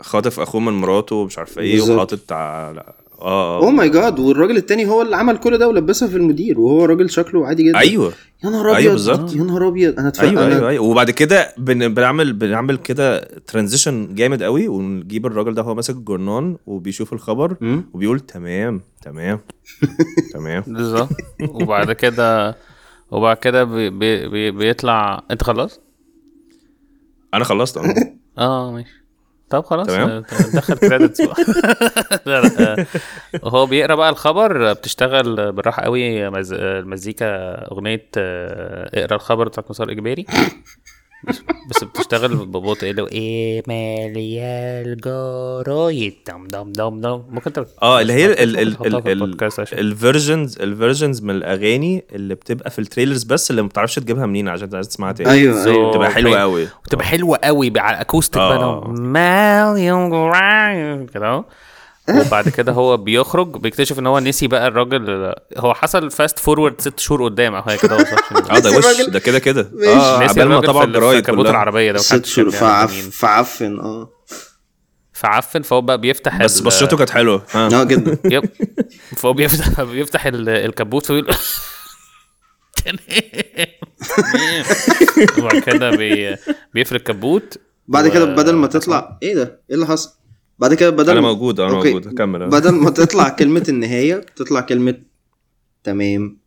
[SPEAKER 2] خاطف اخوه من مراته ومش عارف ايه
[SPEAKER 4] بالظبط.
[SPEAKER 2] وحاطط على اه
[SPEAKER 4] اوه ماي جاد Oh والراجل التاني هو اللي عمل كل ده ولبسها في المدير وهو راجل شكله عادي جدا
[SPEAKER 2] ايوه
[SPEAKER 4] يا نهار
[SPEAKER 2] أيوة
[SPEAKER 4] ابيض
[SPEAKER 2] بالظبط.
[SPEAKER 4] يا نهار ابيض انا اتفق
[SPEAKER 2] ايوه
[SPEAKER 4] أنا...
[SPEAKER 2] ايوه ايوه وبعد كده بن- بنعمل بنعمل كده ترانزيشن جامد قوي ونجيب الراجل ده هو ماسك الجرنان وبيشوف الخبر
[SPEAKER 4] مم.
[SPEAKER 2] وبيقول تمام تمام تمام
[SPEAKER 3] بالظبط وبعد كده وبعد كده بي بي بي بيطلع انت خلاص؟
[SPEAKER 2] انا خلصت أنا.
[SPEAKER 3] اه ماشي طب خلاص
[SPEAKER 2] تمام.
[SPEAKER 3] آه، دخل كريدتس بقى لا لا آه، وهو بيقرا بقى الخبر آه، بتشتغل آه، بالراحه قوي مز... آه، المزيكا اغنيه آه، اقرا الخبر بتاعت مسار اجباري بس بتشتغل ببطء اللي هو ايه مالي الجرايد دم دم دم دم ممكن تبقى
[SPEAKER 2] اه اللي هي ال- ال-
[SPEAKER 3] ممكن تحطها
[SPEAKER 2] ال-
[SPEAKER 3] في
[SPEAKER 2] ال-
[SPEAKER 3] البودكاست عشان-
[SPEAKER 2] الفيرجنز الفيرجنز من الاغاني اللي بتبقى في التريلرز بس اللي ما بتعرفش تجيبها منين عشان عايز تسمعها تاني
[SPEAKER 4] ايوه ايوه
[SPEAKER 2] طيب، بتبقى حلوه قوي
[SPEAKER 3] بتبقى حلوه قوي بقى على الاكوستيك
[SPEAKER 2] آه.
[SPEAKER 3] بقى لو مالي الجرايد كده اهو. وبعد كده هو بيخرج بيكتشف ان هو نسي بقى الراجل هو حصل فاست فورورد ست شهور قدام او حاجه كده هو صح.
[SPEAKER 2] اه ده
[SPEAKER 4] نسي
[SPEAKER 2] وش
[SPEAKER 4] الراجل.
[SPEAKER 2] ده كده كده
[SPEAKER 4] ماشي.
[SPEAKER 2] اه
[SPEAKER 3] نسي
[SPEAKER 2] عبال ما
[SPEAKER 3] الراجل
[SPEAKER 2] طبعا
[SPEAKER 3] في ال- في
[SPEAKER 2] الجرايد
[SPEAKER 3] كابوت
[SPEAKER 2] كلها
[SPEAKER 3] العربيه ده يعني
[SPEAKER 4] ست شهور فعف
[SPEAKER 3] فعف
[SPEAKER 4] فعفن اه
[SPEAKER 3] فعفن فهو بقى بيفتح
[SPEAKER 2] بس آه،
[SPEAKER 3] ال-
[SPEAKER 2] بشرته كانت حلوه ها.
[SPEAKER 4] اه جدا
[SPEAKER 3] يب فهو بيفتح بيفتح ال- الكبوت فبيقول تمام وبعد كده بي... بيفرق الكبوت
[SPEAKER 4] بعد
[SPEAKER 3] و-
[SPEAKER 4] كده بدل ما تطلع ايه ده ايه اللي حصل بعد كده بدل
[SPEAKER 2] انا موجود انا
[SPEAKER 4] أوكي.
[SPEAKER 2] موجود كمل آه.
[SPEAKER 4] بدل ما تطلع كلمة النهاية تطلع كلمة تمام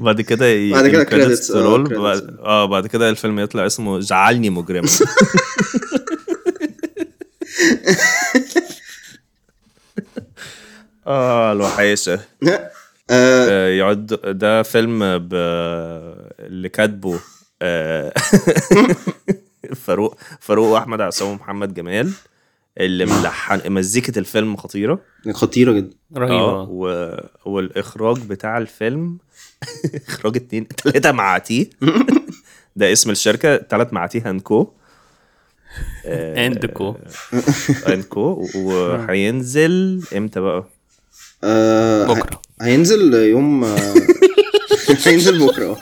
[SPEAKER 2] بعد كده ي-
[SPEAKER 4] بعد كده
[SPEAKER 2] ال credits
[SPEAKER 4] credits، آه،
[SPEAKER 2] roll.
[SPEAKER 4] credits.
[SPEAKER 2] بعد- اه بعد كده الفيلم يطلع اسمه جعلني مجرما اه الوحيشه
[SPEAKER 4] آه،
[SPEAKER 2] آه، يعد ده فيلم ب... اللي كاتبه آه، فاروق فاروق واحمد عصام ومحمد جمال اللي ملحن مزيكه الفيلم خطيره
[SPEAKER 4] خطيرة جدا
[SPEAKER 2] اه
[SPEAKER 3] رهيبه
[SPEAKER 2] و... والاخراج بتاع الفيلم اخراج اتنين تلاته مع تي ده اسم الشركه تلات مع تي هانكو
[SPEAKER 3] اندكو
[SPEAKER 2] هانكو وهينزل امتى بقى؟
[SPEAKER 4] آه،
[SPEAKER 3] بكرة.
[SPEAKER 4] ه- هينزل يوم آه، هينزل بكرة آه.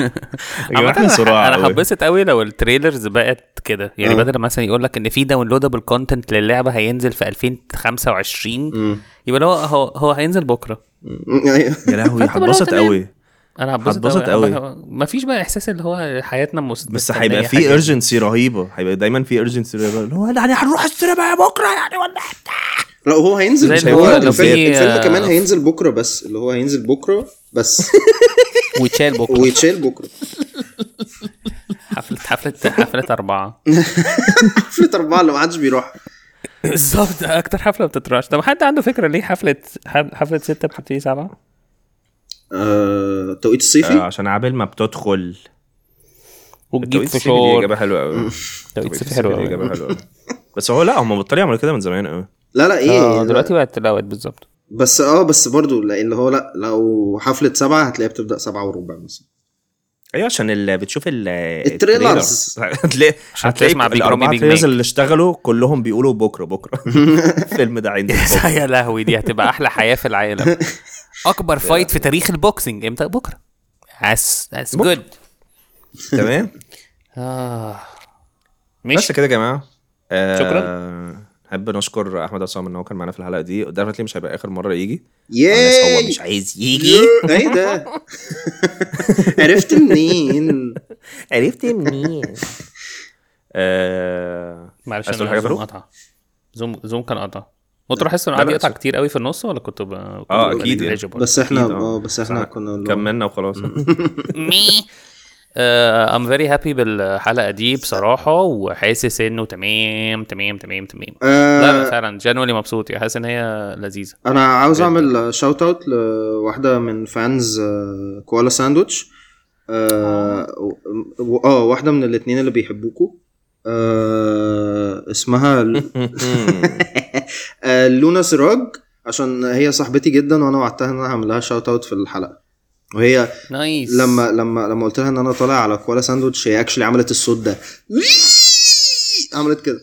[SPEAKER 2] يا جماعه احنا صراع
[SPEAKER 3] انا
[SPEAKER 2] أوي.
[SPEAKER 3] حبست قوي لو التريلرز بقت كده يعني
[SPEAKER 4] آه.
[SPEAKER 3] بدل ما مثلا يقول لك ان في داونلودبل كونتنت للعبه هينزل في 2025
[SPEAKER 4] مم.
[SPEAKER 3] يبقى هو هو هو هينزل بكره
[SPEAKER 4] أيوه.
[SPEAKER 2] يا لهوي
[SPEAKER 3] فأنت بقى
[SPEAKER 2] هتبسط
[SPEAKER 3] تمام.
[SPEAKER 2] قوي
[SPEAKER 3] انا هتبسط
[SPEAKER 2] هتبسط
[SPEAKER 3] أوي.
[SPEAKER 2] أوي.
[SPEAKER 3] مفيش بقى احساس اللي هو حياتنا مس-
[SPEAKER 2] بس
[SPEAKER 3] مستنية يعني
[SPEAKER 2] هيبقى
[SPEAKER 3] حاجة.
[SPEAKER 2] في ارجنسي رهيبه هيبقى دايما في ارجنسي رهيبه اللي هو يعني هنروح السينما بكره يعني ولا
[SPEAKER 4] لا هو هينزل
[SPEAKER 3] زي
[SPEAKER 4] مش
[SPEAKER 3] اللي
[SPEAKER 4] هو
[SPEAKER 2] هو لو
[SPEAKER 4] الفيلم,
[SPEAKER 3] في-
[SPEAKER 4] الفيلم
[SPEAKER 3] آه.
[SPEAKER 4] كمان هينزل بكرة بس اللي هو هينزل بكرة بس
[SPEAKER 3] ويتشال بكره
[SPEAKER 4] ويتشال بكرة
[SPEAKER 3] حفله حفله حفله اربعه
[SPEAKER 4] حفلة أربعة اللي محدش بيروح
[SPEAKER 3] بالظبط اكتر حفله بتترش طب حد عنده فكره ليه حفله حف- حفله 6 بتبتدي 7
[SPEAKER 4] آه، توقيت
[SPEAKER 2] آه،
[SPEAKER 4] الصيفي
[SPEAKER 2] عشان عبال ما بتدخل
[SPEAKER 3] وتجيب
[SPEAKER 2] التوقيت
[SPEAKER 3] في
[SPEAKER 2] الصيفي دي
[SPEAKER 3] شور
[SPEAKER 2] اجابه حلوه قوي
[SPEAKER 3] توقيت صيفي حلو
[SPEAKER 2] دي
[SPEAKER 3] أوي.
[SPEAKER 2] اجابه حلوه أوي. بس هو لا هم بالطريقه عملوا كده من زمان قوي
[SPEAKER 4] لا لا ايه
[SPEAKER 3] اه
[SPEAKER 2] آه،
[SPEAKER 4] لا.
[SPEAKER 3] دلوقتي بقت الاوقات بالظبط
[SPEAKER 4] بس اه بس برضو لا، اللي هو لا لو حفلة سبعة هتلاقيها بتبدأ سبعة وربع مثلا
[SPEAKER 2] ايوه عشان اللي بتشوف ال-
[SPEAKER 4] التريلرز.
[SPEAKER 2] هتلاقي
[SPEAKER 3] عشان
[SPEAKER 2] هتلاقي
[SPEAKER 3] تسمع Big
[SPEAKER 2] الاربعه
[SPEAKER 3] Mommy Big
[SPEAKER 2] تريلرز
[SPEAKER 3] Mac.
[SPEAKER 2] اللي اشتغلوا كلهم بيقولوا بكره بكره الفيلم ده عندي بكره
[SPEAKER 3] يا لهوي دي هتبقى احلى حياه في العالم اكبر فايت في تاريخ البوكسنج امتى بكره اس اس جود
[SPEAKER 2] تمام
[SPEAKER 3] اه
[SPEAKER 2] بس
[SPEAKER 3] مش
[SPEAKER 2] كده يا جماعه آه،
[SPEAKER 3] شكراً.
[SPEAKER 2] نحب نشكر احمد عصام ان هو كان معانا في الحلقه دي ديفنتلي مش هيبقى اخر مره يجي آه، الناس هو
[SPEAKER 4] ياي
[SPEAKER 2] مش عايز يجي
[SPEAKER 4] ايه ده عرفت منين
[SPEAKER 2] عرفت منين آه
[SPEAKER 3] معلش
[SPEAKER 2] عايز تقول
[SPEAKER 3] انا
[SPEAKER 2] حاجة
[SPEAKER 3] زوم
[SPEAKER 2] فاروق؟
[SPEAKER 3] قطع زوم زوم كان قطع كنت بحس انه
[SPEAKER 2] لا،
[SPEAKER 3] قاعد
[SPEAKER 2] لا،
[SPEAKER 3] يقطع
[SPEAKER 2] بس-
[SPEAKER 3] كتير قوي في النص ولا كنت ب... كنت
[SPEAKER 2] آه،
[SPEAKER 3] ببقى
[SPEAKER 2] أكيد يعني.
[SPEAKER 3] negligible؟
[SPEAKER 4] بس احنا
[SPEAKER 2] أكيد، آه.
[SPEAKER 4] اه بس احنا كنا اللي هو-
[SPEAKER 2] كملنا وخلاص
[SPEAKER 3] مي ام فيري هابي بالحلقه دي بصراحه وحاسس انه تمام تمام تمام تمام
[SPEAKER 4] آه،
[SPEAKER 3] لا لا فعلا جنولي مبسوط يعني حاسس ان هي لذيذه
[SPEAKER 4] انا عاوز اعمل شاوت اوت لواحده من فانز آه، كوالا ساندوتش اه و- آه، واحده من الاثنين اللي بيحبوكوا آه اسمها ل- آه، لونا سراج عشان هي صاحبتي جدا وانا وعدتها ان انا هعمل لها شاوت اوت في الحلقه وهي
[SPEAKER 3] نايس
[SPEAKER 4] لما لما لما قلت لها ان انا طالع على كوالا ساندوتش هي اكشلي عملت الصوت ده عملت كده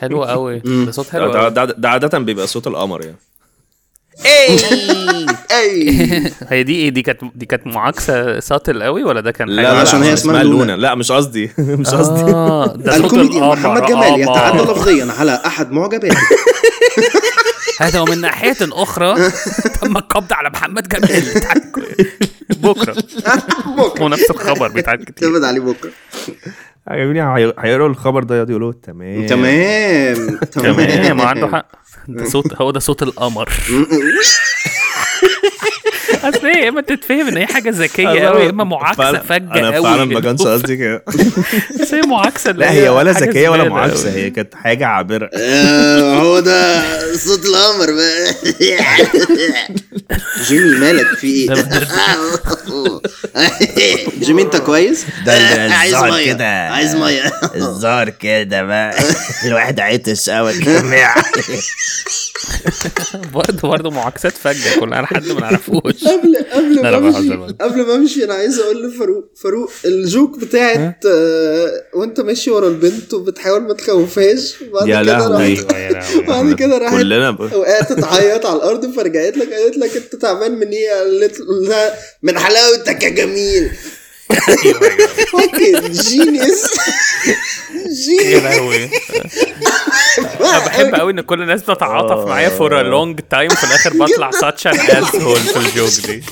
[SPEAKER 3] حلو قوي ده صوت حلو
[SPEAKER 2] ده,
[SPEAKER 3] قوي
[SPEAKER 2] ده, ده عاده بيبقى صوت القمر يعني
[SPEAKER 4] اي
[SPEAKER 3] هي دي ايه دي كانت دي كانت معاكسه ساطل قوي ولا ده كان
[SPEAKER 2] لا,
[SPEAKER 3] حاجة؟
[SPEAKER 2] لا
[SPEAKER 4] عشان هي اسمها لونا.
[SPEAKER 2] لا مش قصدي مش قصدي
[SPEAKER 3] اه ده صوت
[SPEAKER 4] الكوميدي
[SPEAKER 3] القمر، آه،
[SPEAKER 4] محمد
[SPEAKER 3] قمر.
[SPEAKER 2] يعني،
[SPEAKER 4] جمال يتعدى لفظيا على احد معجباته
[SPEAKER 3] هذا ومن ناحيه اخرى تم القبض على محمد جمال بتاعك بكره
[SPEAKER 4] بكره
[SPEAKER 3] ونفس الخبر بتاعك كتير
[SPEAKER 4] تبعد عليه بكره
[SPEAKER 2] عجبني هي- هيقروا الخبر ده يقعدوا يقولوا تمام
[SPEAKER 4] آه. تمام
[SPEAKER 3] تمام عنده حق ده صوت هو ده صوت القمر اصل ايه يا اما تتفهم ان هي حاجه ذكيه
[SPEAKER 2] أنا-
[SPEAKER 3] قوي يا اما معاكسه
[SPEAKER 2] فعلاً-
[SPEAKER 3] فجه قوي
[SPEAKER 2] انا فعلا ما كانش قصدي كده
[SPEAKER 3] بس هي معاكسه اللي
[SPEAKER 2] لا هي ولا
[SPEAKER 3] حاجة
[SPEAKER 2] ذكيه ولا
[SPEAKER 3] زبالة
[SPEAKER 2] معاكسه
[SPEAKER 3] أوي.
[SPEAKER 2] هي كانت حاجه عابره
[SPEAKER 4] آه، هو ده صوت القمر بقى جيمي مالك في ايه؟ جيمي انت كويس؟
[SPEAKER 1] ده اللي
[SPEAKER 4] عايز
[SPEAKER 1] الزهر
[SPEAKER 4] ميه.
[SPEAKER 1] كده.
[SPEAKER 4] عايز ميه
[SPEAKER 1] الزار كده بقى الواحد عطس قوي الجميع
[SPEAKER 3] برضه برضه معاكسات فجه كلها انا حد ما نعرفوش
[SPEAKER 4] قبل قبل
[SPEAKER 3] لا، لا،
[SPEAKER 4] ما امشي
[SPEAKER 3] بهزر بهزر.
[SPEAKER 4] قبل ما امشي انا عايز اقول لفاروق فاروق الجوك بتاعت آه، وانت ماشي ورا البنت وبتحاول ما تخوفهاش بعد
[SPEAKER 2] يا
[SPEAKER 4] كده
[SPEAKER 2] لهوي
[SPEAKER 4] راحت بعد كده راحت
[SPEAKER 2] كلنا ب-
[SPEAKER 4] وقعت تعيط على الارض فرجعت لك قالت لك انت تعبان من ايه قالت لها من حلاوتك يا جميل فاكر جينيس
[SPEAKER 3] يا
[SPEAKER 4] جينيس
[SPEAKER 3] لهوي انا بحب قوي ان كل الناس بتتعاطف معايا فور ا لونج تايم في الاخر بطلع ساتش ان اسهول في الجوك دي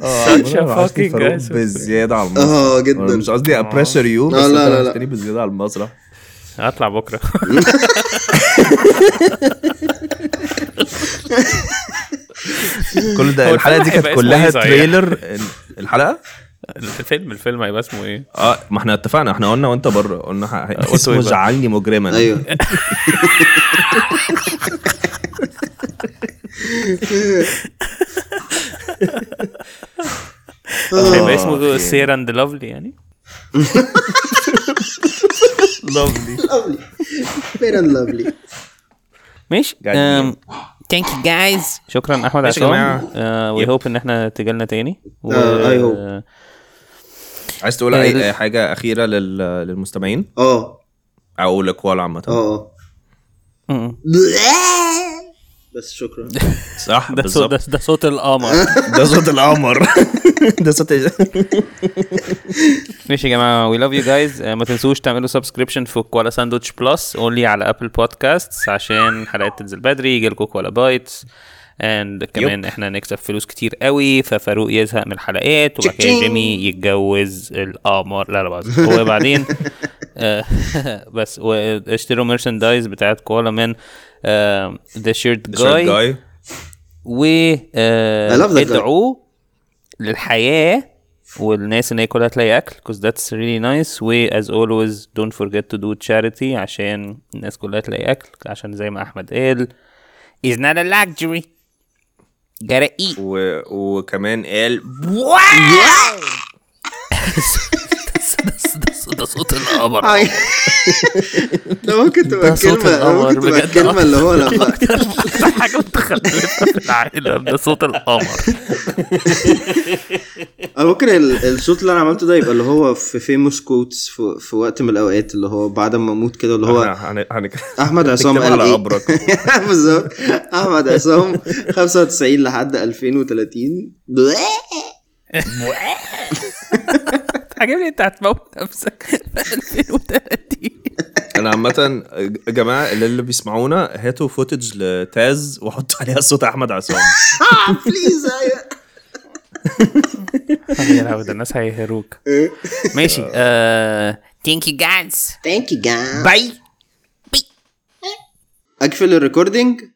[SPEAKER 3] such a
[SPEAKER 2] أنا عاوز
[SPEAKER 3] fucking
[SPEAKER 2] فاروق
[SPEAKER 3] guy.
[SPEAKER 2] بزياده على المسرح
[SPEAKER 4] اه
[SPEAKER 2] أنا
[SPEAKER 4] جدا
[SPEAKER 2] مش قصدي ابريشر يو بس
[SPEAKER 4] لا، لا،
[SPEAKER 2] لا
[SPEAKER 4] لا، لا.
[SPEAKER 2] لا بزياده على المسرح
[SPEAKER 3] هطلع بكره
[SPEAKER 2] كل ده
[SPEAKER 3] هو
[SPEAKER 2] الحلقه دي
[SPEAKER 3] الفيلم هيبقى
[SPEAKER 2] كانت
[SPEAKER 3] اسمه
[SPEAKER 2] كلها
[SPEAKER 3] إيه صحيح؟
[SPEAKER 2] تريلر ال- الحلقه
[SPEAKER 3] الفيلم الفيلم هيبقى اسمه ايه؟
[SPEAKER 2] اه ما احنا اتفقنا احنا قلنا وانت بره قلنا ح-
[SPEAKER 3] قلت
[SPEAKER 2] آه، اسمه
[SPEAKER 3] إيه بقى؟
[SPEAKER 2] جعلني مجرما
[SPEAKER 4] ايوه
[SPEAKER 3] هيبقى اسمه سير اند لافلي يعني لافلي
[SPEAKER 4] فير اند لافلي
[SPEAKER 3] ماشي
[SPEAKER 2] جدع.
[SPEAKER 3] ثانك يو جايز شكرا احمد
[SPEAKER 2] ماشي يا جماعة.
[SPEAKER 3] عصام أه، وي هوب ان احنا تجالنا تاني و-
[SPEAKER 4] آه، I hope.
[SPEAKER 3] آه،
[SPEAKER 2] عايز تقول اي
[SPEAKER 3] ال-
[SPEAKER 4] أيوه.
[SPEAKER 2] أي حاجه اخيره لل- للمستمعين
[SPEAKER 4] اه
[SPEAKER 2] او لكوال عامه
[SPEAKER 4] اه
[SPEAKER 3] م-م.
[SPEAKER 4] بس شكرا
[SPEAKER 2] صح
[SPEAKER 3] ده
[SPEAKER 2] بالظبط
[SPEAKER 3] صوت ده- ده صوت القمر
[SPEAKER 2] ده صوت القمر ده صوت
[SPEAKER 3] ماشي يا جماعه وي لاف يو جايز آه، ما تنسوش تعملوا سبسكريبشن في كوالا ساندوتش بلس اونلي على ابل بودكاست عشان الحلقات تنزل بدري يجي لكم كوالا بايتس اند كمان احنا نكسب فلوس كتير قوي ففاروق يزهق من الحلقات وبعد كده جيمي يتجوز القمر لا لا بهزر. وبعدين آه، بس واشتروا مرشندايز بتاعت كوالا من آه، ذا شيرت جاي
[SPEAKER 2] جاي
[SPEAKER 3] و
[SPEAKER 4] I love that guy.
[SPEAKER 3] آه، ادعوا للحياه والناس ان هي كلها تلاقي اكل because that's really nice و as always don't forget to do charity عشان الناس كلها تلاقي اكل عشان زي ما احمد قال is not a luxury gotta eat
[SPEAKER 2] و... وكمان قال
[SPEAKER 6] ده صوت القمر
[SPEAKER 4] عاي- ده ممكن تبقى
[SPEAKER 6] ده صوت
[SPEAKER 4] كلمة
[SPEAKER 6] القمر
[SPEAKER 4] ممكن تبقى
[SPEAKER 6] بجد.
[SPEAKER 4] الكلمة اللي هو لما
[SPEAKER 3] أكتر حاجه متخلفه في العالم ده صوت القمر
[SPEAKER 4] انا ممكن ال- الصوت اللي انا عملته ده يبقى اللي هو في فيموس كوتس في, في وقت من الاوقات اللي هو بعد ما اموت كده اللي هو
[SPEAKER 2] إحنا هن- هن-
[SPEAKER 4] احمد عصام
[SPEAKER 2] نكتبها
[SPEAKER 4] قال
[SPEAKER 2] على
[SPEAKER 4] ايه
[SPEAKER 2] قبرك.
[SPEAKER 4] بالظبط احمد عصام 95 لحد 2030
[SPEAKER 3] عاجبني انت هتموت نفسك في 2030
[SPEAKER 2] انا عامة يا جماعة اللي, اللي بيسمعونا هاتوا فوتج لتاز وحطوا عليها صوت احمد عصام
[SPEAKER 4] بليز
[SPEAKER 3] يا لهوي ده الناس هيهروك ماشي ثانك يو جايز
[SPEAKER 4] ثانك يو جايز باي اقفل الريكوردينج